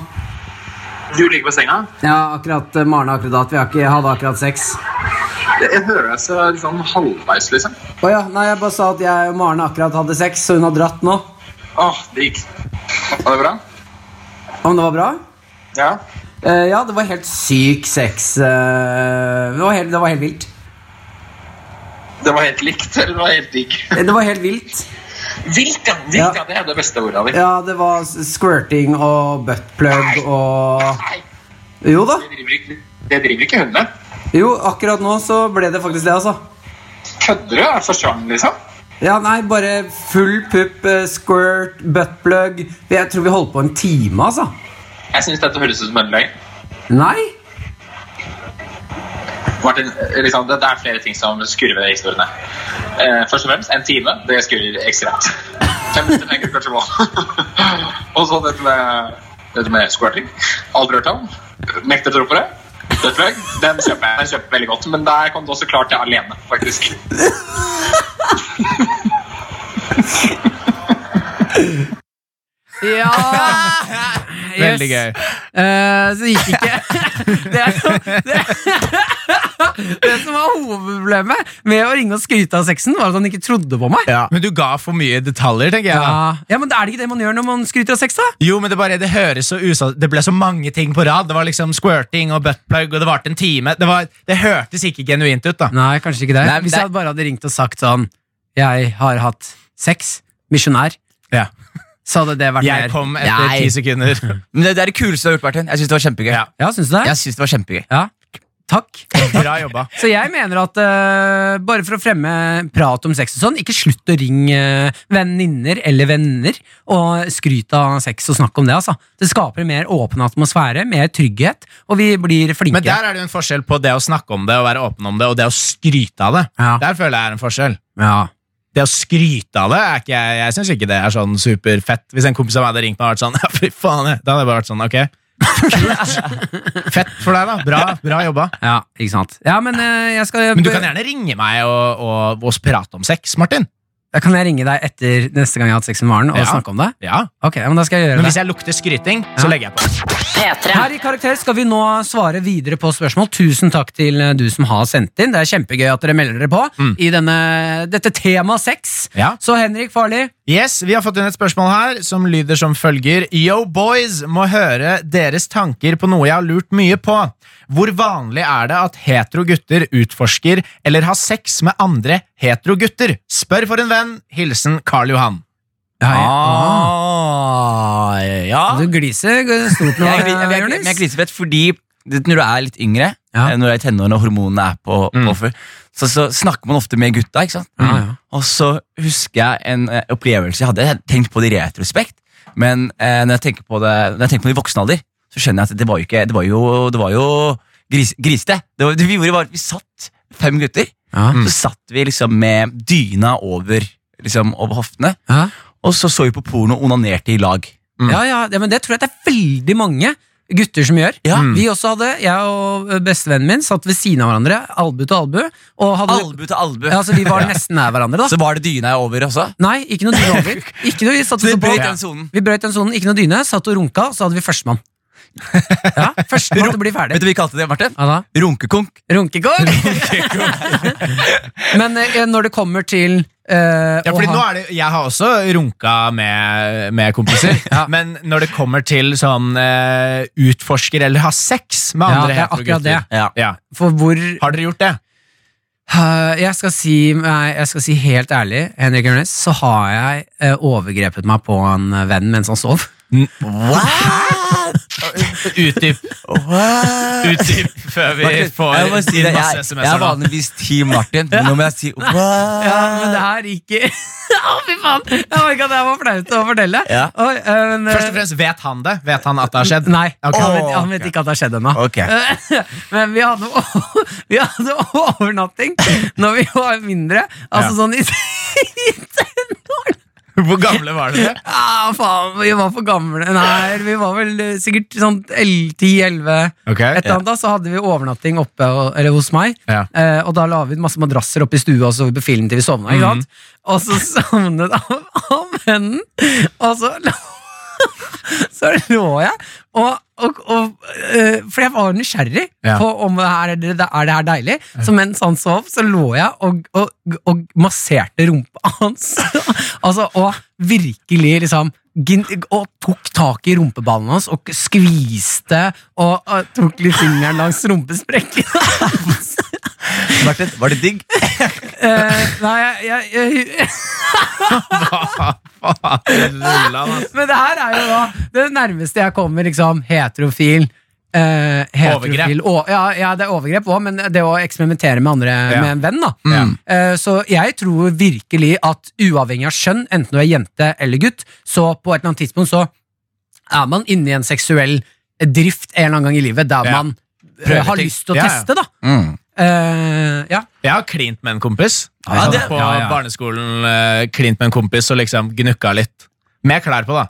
[SPEAKER 6] Du ligger på senga?
[SPEAKER 2] Ja, akkurat eh, Maren har akkurat hatt Vi har ikke, hadde akkurat sex.
[SPEAKER 6] Jeg jeg hører deg så litt sånn halvveis, liksom.
[SPEAKER 2] Å ja. Nei, jeg bare sa at jeg og Maren akkurat hadde sex, så hun har dratt nå.
[SPEAKER 6] Åh, digg. Var det bra?
[SPEAKER 2] Om det var bra?
[SPEAKER 6] Ja.
[SPEAKER 2] Eh, ja, det var helt syk sex. eh, det, var helt, det var helt vilt.
[SPEAKER 6] Det var helt likt, eller det var helt digg?
[SPEAKER 2] Eh, Det var helt vilt.
[SPEAKER 6] Vilt, ja.
[SPEAKER 2] Ja.
[SPEAKER 6] Vilt, ja. Det er det beste ordet ditt.
[SPEAKER 2] Ja, det var s- squirting og buttplug og
[SPEAKER 6] Nei,
[SPEAKER 2] Jo da.
[SPEAKER 6] det driver ikke, det driver ikke hun med.
[SPEAKER 2] Jo, akkurat nå så ble det faktisk det, altså.
[SPEAKER 6] Kødder du? Er det for trang, liksom?
[SPEAKER 2] Ja, nei, bare full pupp, eh, squirt, buttplug Jeg tror vi holdt på en time, altså.
[SPEAKER 6] Jeg syns dette høres ut som en løgn.
[SPEAKER 2] Nei?
[SPEAKER 6] Martin, eh, liksom, det, det er flere ting som skurrer ved de historiene. Eh, først og fremst en time. Det skurrer ekstremt. Fem minutter tenker du kanskje på. og så dette med, dette med squirting. Aldri hørt om. Nekter å tro på det. Dødfløy. Den kjøper jeg. Den kjøper jeg veldig godt. Men der kom det også klart jeg alene, faktisk.
[SPEAKER 2] Ja!
[SPEAKER 3] Veldig gøy.
[SPEAKER 2] Eh, så det gikk ikke. Det, er jo, det, det som var hovedproblemet med å ringe og skryte av sexen, var at han ikke trodde på meg.
[SPEAKER 3] Men du ga for mye detaljer, tenker jeg.
[SPEAKER 2] Ja.
[SPEAKER 3] da.
[SPEAKER 2] ja, men Er det ikke det man gjør når man skryter av sex, da?
[SPEAKER 3] Jo, men det bare, det høres så usa... Det ble så mange ting på rad. Det var liksom squirting og buttplug, og det varte en time. Det, var, det hørtes ikke genuint ut, da.
[SPEAKER 2] Nei, kanskje ikke det.
[SPEAKER 4] Nei, men
[SPEAKER 2] Hvis
[SPEAKER 4] det-
[SPEAKER 2] jeg hadde bare hadde ringt og sagt sånn Jeg har hatt sex. Misjonær.
[SPEAKER 3] Ja.
[SPEAKER 2] Så hadde det vært
[SPEAKER 3] Jeg
[SPEAKER 2] mer.
[SPEAKER 3] kom etter
[SPEAKER 4] Nei.
[SPEAKER 3] ti sekunder.
[SPEAKER 4] Men det, det er det kuleste du har gjort, Martin. Jeg syns det var kjempegøy.
[SPEAKER 3] Ja.
[SPEAKER 2] Ja, syns du det?
[SPEAKER 4] Jeg synes det var kjempegøy
[SPEAKER 2] Ja. Takk.
[SPEAKER 3] Bra jobba.
[SPEAKER 2] Så jeg mener at eh, bare for å fremme prat om sex og sånn, ikke slutt å ringe eh, venninner eller venner og skryte av sex og snakke om det. altså. Det skaper en mer åpen atmosfære, mer trygghet, og vi blir flinke.
[SPEAKER 3] Men der er det jo en forskjell på det å snakke om det og være åpen om det, og det å skryte av det.
[SPEAKER 2] Ja.
[SPEAKER 3] Der føler jeg er en forskjell.
[SPEAKER 2] ja.
[SPEAKER 3] Det å skryte av det, er ikke, jeg, jeg syns ikke det er sånn superfett. Hvis en kompis av meg hadde ringt meg og vært sånn, ja, fy faen, jeg», da hadde jeg bare vært sånn, ok. Kult. Fett for deg, da. Bra, bra jobba.
[SPEAKER 2] ja, ikke sant. Ja, men eh, jeg skal
[SPEAKER 3] Men du kan gjerne ringe meg og, og, og prate om sex, Martin.
[SPEAKER 2] Da kan jeg ringe deg etter neste gang jeg har hatt sex med Maren og
[SPEAKER 3] Ja.
[SPEAKER 2] snakke om det?
[SPEAKER 3] Ja.
[SPEAKER 2] Ok, men da skal jeg
[SPEAKER 3] Men
[SPEAKER 2] gjøre
[SPEAKER 3] hvis
[SPEAKER 2] det.
[SPEAKER 3] jeg lukter skryting, så legger jeg på.
[SPEAKER 5] P3.
[SPEAKER 2] Her i Karakter skal vi nå svare videre på spørsmål. Tusen takk til eh, du som har sendt inn. Det er kjempegøy at dere melder dere på
[SPEAKER 4] Mm.
[SPEAKER 2] i denne, dette temaet sex.
[SPEAKER 3] Ja.
[SPEAKER 2] Så Henrik Farli,
[SPEAKER 3] Yes, Vi har fått inn et spørsmål her som lyder som følger. Yo, boys! Må høre deres tanker på noe jeg har lurt mye på. Hvor vanlig er det at hetero gutter utforsker eller har sex med andre hetero gutter? Spør for en venn. Hilsen Karl Johan.
[SPEAKER 4] Ah, ja.
[SPEAKER 2] du gliser g- stort nå, eh,
[SPEAKER 4] Jeg, jeg, jeg, jeg,
[SPEAKER 2] Jonis.
[SPEAKER 4] jeg gliser fett fordi det- når du er litt yngre,
[SPEAKER 2] Ja. Mm.
[SPEAKER 4] eh, når du er i tenårene og hormonene er på, på full, så, så snakker man ofte med gutta. ikke sant?
[SPEAKER 2] Ja, ja.
[SPEAKER 4] Og så husker jeg en eh, opplevelse jeg hadde. Jeg hadde tenkt på det i retrospekt, men eh, når, jeg tenker på det, når jeg tenker på det i voksen alder, så skjønner jeg at det var jo ikke Det var jo, det var jo gris, grisete. Det, var, det vi gjorde, var at vi satt fem gutter.
[SPEAKER 2] Ja.
[SPEAKER 4] Så satt vi liksom med dyna over, liksom, over hoftene,
[SPEAKER 2] Ja.
[SPEAKER 4] og så så vi på porno og onanerte i lag.
[SPEAKER 2] Ja, ja, ja, men det tror jeg det er veldig mange gutter som gjør.
[SPEAKER 4] Ja.
[SPEAKER 2] Vi også hadde, jeg og bestevennen min satt ved siden av hverandre, albu til albu. Og hadde,
[SPEAKER 4] Albu til albu.
[SPEAKER 2] ja, altså, vi var nesten nær hverandre, da.
[SPEAKER 4] Så var det dyna over også?
[SPEAKER 2] Nei, ikke noe dyne over. Ikke noe, vi satt
[SPEAKER 4] Så vi
[SPEAKER 2] også på-
[SPEAKER 4] brøt den sonen.
[SPEAKER 2] Mm. Vi brøt den sonen, ikke noe dyne, satt og runka, og så hadde vi førstemann. Ja, førstemann til å bli
[SPEAKER 4] Vet
[SPEAKER 2] ferdig.
[SPEAKER 4] du hva vi kalte det, Martin?
[SPEAKER 2] Ja, da.
[SPEAKER 4] Runkekonk.
[SPEAKER 2] Runkekong! Men eh, når det kommer til eh,
[SPEAKER 3] Ja,
[SPEAKER 2] å
[SPEAKER 3] fordi nå
[SPEAKER 2] ha-
[SPEAKER 3] er det, Jeg har også runka med, med kompiser, men når det kommer til sånn eh, utforsker eller har sex med
[SPEAKER 2] Ja,
[SPEAKER 3] andre
[SPEAKER 2] det er
[SPEAKER 3] hetero
[SPEAKER 2] akkurat
[SPEAKER 3] gutter
[SPEAKER 2] det.
[SPEAKER 4] Ja.
[SPEAKER 3] Ja.
[SPEAKER 2] For hvor
[SPEAKER 3] Har dere gjort det?
[SPEAKER 2] Eh, jeg, skal si, nei, jeg skal si helt ærlig, Henrik Ørnes, så har jeg eh, overgrepet meg på en eh, venn mens han sov.
[SPEAKER 3] Utdyp. Utdyp før vi får
[SPEAKER 4] jeg, må si det, jeg, jeg
[SPEAKER 3] masse
[SPEAKER 4] er
[SPEAKER 3] SMS-er. nå.
[SPEAKER 4] vanligvis Team Martin, men nå må jeg si
[SPEAKER 2] Ja, men det her gikk Å, fy faen! Jeg merka at det her var flaut å fortelle.
[SPEAKER 4] Ja.
[SPEAKER 2] Oi, eh, men, eh,
[SPEAKER 3] Først og fremst, vet han det? Vet han at det har skjedd?
[SPEAKER 2] Nei,
[SPEAKER 3] Ok.
[SPEAKER 2] han, vet, han vet ikke at det har skjedd ennå.
[SPEAKER 4] Ok.
[SPEAKER 2] Men vi hadde, o- vi hadde overnatting når vi var mindre. Altså sånn i
[SPEAKER 3] Hvor gamle var dere?
[SPEAKER 2] ah, faen, Vi var for gamle. Nei, vi var vel eh, sikkert sånn 10-11.
[SPEAKER 3] Ok,
[SPEAKER 2] Et eller annet da, så hadde vi overnatting oppe og- eller hos meg,
[SPEAKER 3] Ja.
[SPEAKER 2] eh, og da la vi ut masse madrasser oppe i stua og så på film til vi sovna.
[SPEAKER 3] Mhm.
[SPEAKER 2] Ikke sant? Og så sovnet han av vennen, og så lå, så lå jeg og, og, og eh, For jeg var nysgjerrig
[SPEAKER 3] Ja.
[SPEAKER 2] på om det her, er det, er det her deilig. Så mens han sov, så lå jeg og, og, og masserte rumpa hans. altså, og virkelig liksom gin- og tok tak i rumpeballen hans og skviste og, og tok litt fingeren langs rumpesprekken hans.
[SPEAKER 4] Martin, var det digg?
[SPEAKER 2] Eh, nei, jeg, jeg, jeg Men det her er jo da det nærmeste jeg kommer liksom heterofil. eh, heterofil
[SPEAKER 3] Overgrep.
[SPEAKER 2] å- ja, ja, det er overgrep òg, men det å eksperimentere med andre
[SPEAKER 3] Ja.
[SPEAKER 2] med en venn. da
[SPEAKER 3] Ja.
[SPEAKER 2] Eh, Så jeg tror virkelig at uavhengig av skjønn, enten du er jente eller gutt, så på et eller annet tidspunkt så er man inne i en seksuell drift en eller annen gang i livet der
[SPEAKER 3] Ja.
[SPEAKER 2] man eh,
[SPEAKER 3] Prøver
[SPEAKER 2] har
[SPEAKER 3] ting.
[SPEAKER 2] lyst til å
[SPEAKER 3] Ja, Mm. ja.
[SPEAKER 2] teste, da. Eh, ja.
[SPEAKER 3] Jeg har klint med en kompis.
[SPEAKER 4] Ja, det-
[SPEAKER 3] på
[SPEAKER 2] Ja, ja.
[SPEAKER 3] barneskolen eh, klint med en kompis og liksom gnukka litt. Med klær på, da.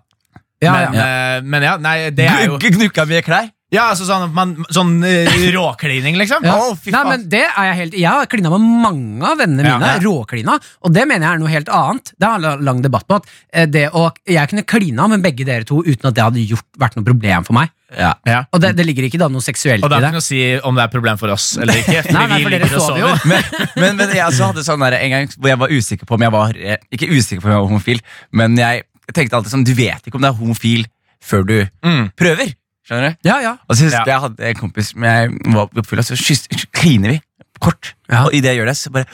[SPEAKER 2] Ja,
[SPEAKER 3] men,
[SPEAKER 2] ja.
[SPEAKER 3] eh, men ja, nei, det er jo
[SPEAKER 4] Gnukka mye klær?
[SPEAKER 3] Ja, altså sånn, at man, sånn eh, råklining, liksom.
[SPEAKER 2] Ja.
[SPEAKER 4] Å, fy
[SPEAKER 2] Nei,
[SPEAKER 4] faen.
[SPEAKER 2] men det er Jeg helt Jeg har klina med mange av vennene
[SPEAKER 3] Ja,
[SPEAKER 2] mine.
[SPEAKER 3] ja.
[SPEAKER 2] Råklina. Og det mener jeg er noe helt annet. Det er en lang debatt på at eh, det å, jeg kunne klina med begge dere to uten at det hadde gjort, vært noe problem for meg.
[SPEAKER 4] Ja.
[SPEAKER 3] Ja.
[SPEAKER 2] Og det, det ligger ikke da noe seksuelt
[SPEAKER 3] Og det
[SPEAKER 2] i
[SPEAKER 3] er
[SPEAKER 2] det.
[SPEAKER 3] ikke noe å si om det er et problem for oss eller ikke.
[SPEAKER 2] Nei, nei, for dere
[SPEAKER 3] ligger og
[SPEAKER 2] sover jo.
[SPEAKER 4] Men, men, men jeg også hadde sånn der, en gang hvor jeg var usikker på om jeg var eh, Ikke usikker på om jeg var homofil, men jeg tenkte alltid sånn Du vet ikke om du er homofil før du
[SPEAKER 3] Mm.
[SPEAKER 4] prøver. Skjønner du?
[SPEAKER 2] Ja, ja.
[SPEAKER 4] Og så husker jeg
[SPEAKER 3] Ja.
[SPEAKER 4] jeg hadde en kompis som jeg var oppfylla, så kyss- kliner vi kort.
[SPEAKER 2] Ja.
[SPEAKER 4] Og idet jeg gjør det, så bare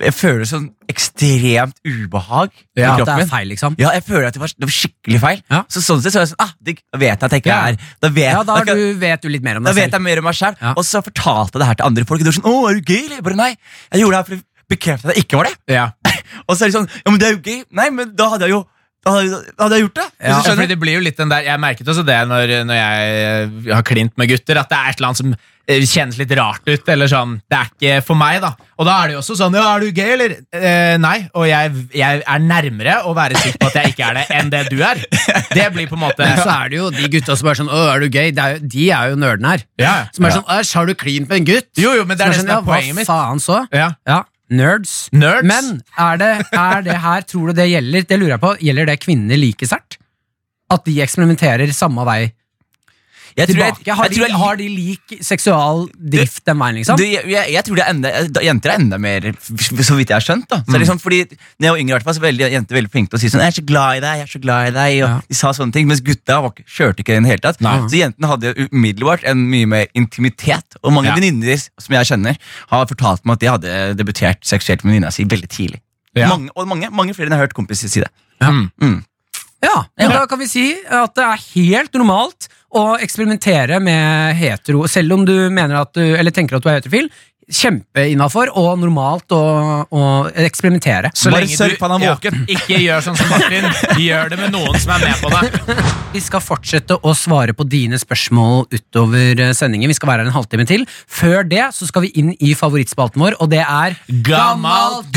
[SPEAKER 4] Jeg føler sånn ekstremt ubehag
[SPEAKER 2] ja
[SPEAKER 4] i
[SPEAKER 2] at det
[SPEAKER 4] kroppen min.
[SPEAKER 2] er feil, liksom.
[SPEAKER 4] Ja, jeg føler at det var, det var skikkelig feil.
[SPEAKER 2] Ja.
[SPEAKER 4] Så sånn sett så er jeg sånn, ah, digg, da vet jeg at jeg ikke
[SPEAKER 2] Ja.
[SPEAKER 4] er Da vet,
[SPEAKER 2] Ja, da
[SPEAKER 4] da
[SPEAKER 2] er
[SPEAKER 4] kan-
[SPEAKER 2] du, vet du litt mer om
[SPEAKER 4] da
[SPEAKER 2] deg
[SPEAKER 4] vet
[SPEAKER 2] selv.
[SPEAKER 4] jeg mer om meg selv
[SPEAKER 2] Ja.
[SPEAKER 4] Og så fortalte jeg det her til andre folk. Og de var sånn, å, er du gay? eller?» Jeg bare, nei, jeg gjorde det her for å bekrefte at jeg ikke var det.
[SPEAKER 3] Ja.
[SPEAKER 4] Og så er de sånn, ja, men det er jo gay. Nei, men da hadde jeg jo Da hadde, jeg- da hadde jeg gjort det. Hvis
[SPEAKER 3] Ja,
[SPEAKER 4] du skjønner?
[SPEAKER 3] fordi det blir jo litt den der Jeg merket også det når, når jeg eh, har klint med gutter, at det er et eller annet som eh, kjennes litt rart ut. Eller sånn, Det er ikke for meg, da. Og da er det jo også sånn Ja, er du gay, eller? Eh, nei. Og jeg, jeg er nærmere å være sikker på at jeg ikke er det, enn det du er. Det blir på en måte
[SPEAKER 2] Men så er det jo de gutta som er sånn Å, er du gay? Det er, jo- de er jo nerdene her.
[SPEAKER 3] Ja, ja.
[SPEAKER 2] Som er sånn Æsj, har du klint med en gutt?
[SPEAKER 3] sånn, Jo, jo, men det er
[SPEAKER 2] Som
[SPEAKER 3] det som er
[SPEAKER 2] ja,
[SPEAKER 3] poenget mitt.
[SPEAKER 2] Hva faen så?
[SPEAKER 3] Ja.
[SPEAKER 2] Ja. Nerds.
[SPEAKER 3] Nerds?
[SPEAKER 2] Men er det, er det her, tror du det gjelder Det lurer jeg på, gjelder det kvinner like sterkt? At de eksperimenterer samme vei
[SPEAKER 4] Jeg tror jeg,
[SPEAKER 2] tilbake? Har,
[SPEAKER 4] jeg tror
[SPEAKER 2] de,
[SPEAKER 4] jeg-
[SPEAKER 2] har de lik seksual drift den veien, liksom?
[SPEAKER 4] Du, jeg, jeg, jeg tror det er enda, da- jenter er enda mer Så vidt jeg har skjønt. da så
[SPEAKER 3] Mm.
[SPEAKER 4] det er liksom, fordi Når jeg var yngre, i hvert fall, så var veldig, jenter veldig flinke til å si sånn 'Jeg er så glad i deg', jeg er så glad i deg og
[SPEAKER 2] Ja.
[SPEAKER 4] de sa sånne ting, mens gutta var, ikke- kjørte ikke det i det hele tatt. Så jentene hadde jo umiddelbart en mye mer intimitet. Og mange
[SPEAKER 3] Ja.
[SPEAKER 4] venninner som jeg kjenner, har fortalt meg at de hadde debutert seksuelt med venninna si veldig tidlig.
[SPEAKER 3] Ja.
[SPEAKER 4] Mange, og mange, mange flere enn jeg har hørt kompiser si det. Mm.
[SPEAKER 2] Ja, men da kan vi si at det er helt normalt å eksperimentere med hetero, selv om du mener at du, eller tenker at du er heterofil. Kjempeinnafor og normalt å, å eksperimentere.
[SPEAKER 3] Så
[SPEAKER 4] Bare
[SPEAKER 3] lenge
[SPEAKER 4] sørg
[SPEAKER 3] du
[SPEAKER 4] for han er våken.
[SPEAKER 3] ikke gjør sånn som Martin. Gjør det med noen som er med på det.
[SPEAKER 2] Vi skal fortsette å svare på dine spørsmål utover eh, sendingen. Vi skal være her en halvtime til. Før det så skal vi inn i favorittspalten vår, og det er
[SPEAKER 3] Gammalt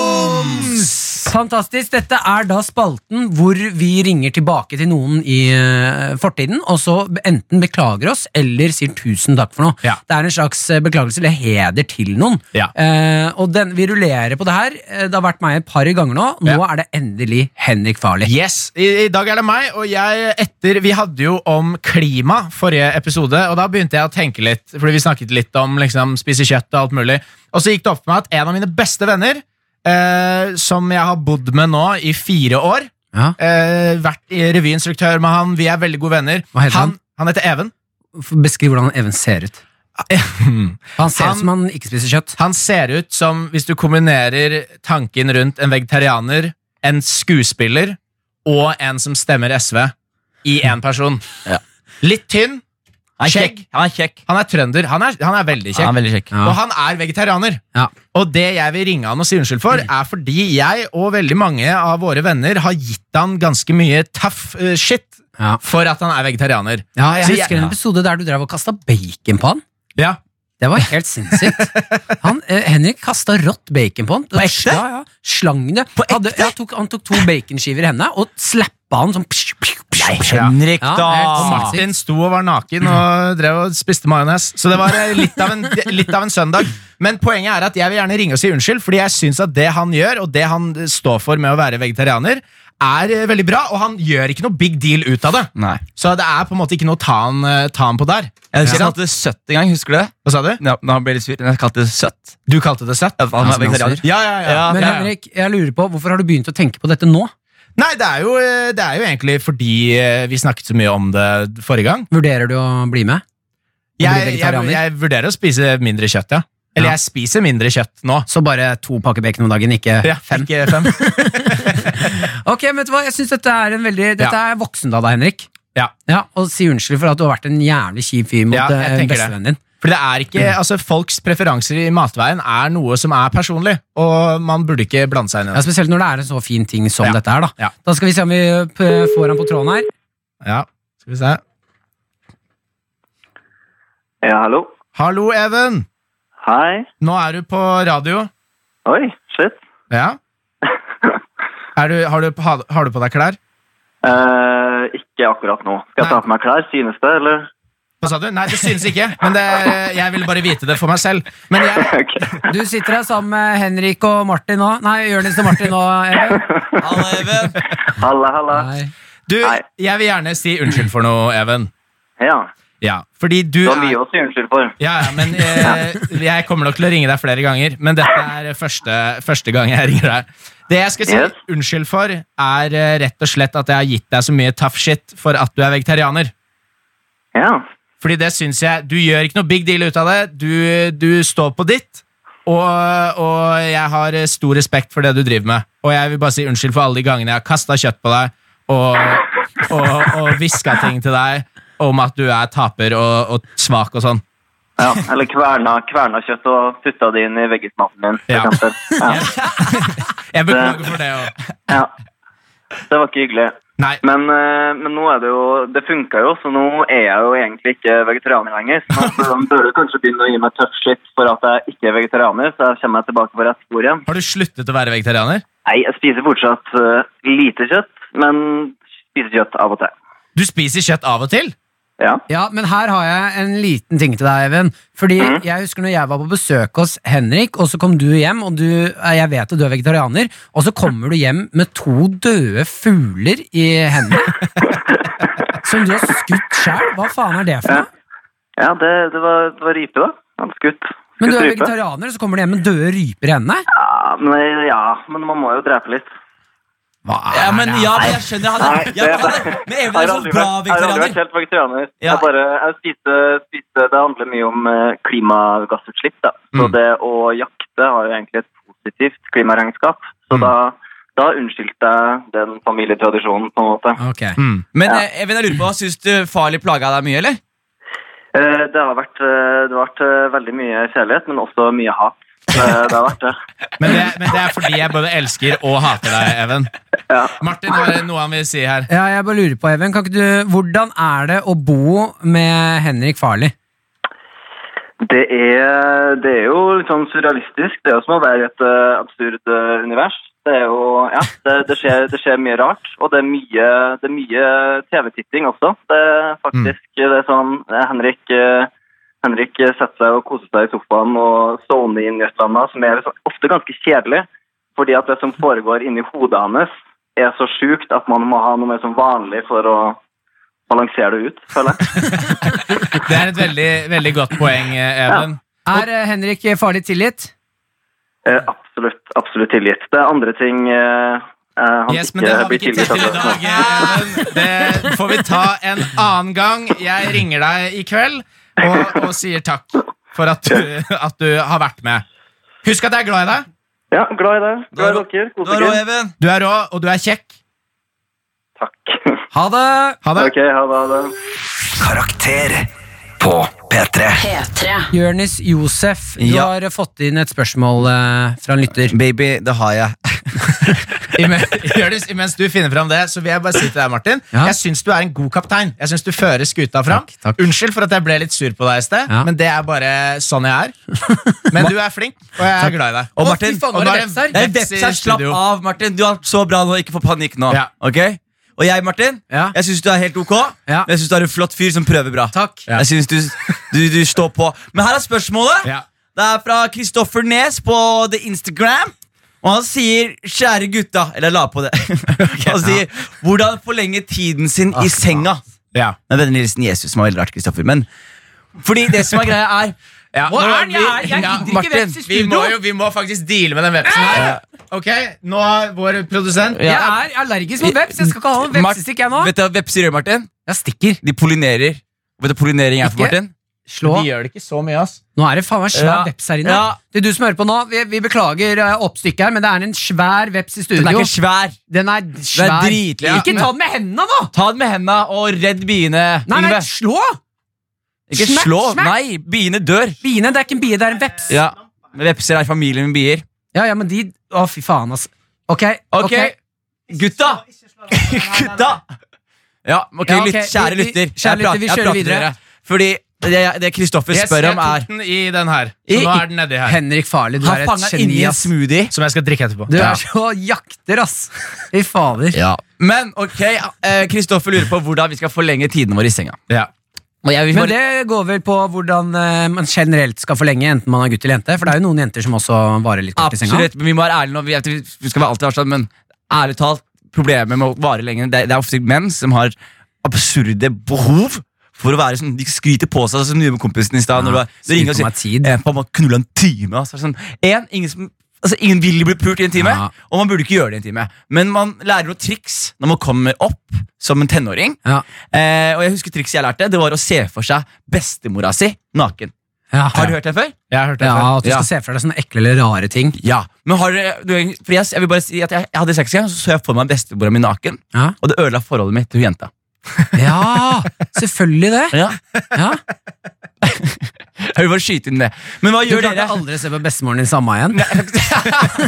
[SPEAKER 3] grums!
[SPEAKER 2] Fantastisk. Dette er da spalten hvor vi ringer tilbake til noen i eh, fortiden, og så be- enten beklager oss eller sier tusen takk for noe.
[SPEAKER 3] Ja.
[SPEAKER 2] Det er en slags eh, beklagelse eller heder til noen.
[SPEAKER 3] Ja.
[SPEAKER 2] Eh, og den, vi rullerer på det her. Eh, Det har vært meg et par ganger nå. Nå
[SPEAKER 3] Ja.
[SPEAKER 2] er det endelig Henrik Farley.
[SPEAKER 3] Yes, I, I dag er det meg, og jeg etter Vi hadde jo om klima forrige episode, og da begynte jeg å tenke litt. Fordi vi snakket litt om liksom, spise kjøtt og alt mulig. Og så gikk det opp for meg at en av mine beste venner, eh, som jeg har bodd med nå i fire år
[SPEAKER 2] Ja.
[SPEAKER 3] eh, Vært i revyinstruktør med han, vi er veldig gode venner.
[SPEAKER 2] Hva heter han?
[SPEAKER 3] han? Han heter Even.
[SPEAKER 2] F- Beskriv hvordan Even ser ut. Han ser
[SPEAKER 3] Han-
[SPEAKER 2] ut som han ikke spiser kjøtt.
[SPEAKER 3] Han ser ut som hvis du kombinerer tanken rundt en vegetarianer, en skuespiller og en som stemmer SV i én person.
[SPEAKER 4] Ja.
[SPEAKER 3] Litt tynn.
[SPEAKER 4] Han er
[SPEAKER 3] Skjegg.
[SPEAKER 4] kjekk. Han er kjekk.
[SPEAKER 3] Han er trønder. Han er, han er veldig kjekk.
[SPEAKER 4] Han er veldig kjekk.
[SPEAKER 2] Ja.
[SPEAKER 3] Og han er vegetarianer.
[SPEAKER 2] Ja.
[SPEAKER 3] Og det jeg vil ringe han og si unnskyld for, er fordi jeg og veldig mange av våre venner har gitt han ganske mye tough eh, shit
[SPEAKER 2] Ja.
[SPEAKER 3] for at han er vegetarianer.
[SPEAKER 2] Ja, jeg
[SPEAKER 3] Så jeg-
[SPEAKER 2] husker en episode der du drev og kasta bacon på han.
[SPEAKER 3] Ja.
[SPEAKER 2] Det var helt sinnssykt. Han, eh, Henrik kasta rått bacon på han. På ekte? Ja, ja. Slang det. Hadde, ja, tok, han tok to baconskiver i hendene og slappa han sånn psh, psh, psh, psh.
[SPEAKER 4] Henrik,
[SPEAKER 2] Ja,
[SPEAKER 4] da!
[SPEAKER 2] helt
[SPEAKER 3] Og
[SPEAKER 2] sant.
[SPEAKER 3] Martin sto og var naken og drev og spiste majones. Så det var eh, litt av, en, litt av en søndag. Men poenget er at jeg vil gjerne ringe og si unnskyld, fordi jeg syns at det han gjør, og det han eh, står for med å være vegetarianer, er eh, veldig bra, og han gjør ikke noe big deal ut av det.
[SPEAKER 4] Nei.
[SPEAKER 3] Så det er på en måte ikke noe å ta han, eh, ta han på der.
[SPEAKER 4] Jeg husker jeg
[SPEAKER 3] Ikke sant?
[SPEAKER 4] kalte det søtt en gang. Husker du det?
[SPEAKER 3] Hva sa du?
[SPEAKER 4] Nå, nå ble jeg litt sur. men Jeg kalte det søtt.
[SPEAKER 3] Du kalte det søtt?
[SPEAKER 4] Han er vegetarianer.
[SPEAKER 3] Ja, ja, ja.
[SPEAKER 4] Ja.
[SPEAKER 2] Men
[SPEAKER 3] ja, ja.
[SPEAKER 2] Henrik, jeg lurer på, hvorfor har du begynt å tenke på dette nå?
[SPEAKER 3] Nei, det er, jo, eh, det er jo egentlig fordi eh, vi snakket så mye om det forrige gang.
[SPEAKER 2] Vurderer du å bli med? Å bli
[SPEAKER 3] Jeg, jeg,
[SPEAKER 2] vegetarianer?
[SPEAKER 3] jeg vurderer å spise mindre kjøtt, ja. Eller
[SPEAKER 2] Ja.
[SPEAKER 3] jeg spiser mindre kjøtt nå.
[SPEAKER 2] Så bare to pakker bacon om dagen, ikke
[SPEAKER 3] Ja,
[SPEAKER 2] fem?
[SPEAKER 3] Ikke fem.
[SPEAKER 2] Ok, men vet du hva, jeg synes dette er en veldig Dette er voksen av deg, Henrik.
[SPEAKER 3] Ja.
[SPEAKER 2] Og si unnskyld for at du har vært en jævlig kjip fyr mot
[SPEAKER 3] Ja, jeg
[SPEAKER 2] eh,
[SPEAKER 3] tenker det.
[SPEAKER 2] bestevennen din.
[SPEAKER 3] For det er ikke, altså Folks preferanser i matveien er noe som er personlig, og man burde ikke blande seg inn i
[SPEAKER 2] Ja,
[SPEAKER 3] det.
[SPEAKER 2] Spesielt når det er en så fin ting som
[SPEAKER 3] Ja.
[SPEAKER 2] dette her. Da.
[SPEAKER 3] Ja.
[SPEAKER 2] da skal vi se om vi eh, får han på tråden her.
[SPEAKER 3] Ja, skal vi se.
[SPEAKER 7] Ja, hallo.
[SPEAKER 3] Hallo, Even!
[SPEAKER 7] Hei.
[SPEAKER 3] Nå er du på radio.
[SPEAKER 7] Oi, shit.
[SPEAKER 3] Ja? Er du, har, du, på- har du på deg klær?
[SPEAKER 7] Eh, ikke akkurat nå. Skal jeg ta
[SPEAKER 3] Nei.
[SPEAKER 7] på meg klær? Synes det, eller?
[SPEAKER 3] Hva sa du? Nei, det synes ikke. Men det, jeg ville bare vite det for meg selv. Men jeg,
[SPEAKER 7] Ok.
[SPEAKER 2] Du sitter her sammen med Henrik og Martin nå. Nei, Jonis og Martin nå. Even.
[SPEAKER 4] Hallo, Even.
[SPEAKER 7] Halla, halla.
[SPEAKER 2] Nei.
[SPEAKER 3] du,
[SPEAKER 7] Nei.
[SPEAKER 3] jeg vil gjerne si unnskyld for noe, Even.
[SPEAKER 7] Ja,
[SPEAKER 3] Ja, fordi du
[SPEAKER 7] det var
[SPEAKER 3] er-
[SPEAKER 7] mye å si unnskyld for.
[SPEAKER 3] Ja, ja, men eh, Jeg kommer nok til å ringe deg flere ganger, men dette er første, første gang jeg ringer deg. Det jeg skal si
[SPEAKER 7] Yes.
[SPEAKER 3] unnskyld for, er eh, rett og slett at jeg har gitt deg så mye tough shit for at du er vegetarianer.
[SPEAKER 7] Ja,
[SPEAKER 3] Fordi det synes jeg, Du gjør ikke noe big deal ut av det. Du, du står på ditt, og, og jeg har eh, stor respekt for det du driver med. Og jeg vil bare si unnskyld for alle de gangene jeg har kasta kjøtt på deg og, og, og hviska ting til deg om at du er taper og, og svak og sånn.
[SPEAKER 7] ja. eller kverna, kverna kjøtt og putta det inn i veggismaten min, for
[SPEAKER 3] Ja.
[SPEAKER 7] eksempel. Ja.
[SPEAKER 3] Jeg beklager for det òg.
[SPEAKER 7] ja. Det var ikke hyggelig.
[SPEAKER 3] Nei.
[SPEAKER 7] Men, eh, men nå er det jo, det funket jo, så nå er jeg jo egentlig ikke vegetarianer lenger. Så nå bør- bør du kanskje begynne å gi meg tøff shit for at jeg ikke er vegetarianer, så jeg kommer meg tilbake på rett spor igjen.
[SPEAKER 3] Har du sluttet å være vegetarianer?
[SPEAKER 7] Nei, jeg spiser fortsatt eh, lite kjøtt, men spiser kjøtt av og til.
[SPEAKER 3] Du spiser kjøtt av og til?
[SPEAKER 7] Ja.
[SPEAKER 2] Ja, men her har jeg en liten ting til deg, Even. Fordi jeg husker når jeg var på besøk hos Henrik, og så kom du hjem, og du, eh, jeg vet at du er vegetarianer, og så kommer du hjem med to døde fugler i hendene. som du har skutt sjøl. Hva faen er det for
[SPEAKER 7] Ja.
[SPEAKER 2] noe?
[SPEAKER 7] Ja, det, det, var, det var rype, da. Han skutt. skutt
[SPEAKER 2] Men du er
[SPEAKER 7] rype.
[SPEAKER 2] vegetarianer, og så kommer du hjem med døde ryper i hendene?
[SPEAKER 7] Ja men, ja, men man må jo drepe litt.
[SPEAKER 2] Hva er
[SPEAKER 4] Ja, men,
[SPEAKER 2] det?
[SPEAKER 4] ja, men jeg skjønner han er, ja, men, han er, men Even
[SPEAKER 7] Jeg
[SPEAKER 4] er
[SPEAKER 7] har
[SPEAKER 4] sånn
[SPEAKER 7] aldri
[SPEAKER 4] bra
[SPEAKER 7] vært- jeg har aldri vært
[SPEAKER 4] vegetarianer.
[SPEAKER 7] helt vegetarianer.
[SPEAKER 4] Ja.
[SPEAKER 7] Jeg bare, jeg spiste, spiste, det handler mye om eh, klimagassutslipp. Da. Så
[SPEAKER 3] Mm.
[SPEAKER 7] det å jakte har jo egentlig et positivt klimaregnskap. Så
[SPEAKER 3] Mm.
[SPEAKER 7] da, da unnskyldte jeg den familietradisjonen, på en måte.
[SPEAKER 2] Ok.
[SPEAKER 3] Mm.
[SPEAKER 4] Men eh, Even, jeg lurer på, syns du farlig plaga deg mye, eller?
[SPEAKER 7] Eh, Det har vært, eh, det har vært eh, veldig mye kjærlighet, men også mye hat. Eh, Det har vært det.
[SPEAKER 3] Men, det, men det er fordi jeg både elsker og hater deg, Even.
[SPEAKER 7] Ja.
[SPEAKER 3] Martin, har du noe han vil si her?
[SPEAKER 2] Ja, jeg bare lurer på, Even, kan ikke du, hvordan er det å bo med Henrik Farley?
[SPEAKER 7] Det er, det er jo litt sånn surrealistisk. Det er jo som å være i et eh, absurd eh, univers. Det er jo, ja, det, det, skjer, det skjer mye rart, og det er mye, det er mye TV-titting også. Det er faktisk det er sånn eh, Henrik, eh, Henrik setter seg og koser seg i sofaen og sovner inn i et eller annet, som er liksom, ofte ganske kjedelig. Fordi at det som foregår inni hodet hans, er så sjukt at man må ha noe mer som vanlig for å balansere det ut, føler jeg.
[SPEAKER 3] Det er et veldig, veldig godt poeng, eh, Even.
[SPEAKER 2] Er eh, Henrik Farley tilgitt?
[SPEAKER 7] Eh, absolutt, absolutt tilgitt. Det er andre ting eh, eh, han
[SPEAKER 3] Yes, men
[SPEAKER 7] ikke
[SPEAKER 3] det har vi
[SPEAKER 7] blir
[SPEAKER 3] ikke
[SPEAKER 7] tilgitt.
[SPEAKER 3] tid til i
[SPEAKER 7] altså.
[SPEAKER 3] dag, Even. Det får vi ta en annen gang. Jeg ringer deg i kveld og, og sier takk for at du, at du har vært med. Husk at jeg er glad i deg.
[SPEAKER 7] Ja, glad i deg. Glad
[SPEAKER 4] Da-
[SPEAKER 7] i dere.
[SPEAKER 4] Du
[SPEAKER 7] Kos
[SPEAKER 4] har råd,
[SPEAKER 7] dere.
[SPEAKER 4] Even.
[SPEAKER 3] Du er rå, og du er kjekk.
[SPEAKER 7] Takk.
[SPEAKER 2] Ha det!
[SPEAKER 3] Ha det.
[SPEAKER 7] Ok, ha det, ha det.
[SPEAKER 1] Karakter på P3.
[SPEAKER 5] P3.
[SPEAKER 2] Jørnis Josef, du
[SPEAKER 4] Ja.
[SPEAKER 2] har fått inn et spørsmål eh, fra en lytter.
[SPEAKER 4] Baby, det har jeg.
[SPEAKER 3] Imen- Jonis, imens du finner fram det, så vil jeg bare si til deg, Martin.
[SPEAKER 2] Ja.
[SPEAKER 3] Jeg syns du er en god kaptein. Jeg synes du fører skuta fram.
[SPEAKER 2] Takk, takk.
[SPEAKER 3] Unnskyld for at jeg ble litt sur på deg i sted,
[SPEAKER 2] Ja.
[SPEAKER 3] men det er bare sånn jeg er. Men du er flink, og jeg er glad i deg.
[SPEAKER 2] Å,
[SPEAKER 4] Og Martin,
[SPEAKER 2] fy faen,
[SPEAKER 3] og
[SPEAKER 2] nå
[SPEAKER 3] nå
[SPEAKER 2] er det
[SPEAKER 3] er
[SPEAKER 2] veps her.
[SPEAKER 4] Det er
[SPEAKER 3] veps
[SPEAKER 4] veps
[SPEAKER 3] i
[SPEAKER 4] her. Slapp
[SPEAKER 3] studio.
[SPEAKER 4] av, Martin. Du har så bra nå. Ikke få panikk nå.
[SPEAKER 3] Ja.
[SPEAKER 4] Ok? Og jeg, Martin,
[SPEAKER 2] Ja.
[SPEAKER 4] jeg syns du er helt ok.
[SPEAKER 2] Ja.
[SPEAKER 4] Men jeg syns du er en flott fyr som prøver bra.
[SPEAKER 2] Takk.
[SPEAKER 4] Jeg synes du, du, du står på. Men her er spørsmålet.
[SPEAKER 3] Ja.
[SPEAKER 4] Det er fra Kristoffer Nes på The Instagram. Og han sier 'kjære gutta' Eller jeg la på det. han sier 'hvordan forlenge tiden sin i senga'.
[SPEAKER 3] Ah, Ja.
[SPEAKER 4] Med vennlig hilsen Jesus, som var veldig rart, Kristoffer. Men fordi det som er greia, er
[SPEAKER 3] Ja,
[SPEAKER 2] Hva
[SPEAKER 3] nå-
[SPEAKER 2] er den? Jeg- jeg gidder ikke
[SPEAKER 3] Martin,
[SPEAKER 2] veps i
[SPEAKER 3] vi må,
[SPEAKER 2] studio.
[SPEAKER 3] jo, vi må faktisk deale med den vepsen her. Ok, nå har vår produsent
[SPEAKER 2] Jeg er allergisk mot veps. Jeg skal ikke ha noe
[SPEAKER 4] Mart-
[SPEAKER 2] vepsestikk, jeg nå.
[SPEAKER 4] Vet du hva vepser gjør, Martin?
[SPEAKER 2] Jeg stikker.
[SPEAKER 4] De pollinerer. Vet du hva pollinering er for,
[SPEAKER 2] Ikke?
[SPEAKER 4] Martin?
[SPEAKER 2] Slå.
[SPEAKER 3] De gjør det ikke så mye, ass.
[SPEAKER 2] Nå er det faen meg svær
[SPEAKER 4] Ja.
[SPEAKER 2] veps her inne.
[SPEAKER 4] Ja.
[SPEAKER 2] Det er du som hører på nå. Vi, vi beklager eh, oppstykket her, men det er en svær veps i
[SPEAKER 4] Den er
[SPEAKER 2] studio.
[SPEAKER 4] ikke svær.
[SPEAKER 2] Den er svær.
[SPEAKER 4] dritliten.
[SPEAKER 2] Ikke ta den med hendene, da!
[SPEAKER 4] Ta den med henda og redd biene.
[SPEAKER 2] Nei, nei,
[SPEAKER 4] Yngve.
[SPEAKER 2] slå!
[SPEAKER 4] ikke
[SPEAKER 2] smack,
[SPEAKER 4] slå.
[SPEAKER 2] smack.
[SPEAKER 4] Nei, biene dør.
[SPEAKER 2] Biene, det er ikke en bie, det er en veps.
[SPEAKER 4] Ja, Vepser er familie med bier.
[SPEAKER 2] ja, ja, men de Å, fy faen, altså. Ok.
[SPEAKER 4] Ok, gutta! gutta! Ja, ok,
[SPEAKER 2] Ja, ok,
[SPEAKER 4] lytt, kjære
[SPEAKER 2] vi- vi-
[SPEAKER 4] lytter.
[SPEAKER 2] kjære lytter, vi
[SPEAKER 4] jeg
[SPEAKER 2] kjører
[SPEAKER 4] prater til
[SPEAKER 2] videre.
[SPEAKER 4] dere. Fordi det det Kristoffer
[SPEAKER 3] Yes,
[SPEAKER 4] spør
[SPEAKER 3] jeg
[SPEAKER 4] om,
[SPEAKER 3] tok
[SPEAKER 4] er
[SPEAKER 3] den i den her. Så
[SPEAKER 4] I-
[SPEAKER 3] nå er den nedi her.
[SPEAKER 2] Henrik Farley, du
[SPEAKER 4] Har
[SPEAKER 2] er et
[SPEAKER 4] fanga
[SPEAKER 2] geni,
[SPEAKER 4] inni en
[SPEAKER 2] ass.
[SPEAKER 4] smoothie.
[SPEAKER 3] Som jeg skal drikke etterpå.
[SPEAKER 2] Du
[SPEAKER 3] Ja.
[SPEAKER 2] er så jakter, ass. Fy fader.
[SPEAKER 4] Ja. Men ok, eh, Kristoffer lurer på hvordan vi skal forlenge tiden vår i senga.
[SPEAKER 3] Ja.
[SPEAKER 4] Og jeg vil
[SPEAKER 2] Men
[SPEAKER 4] bare-
[SPEAKER 2] det går vel på hvordan eh, man generelt skal forlenge, enten man er gutt eller jente. For det er jo noen jenter som også varer litt kort i senga.
[SPEAKER 4] Absolutt, men vi må være ærlige nå. Vi, vet at vi skal være alltid være sånn, men ærlig talt, problemet med å vare lenge det, det er ofte menn som har absurde behov for å være sånn De skryter på seg sånn som du gjorde med kompisen i
[SPEAKER 2] Ja,
[SPEAKER 4] stad. når du var- du ringer og
[SPEAKER 2] skryter om
[SPEAKER 4] sier
[SPEAKER 2] meg tid.
[SPEAKER 4] «Eh, faen, man knulla en time. ass». Så er det sånn, en, ingen, som, altså, ingen vil bli pult i en time,
[SPEAKER 2] Ja.
[SPEAKER 4] og man burde ikke gjøre det i en time. Men man lærer noen triks når man kommer opp som en tenåring.
[SPEAKER 2] Ja.
[SPEAKER 4] Eh, og jeg husker trikset jeg lærte, det var å se for seg bestemora si naken.
[SPEAKER 2] Ja.
[SPEAKER 4] Har du hørt det før?
[SPEAKER 3] Jeg har hørt det
[SPEAKER 2] ja,
[SPEAKER 3] før.
[SPEAKER 2] at du
[SPEAKER 4] Ja.
[SPEAKER 2] skal se for deg sånne ekle eller rare ting.
[SPEAKER 4] Ja, men har dere du- fordi jeg, jeg vil bare si at jeg, jeg hadde sex en gang, så så jeg for meg bestemora mi naken.
[SPEAKER 2] Ja,
[SPEAKER 4] Og det ødela forholdet mitt til hun jenta.
[SPEAKER 2] ja selvfølgelig det.
[SPEAKER 4] Ja.
[SPEAKER 2] Ja.
[SPEAKER 4] Jeg vil bare skyte inn det. Men hva
[SPEAKER 2] Du
[SPEAKER 4] gjør
[SPEAKER 2] klarte
[SPEAKER 4] dere?
[SPEAKER 2] aldri å se på bestemoren din samme igjen.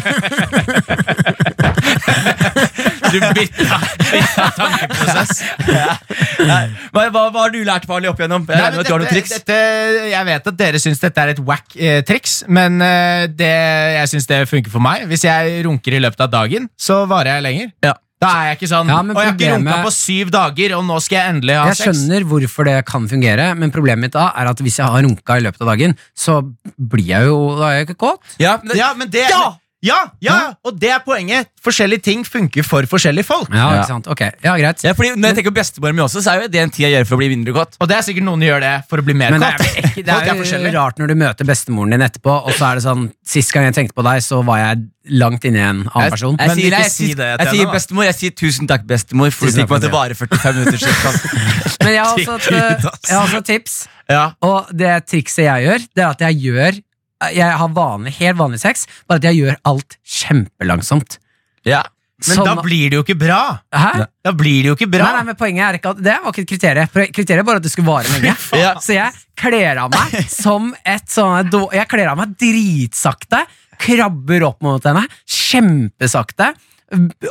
[SPEAKER 3] Du bytta, bytta tankeprosess.
[SPEAKER 4] Hva, hva, hva har du lært farlig opp igjennom? Jeg
[SPEAKER 3] Nei,
[SPEAKER 4] regner
[SPEAKER 3] men
[SPEAKER 4] med at du har noen
[SPEAKER 3] dette-
[SPEAKER 4] triks.
[SPEAKER 3] dette- jeg vet at dere syns dette er et wack eh, triks, men eh, det, jeg syns det funker for meg. Hvis jeg runker i løpet av dagen, så varer jeg lenger.
[SPEAKER 4] Ja.
[SPEAKER 3] Da er jeg ikke sånn
[SPEAKER 2] Ja,
[SPEAKER 3] Og
[SPEAKER 2] men
[SPEAKER 3] jeg har ikke runka
[SPEAKER 2] problemet-
[SPEAKER 3] på syv dager, og nå skal jeg endelig ha
[SPEAKER 2] Jeg
[SPEAKER 3] sex.
[SPEAKER 2] skjønner hvorfor det kan fungere, men problemet mitt da er at hvis jeg har runka i løpet av dagen, så blir jeg jo da er jeg ikke kåt.
[SPEAKER 4] Ja, men det,
[SPEAKER 3] Ja, men det,
[SPEAKER 4] Ja!
[SPEAKER 3] ja, ja, og det er poenget. Forskjellige ting funker for forskjellige folk.
[SPEAKER 2] Ja,
[SPEAKER 4] Ja.
[SPEAKER 2] ikke sant? Ok, ja, greit.
[SPEAKER 4] Ja, fordi Når jeg tenker på bestemoren min også, så er jo det en ting jeg gjør for å bli mindre kåt.
[SPEAKER 3] Og det er sikkert noen som gjør det for å bli mer
[SPEAKER 2] Men det
[SPEAKER 3] kåt.
[SPEAKER 2] er, vel ikke, det
[SPEAKER 3] Folk er
[SPEAKER 2] er
[SPEAKER 3] forskjellige.
[SPEAKER 2] jo rart når du møter bestemoren din etterpå, og så er det sånn Sist gang jeg tenkte på deg, så var jeg langt inni en annen person.
[SPEAKER 4] Jeg,
[SPEAKER 3] Men
[SPEAKER 4] sier,
[SPEAKER 3] ikke
[SPEAKER 4] jeg,
[SPEAKER 3] si
[SPEAKER 4] sier-
[SPEAKER 3] det
[SPEAKER 4] jeg,
[SPEAKER 3] til henne,
[SPEAKER 4] sier
[SPEAKER 3] da.
[SPEAKER 4] bestemor, jeg sier tusen takk, bestemor, for du
[SPEAKER 2] Tusen
[SPEAKER 4] fikk
[SPEAKER 2] takk,
[SPEAKER 4] meg til å vare 45 minutter. cirka.
[SPEAKER 2] Men jeg har også et,
[SPEAKER 4] Gud,
[SPEAKER 2] eh,
[SPEAKER 4] ass.
[SPEAKER 2] jeg har også et tips,
[SPEAKER 4] Ja.
[SPEAKER 2] og det trikset jeg gjør, det er at jeg gjør Jeg har vanlig, helt vanlig sex, bare at jeg gjør alt kjempelangsomt.
[SPEAKER 4] Ja.
[SPEAKER 3] Men
[SPEAKER 2] Sånn-
[SPEAKER 3] da blir det jo ikke bra.
[SPEAKER 2] Hæ?
[SPEAKER 3] Da blir det jo ikke
[SPEAKER 2] Nei,
[SPEAKER 3] bra.
[SPEAKER 2] nei, men poenget er ikke at Det var ikke et kriterium. Kriteriet er bare at det skulle vare lenge.
[SPEAKER 4] Ja.
[SPEAKER 2] Så jeg kler av meg som et sånn då- Jeg kler av meg dritsakte, krabber opp mot henne kjempesakte.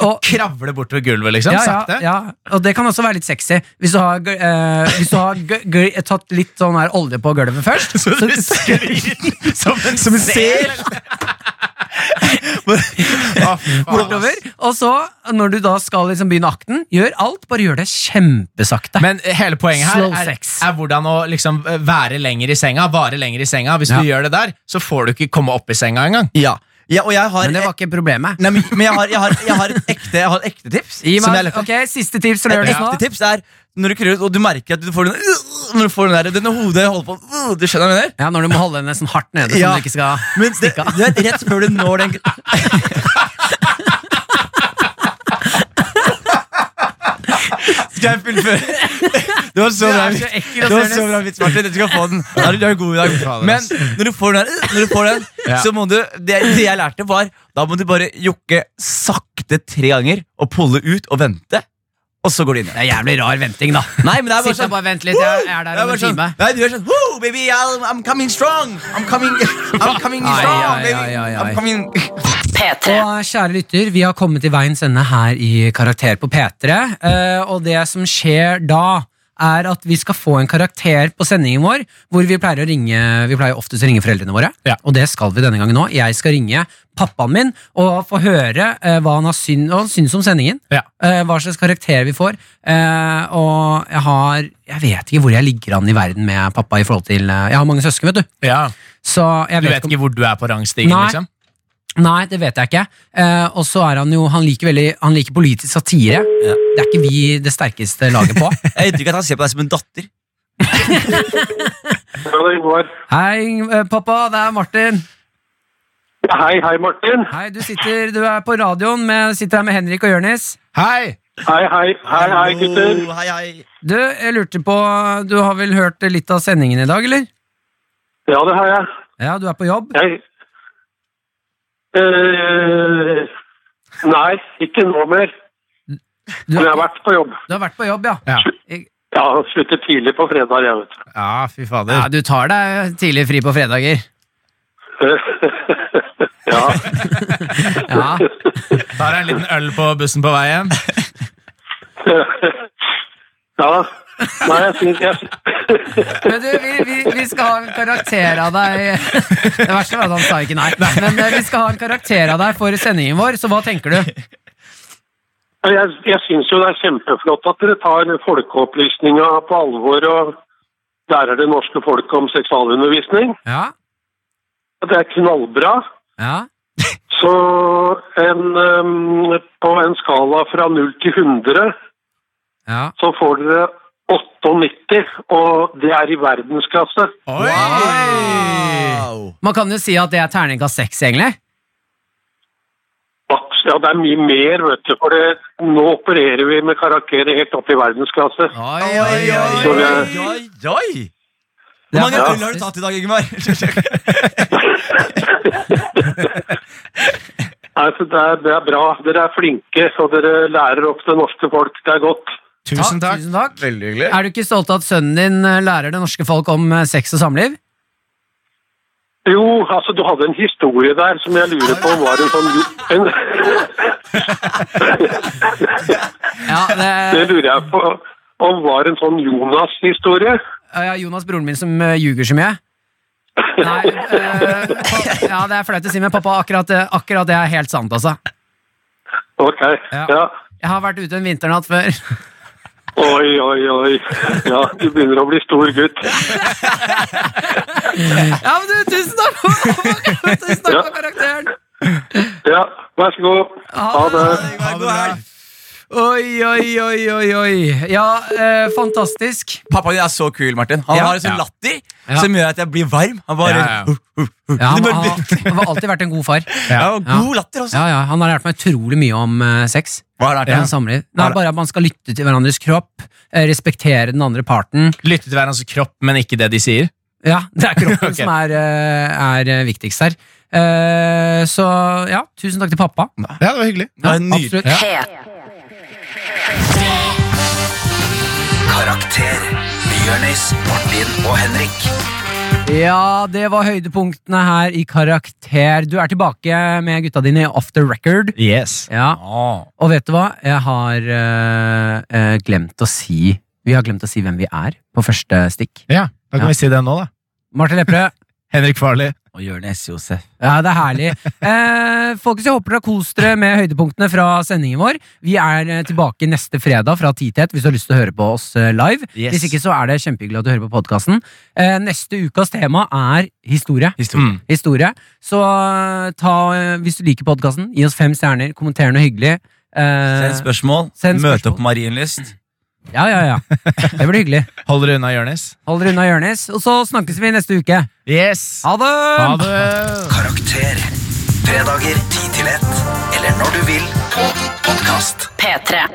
[SPEAKER 2] Og
[SPEAKER 3] Kravle bortover gulvet, liksom.
[SPEAKER 2] ja,
[SPEAKER 3] sakte.
[SPEAKER 2] Ja, ja. Og det kan også være litt sexy. Hvis du har, gl- eh, hvis du har gl- gl- tatt litt sånn her olje på gulvet først, så,
[SPEAKER 3] Du sklir som en, som en sel. Å, fy faen,
[SPEAKER 2] bortover.
[SPEAKER 3] ass.
[SPEAKER 2] Og så, når du da skal liksom begynne akten, gjør alt, bare gjør det kjempesakte.
[SPEAKER 3] Men hele poenget her
[SPEAKER 2] Slow
[SPEAKER 3] er,
[SPEAKER 2] sex.
[SPEAKER 3] er hvordan å liksom eh, være lenger i senga. Vare lenger i senga. Hvis
[SPEAKER 2] Ja.
[SPEAKER 3] du gjør det der, så får du ikke komme opp i senga engang.
[SPEAKER 4] Ja. ja, og jeg har e-
[SPEAKER 2] Men det var ikke problemet.
[SPEAKER 4] Nei, men, men jeg, har, jeg, har, jeg, har et ekte, jeg har et ekte tips.
[SPEAKER 2] Gi
[SPEAKER 4] som jeg
[SPEAKER 2] meg,
[SPEAKER 4] lette.
[SPEAKER 2] ok, Siste tips fra
[SPEAKER 4] Et
[SPEAKER 2] Jonis nå.
[SPEAKER 4] ekte tips er når du kurer ut, og du merker at du får den øh, Når du får den der, denne hodet holder på øh, Du skjønner hva jeg mener?
[SPEAKER 2] Ja, Når du må holde henne sånn hardt nede. Sånn
[SPEAKER 4] Ja.
[SPEAKER 2] at du ikke skal
[SPEAKER 4] Men det, du vet, rett før du når den Skal jeg fullføre? Det var så bra.
[SPEAKER 2] er så
[SPEAKER 4] vits.
[SPEAKER 2] ekkelt,
[SPEAKER 4] Det var
[SPEAKER 2] Jonas.
[SPEAKER 4] så bra vits, Martin. Du skal få den. Ja, du er god i dag. Men når du får den, øh, når du får den
[SPEAKER 3] Ja.
[SPEAKER 4] så må du det, det jeg lærte, var da må du bare jokke sakte tre ganger og pulle ut og vente, og så går du inn igjen.
[SPEAKER 2] Det er jævlig rar venting, da.
[SPEAKER 4] Nei, men det er bare
[SPEAKER 2] Sitt
[SPEAKER 4] sånn
[SPEAKER 2] og bare vent litt, jeg er der
[SPEAKER 4] det er
[SPEAKER 2] om
[SPEAKER 4] bare
[SPEAKER 2] en
[SPEAKER 4] sånn,
[SPEAKER 2] time.
[SPEAKER 4] nei, du er sånn Woo, baby, I'm, I'm coming strong! I'm coming, I'm coming
[SPEAKER 2] Ai,
[SPEAKER 4] strong,
[SPEAKER 2] ai,
[SPEAKER 4] baby!
[SPEAKER 2] ai, ai, ai.
[SPEAKER 4] I'm coming
[SPEAKER 5] P3.
[SPEAKER 2] Og kjære lytter, vi har kommet til veiens ende her i Karakter på P3. eh, Og det som skjer da, er at vi skal få en karakter på sendingen vår, hvor vi pleier å ringe Vi pleier oftest å ringe foreldrene våre,
[SPEAKER 3] Ja.
[SPEAKER 2] og det skal vi denne gangen òg. Jeg skal ringe pappaen min og få høre eh, hva han, har syn hva han syns om sendingen.
[SPEAKER 3] Ja.
[SPEAKER 2] eh, hva slags karakter vi får. eh, og jeg har Jeg vet ikke hvor jeg ligger an i verden med pappa i forhold til eh, Jeg har mange søsken, vet du. Så jeg
[SPEAKER 3] Du
[SPEAKER 2] vet,
[SPEAKER 3] vet ikke hvor du er på rangstigen,
[SPEAKER 2] Nei.
[SPEAKER 3] liksom?
[SPEAKER 2] om Nei, det vet jeg ikke. Eh, og så er han jo Han liker veldig Han liker politisk satire. Det er ikke vi det sterkeste laget på.
[SPEAKER 4] Jeg vet ikke at han ser på deg som en datter.
[SPEAKER 8] Hei, Ingvar.
[SPEAKER 2] Hei, eh, pappa. Det er Martin.
[SPEAKER 8] Ja, Hei, hei, Martin.
[SPEAKER 2] Hei, du sitter Du er på radioen. Med, sitter her med Henrik og Jørnis.
[SPEAKER 3] Hei!
[SPEAKER 8] Hei, hei, hei, hei, gutter.
[SPEAKER 4] Hallo, Hei, hei.
[SPEAKER 2] Du, jeg lurte på Du har vel hørt litt av sendingen i dag, eller?
[SPEAKER 8] Ja, det har jeg.
[SPEAKER 2] Ja, du er på jobb?
[SPEAKER 8] jeg Eh, nei, ikke nå mer.
[SPEAKER 2] Du,
[SPEAKER 8] Men jeg har vært på jobb.
[SPEAKER 2] du har vært på jobb, ja.
[SPEAKER 3] Ja.
[SPEAKER 8] Ja, slutter tidlig på fredag, jeg vet
[SPEAKER 3] Ja, fy
[SPEAKER 2] Ja,
[SPEAKER 3] fader.
[SPEAKER 2] du tar deg tidlig fri på fredager.
[SPEAKER 8] du. ja.
[SPEAKER 2] Ja.
[SPEAKER 3] Tar deg en liten øl på bussen på veien.
[SPEAKER 8] ja. Nei, jeg syns jeg,
[SPEAKER 2] Men du, vi, vi, vi skal ha en karakter av deg Det verste var at han sa ikke nei. Men eh, vi skal ha en karakter av deg for sendingen vår, så hva tenker du?
[SPEAKER 8] jeg, jeg syns jo det er kjempeflott at dere tar folkeopplysninga på alvor og lærer det norske folk om seksualundervisning.
[SPEAKER 2] Ja,
[SPEAKER 8] Det er knallbra.
[SPEAKER 2] ja,
[SPEAKER 8] Så en, ehm, på en skala fra 0 til 100
[SPEAKER 2] ja.
[SPEAKER 8] så får dere 98, og det er i verdensklasse.
[SPEAKER 3] Oi!
[SPEAKER 4] Wow.
[SPEAKER 2] Man kan jo si at det er terningkast seks, egentlig.
[SPEAKER 8] Maks- Ja, det er mye mer, vet du. For det, nå opererer vi med karakterer helt opp i verdensklasse.
[SPEAKER 2] Oi,
[SPEAKER 4] Oi, oi, oi,
[SPEAKER 8] Så vi er-
[SPEAKER 4] oi, oi. Hvor mange øl har du tatt i dag, Ingemar?
[SPEAKER 8] Nei, så det, er, det er bra. Dere er flinke, så dere eh, lærer opp det norske folk. Det er godt.
[SPEAKER 3] Tusen takk.
[SPEAKER 2] Tusen takk.
[SPEAKER 4] Veldig hyggelig.
[SPEAKER 2] Er du ikke stolt av at sønnen din eh, lærer det norske folk om eh, sex og samliv?
[SPEAKER 8] Jo, altså, du hadde en historie der som jeg lurer på var en sånn en,
[SPEAKER 2] Ja,
[SPEAKER 8] Det
[SPEAKER 2] det,
[SPEAKER 8] lurer jeg på om var en sånn Jonas-historie.
[SPEAKER 2] ja Jonas, broren min, som eh, ljuger så mye. Nei, eh, pa- ja, det er flaut å si, men pappa, akkurat, eh, akkurat det er helt sant, altså.
[SPEAKER 8] Ok.
[SPEAKER 2] Ja.
[SPEAKER 8] ja.
[SPEAKER 2] Jeg har vært ute en vinternatt før.
[SPEAKER 8] Oi, oi, oi. Ja, du begynner å bli stor gutt.
[SPEAKER 2] Ja, men du, tusen takk for, tusen takk for karakteren!
[SPEAKER 8] Ja, vær så god. Ha det.
[SPEAKER 4] Ha det bra.
[SPEAKER 2] Oi, oi, oi, oi, oi. Ja, eh, fantastisk.
[SPEAKER 4] Pappaen din er så kul, Martin. Han
[SPEAKER 2] Ja.
[SPEAKER 4] har en sånn
[SPEAKER 3] Ja.
[SPEAKER 4] latter
[SPEAKER 2] Ja.
[SPEAKER 4] som gjør at jeg blir varm. Han bare
[SPEAKER 3] Ja, ja.
[SPEAKER 4] Uh, uh,
[SPEAKER 2] Ja,
[SPEAKER 4] uh. Det
[SPEAKER 2] han,
[SPEAKER 4] bare-
[SPEAKER 2] han, han har alltid vært en god far.
[SPEAKER 4] Ja,
[SPEAKER 3] Ja.
[SPEAKER 4] og god latter også.
[SPEAKER 2] Ja, ja, Han har lært meg utrolig mye om eh, sex.
[SPEAKER 4] Hva har han lært
[SPEAKER 2] Ja.
[SPEAKER 4] deg?
[SPEAKER 2] Samliv. Nei,
[SPEAKER 4] Har-
[SPEAKER 2] bare at man skal lytte til hverandres kropp, eh, respektere den andre parten.
[SPEAKER 3] Lytte til hverandres kropp, men ikke det de sier.
[SPEAKER 2] Ja, Det er kroppen
[SPEAKER 3] Ok.
[SPEAKER 2] som er, eh, er eh, viktigst her. Eh, Så ja, tusen takk til pappa.
[SPEAKER 3] Ja, det var hyggelig.
[SPEAKER 4] Det
[SPEAKER 2] Ja,
[SPEAKER 4] var nydelig.
[SPEAKER 2] absolutt.
[SPEAKER 5] P3.
[SPEAKER 1] Karakter. Jonis, Martin og Henrik.
[SPEAKER 2] Ja, det var høydepunktene her i Karakter. Du er tilbake med gutta dine i Off the Record.
[SPEAKER 3] Yes.
[SPEAKER 2] Ja,
[SPEAKER 4] Åh.
[SPEAKER 2] Og vet du hva? Jeg har eh, eh, glemt å si Vi har glemt å si hvem vi er på første stikk.
[SPEAKER 3] Ja, Da kan
[SPEAKER 2] Ja.
[SPEAKER 3] vi si det nå, da.
[SPEAKER 2] Martin Lepperød,
[SPEAKER 3] Henrik Farley.
[SPEAKER 4] Og Jonis Josef.
[SPEAKER 2] ja, det er herlig. Eh, folkens, jeg håper dere har kost dere med høydepunktene fra sendingen vår. Vi er eh, tilbake neste fredag fra 10 til 1 hvis du har lyst til å høre på oss eh, live.
[SPEAKER 3] Yes.
[SPEAKER 2] Hvis ikke så er det kjempehyggelig at du hører på podkasten. Eh, neste ukas tema er historie.
[SPEAKER 4] Historie.
[SPEAKER 3] Mm.
[SPEAKER 2] historie. Så eh, ta, eh, hvis du liker podkasten, gi oss fem stjerner, kommenter noe hyggelig. Eh,
[SPEAKER 4] Send spørsmål.
[SPEAKER 2] Send spørsmål.
[SPEAKER 4] Møte opp på Marienlyst.
[SPEAKER 2] ja, ja, ja. Det blir hyggelig.
[SPEAKER 3] Hold dere unna Jonis.
[SPEAKER 2] Hold dere unna Jonis, og så snakkes vi neste uke.
[SPEAKER 3] Yes.
[SPEAKER 2] Ha det!
[SPEAKER 3] Ha det.
[SPEAKER 1] Karakter. Fredager 10 til 1. Eller når du vil på podkast.
[SPEAKER 5] P3.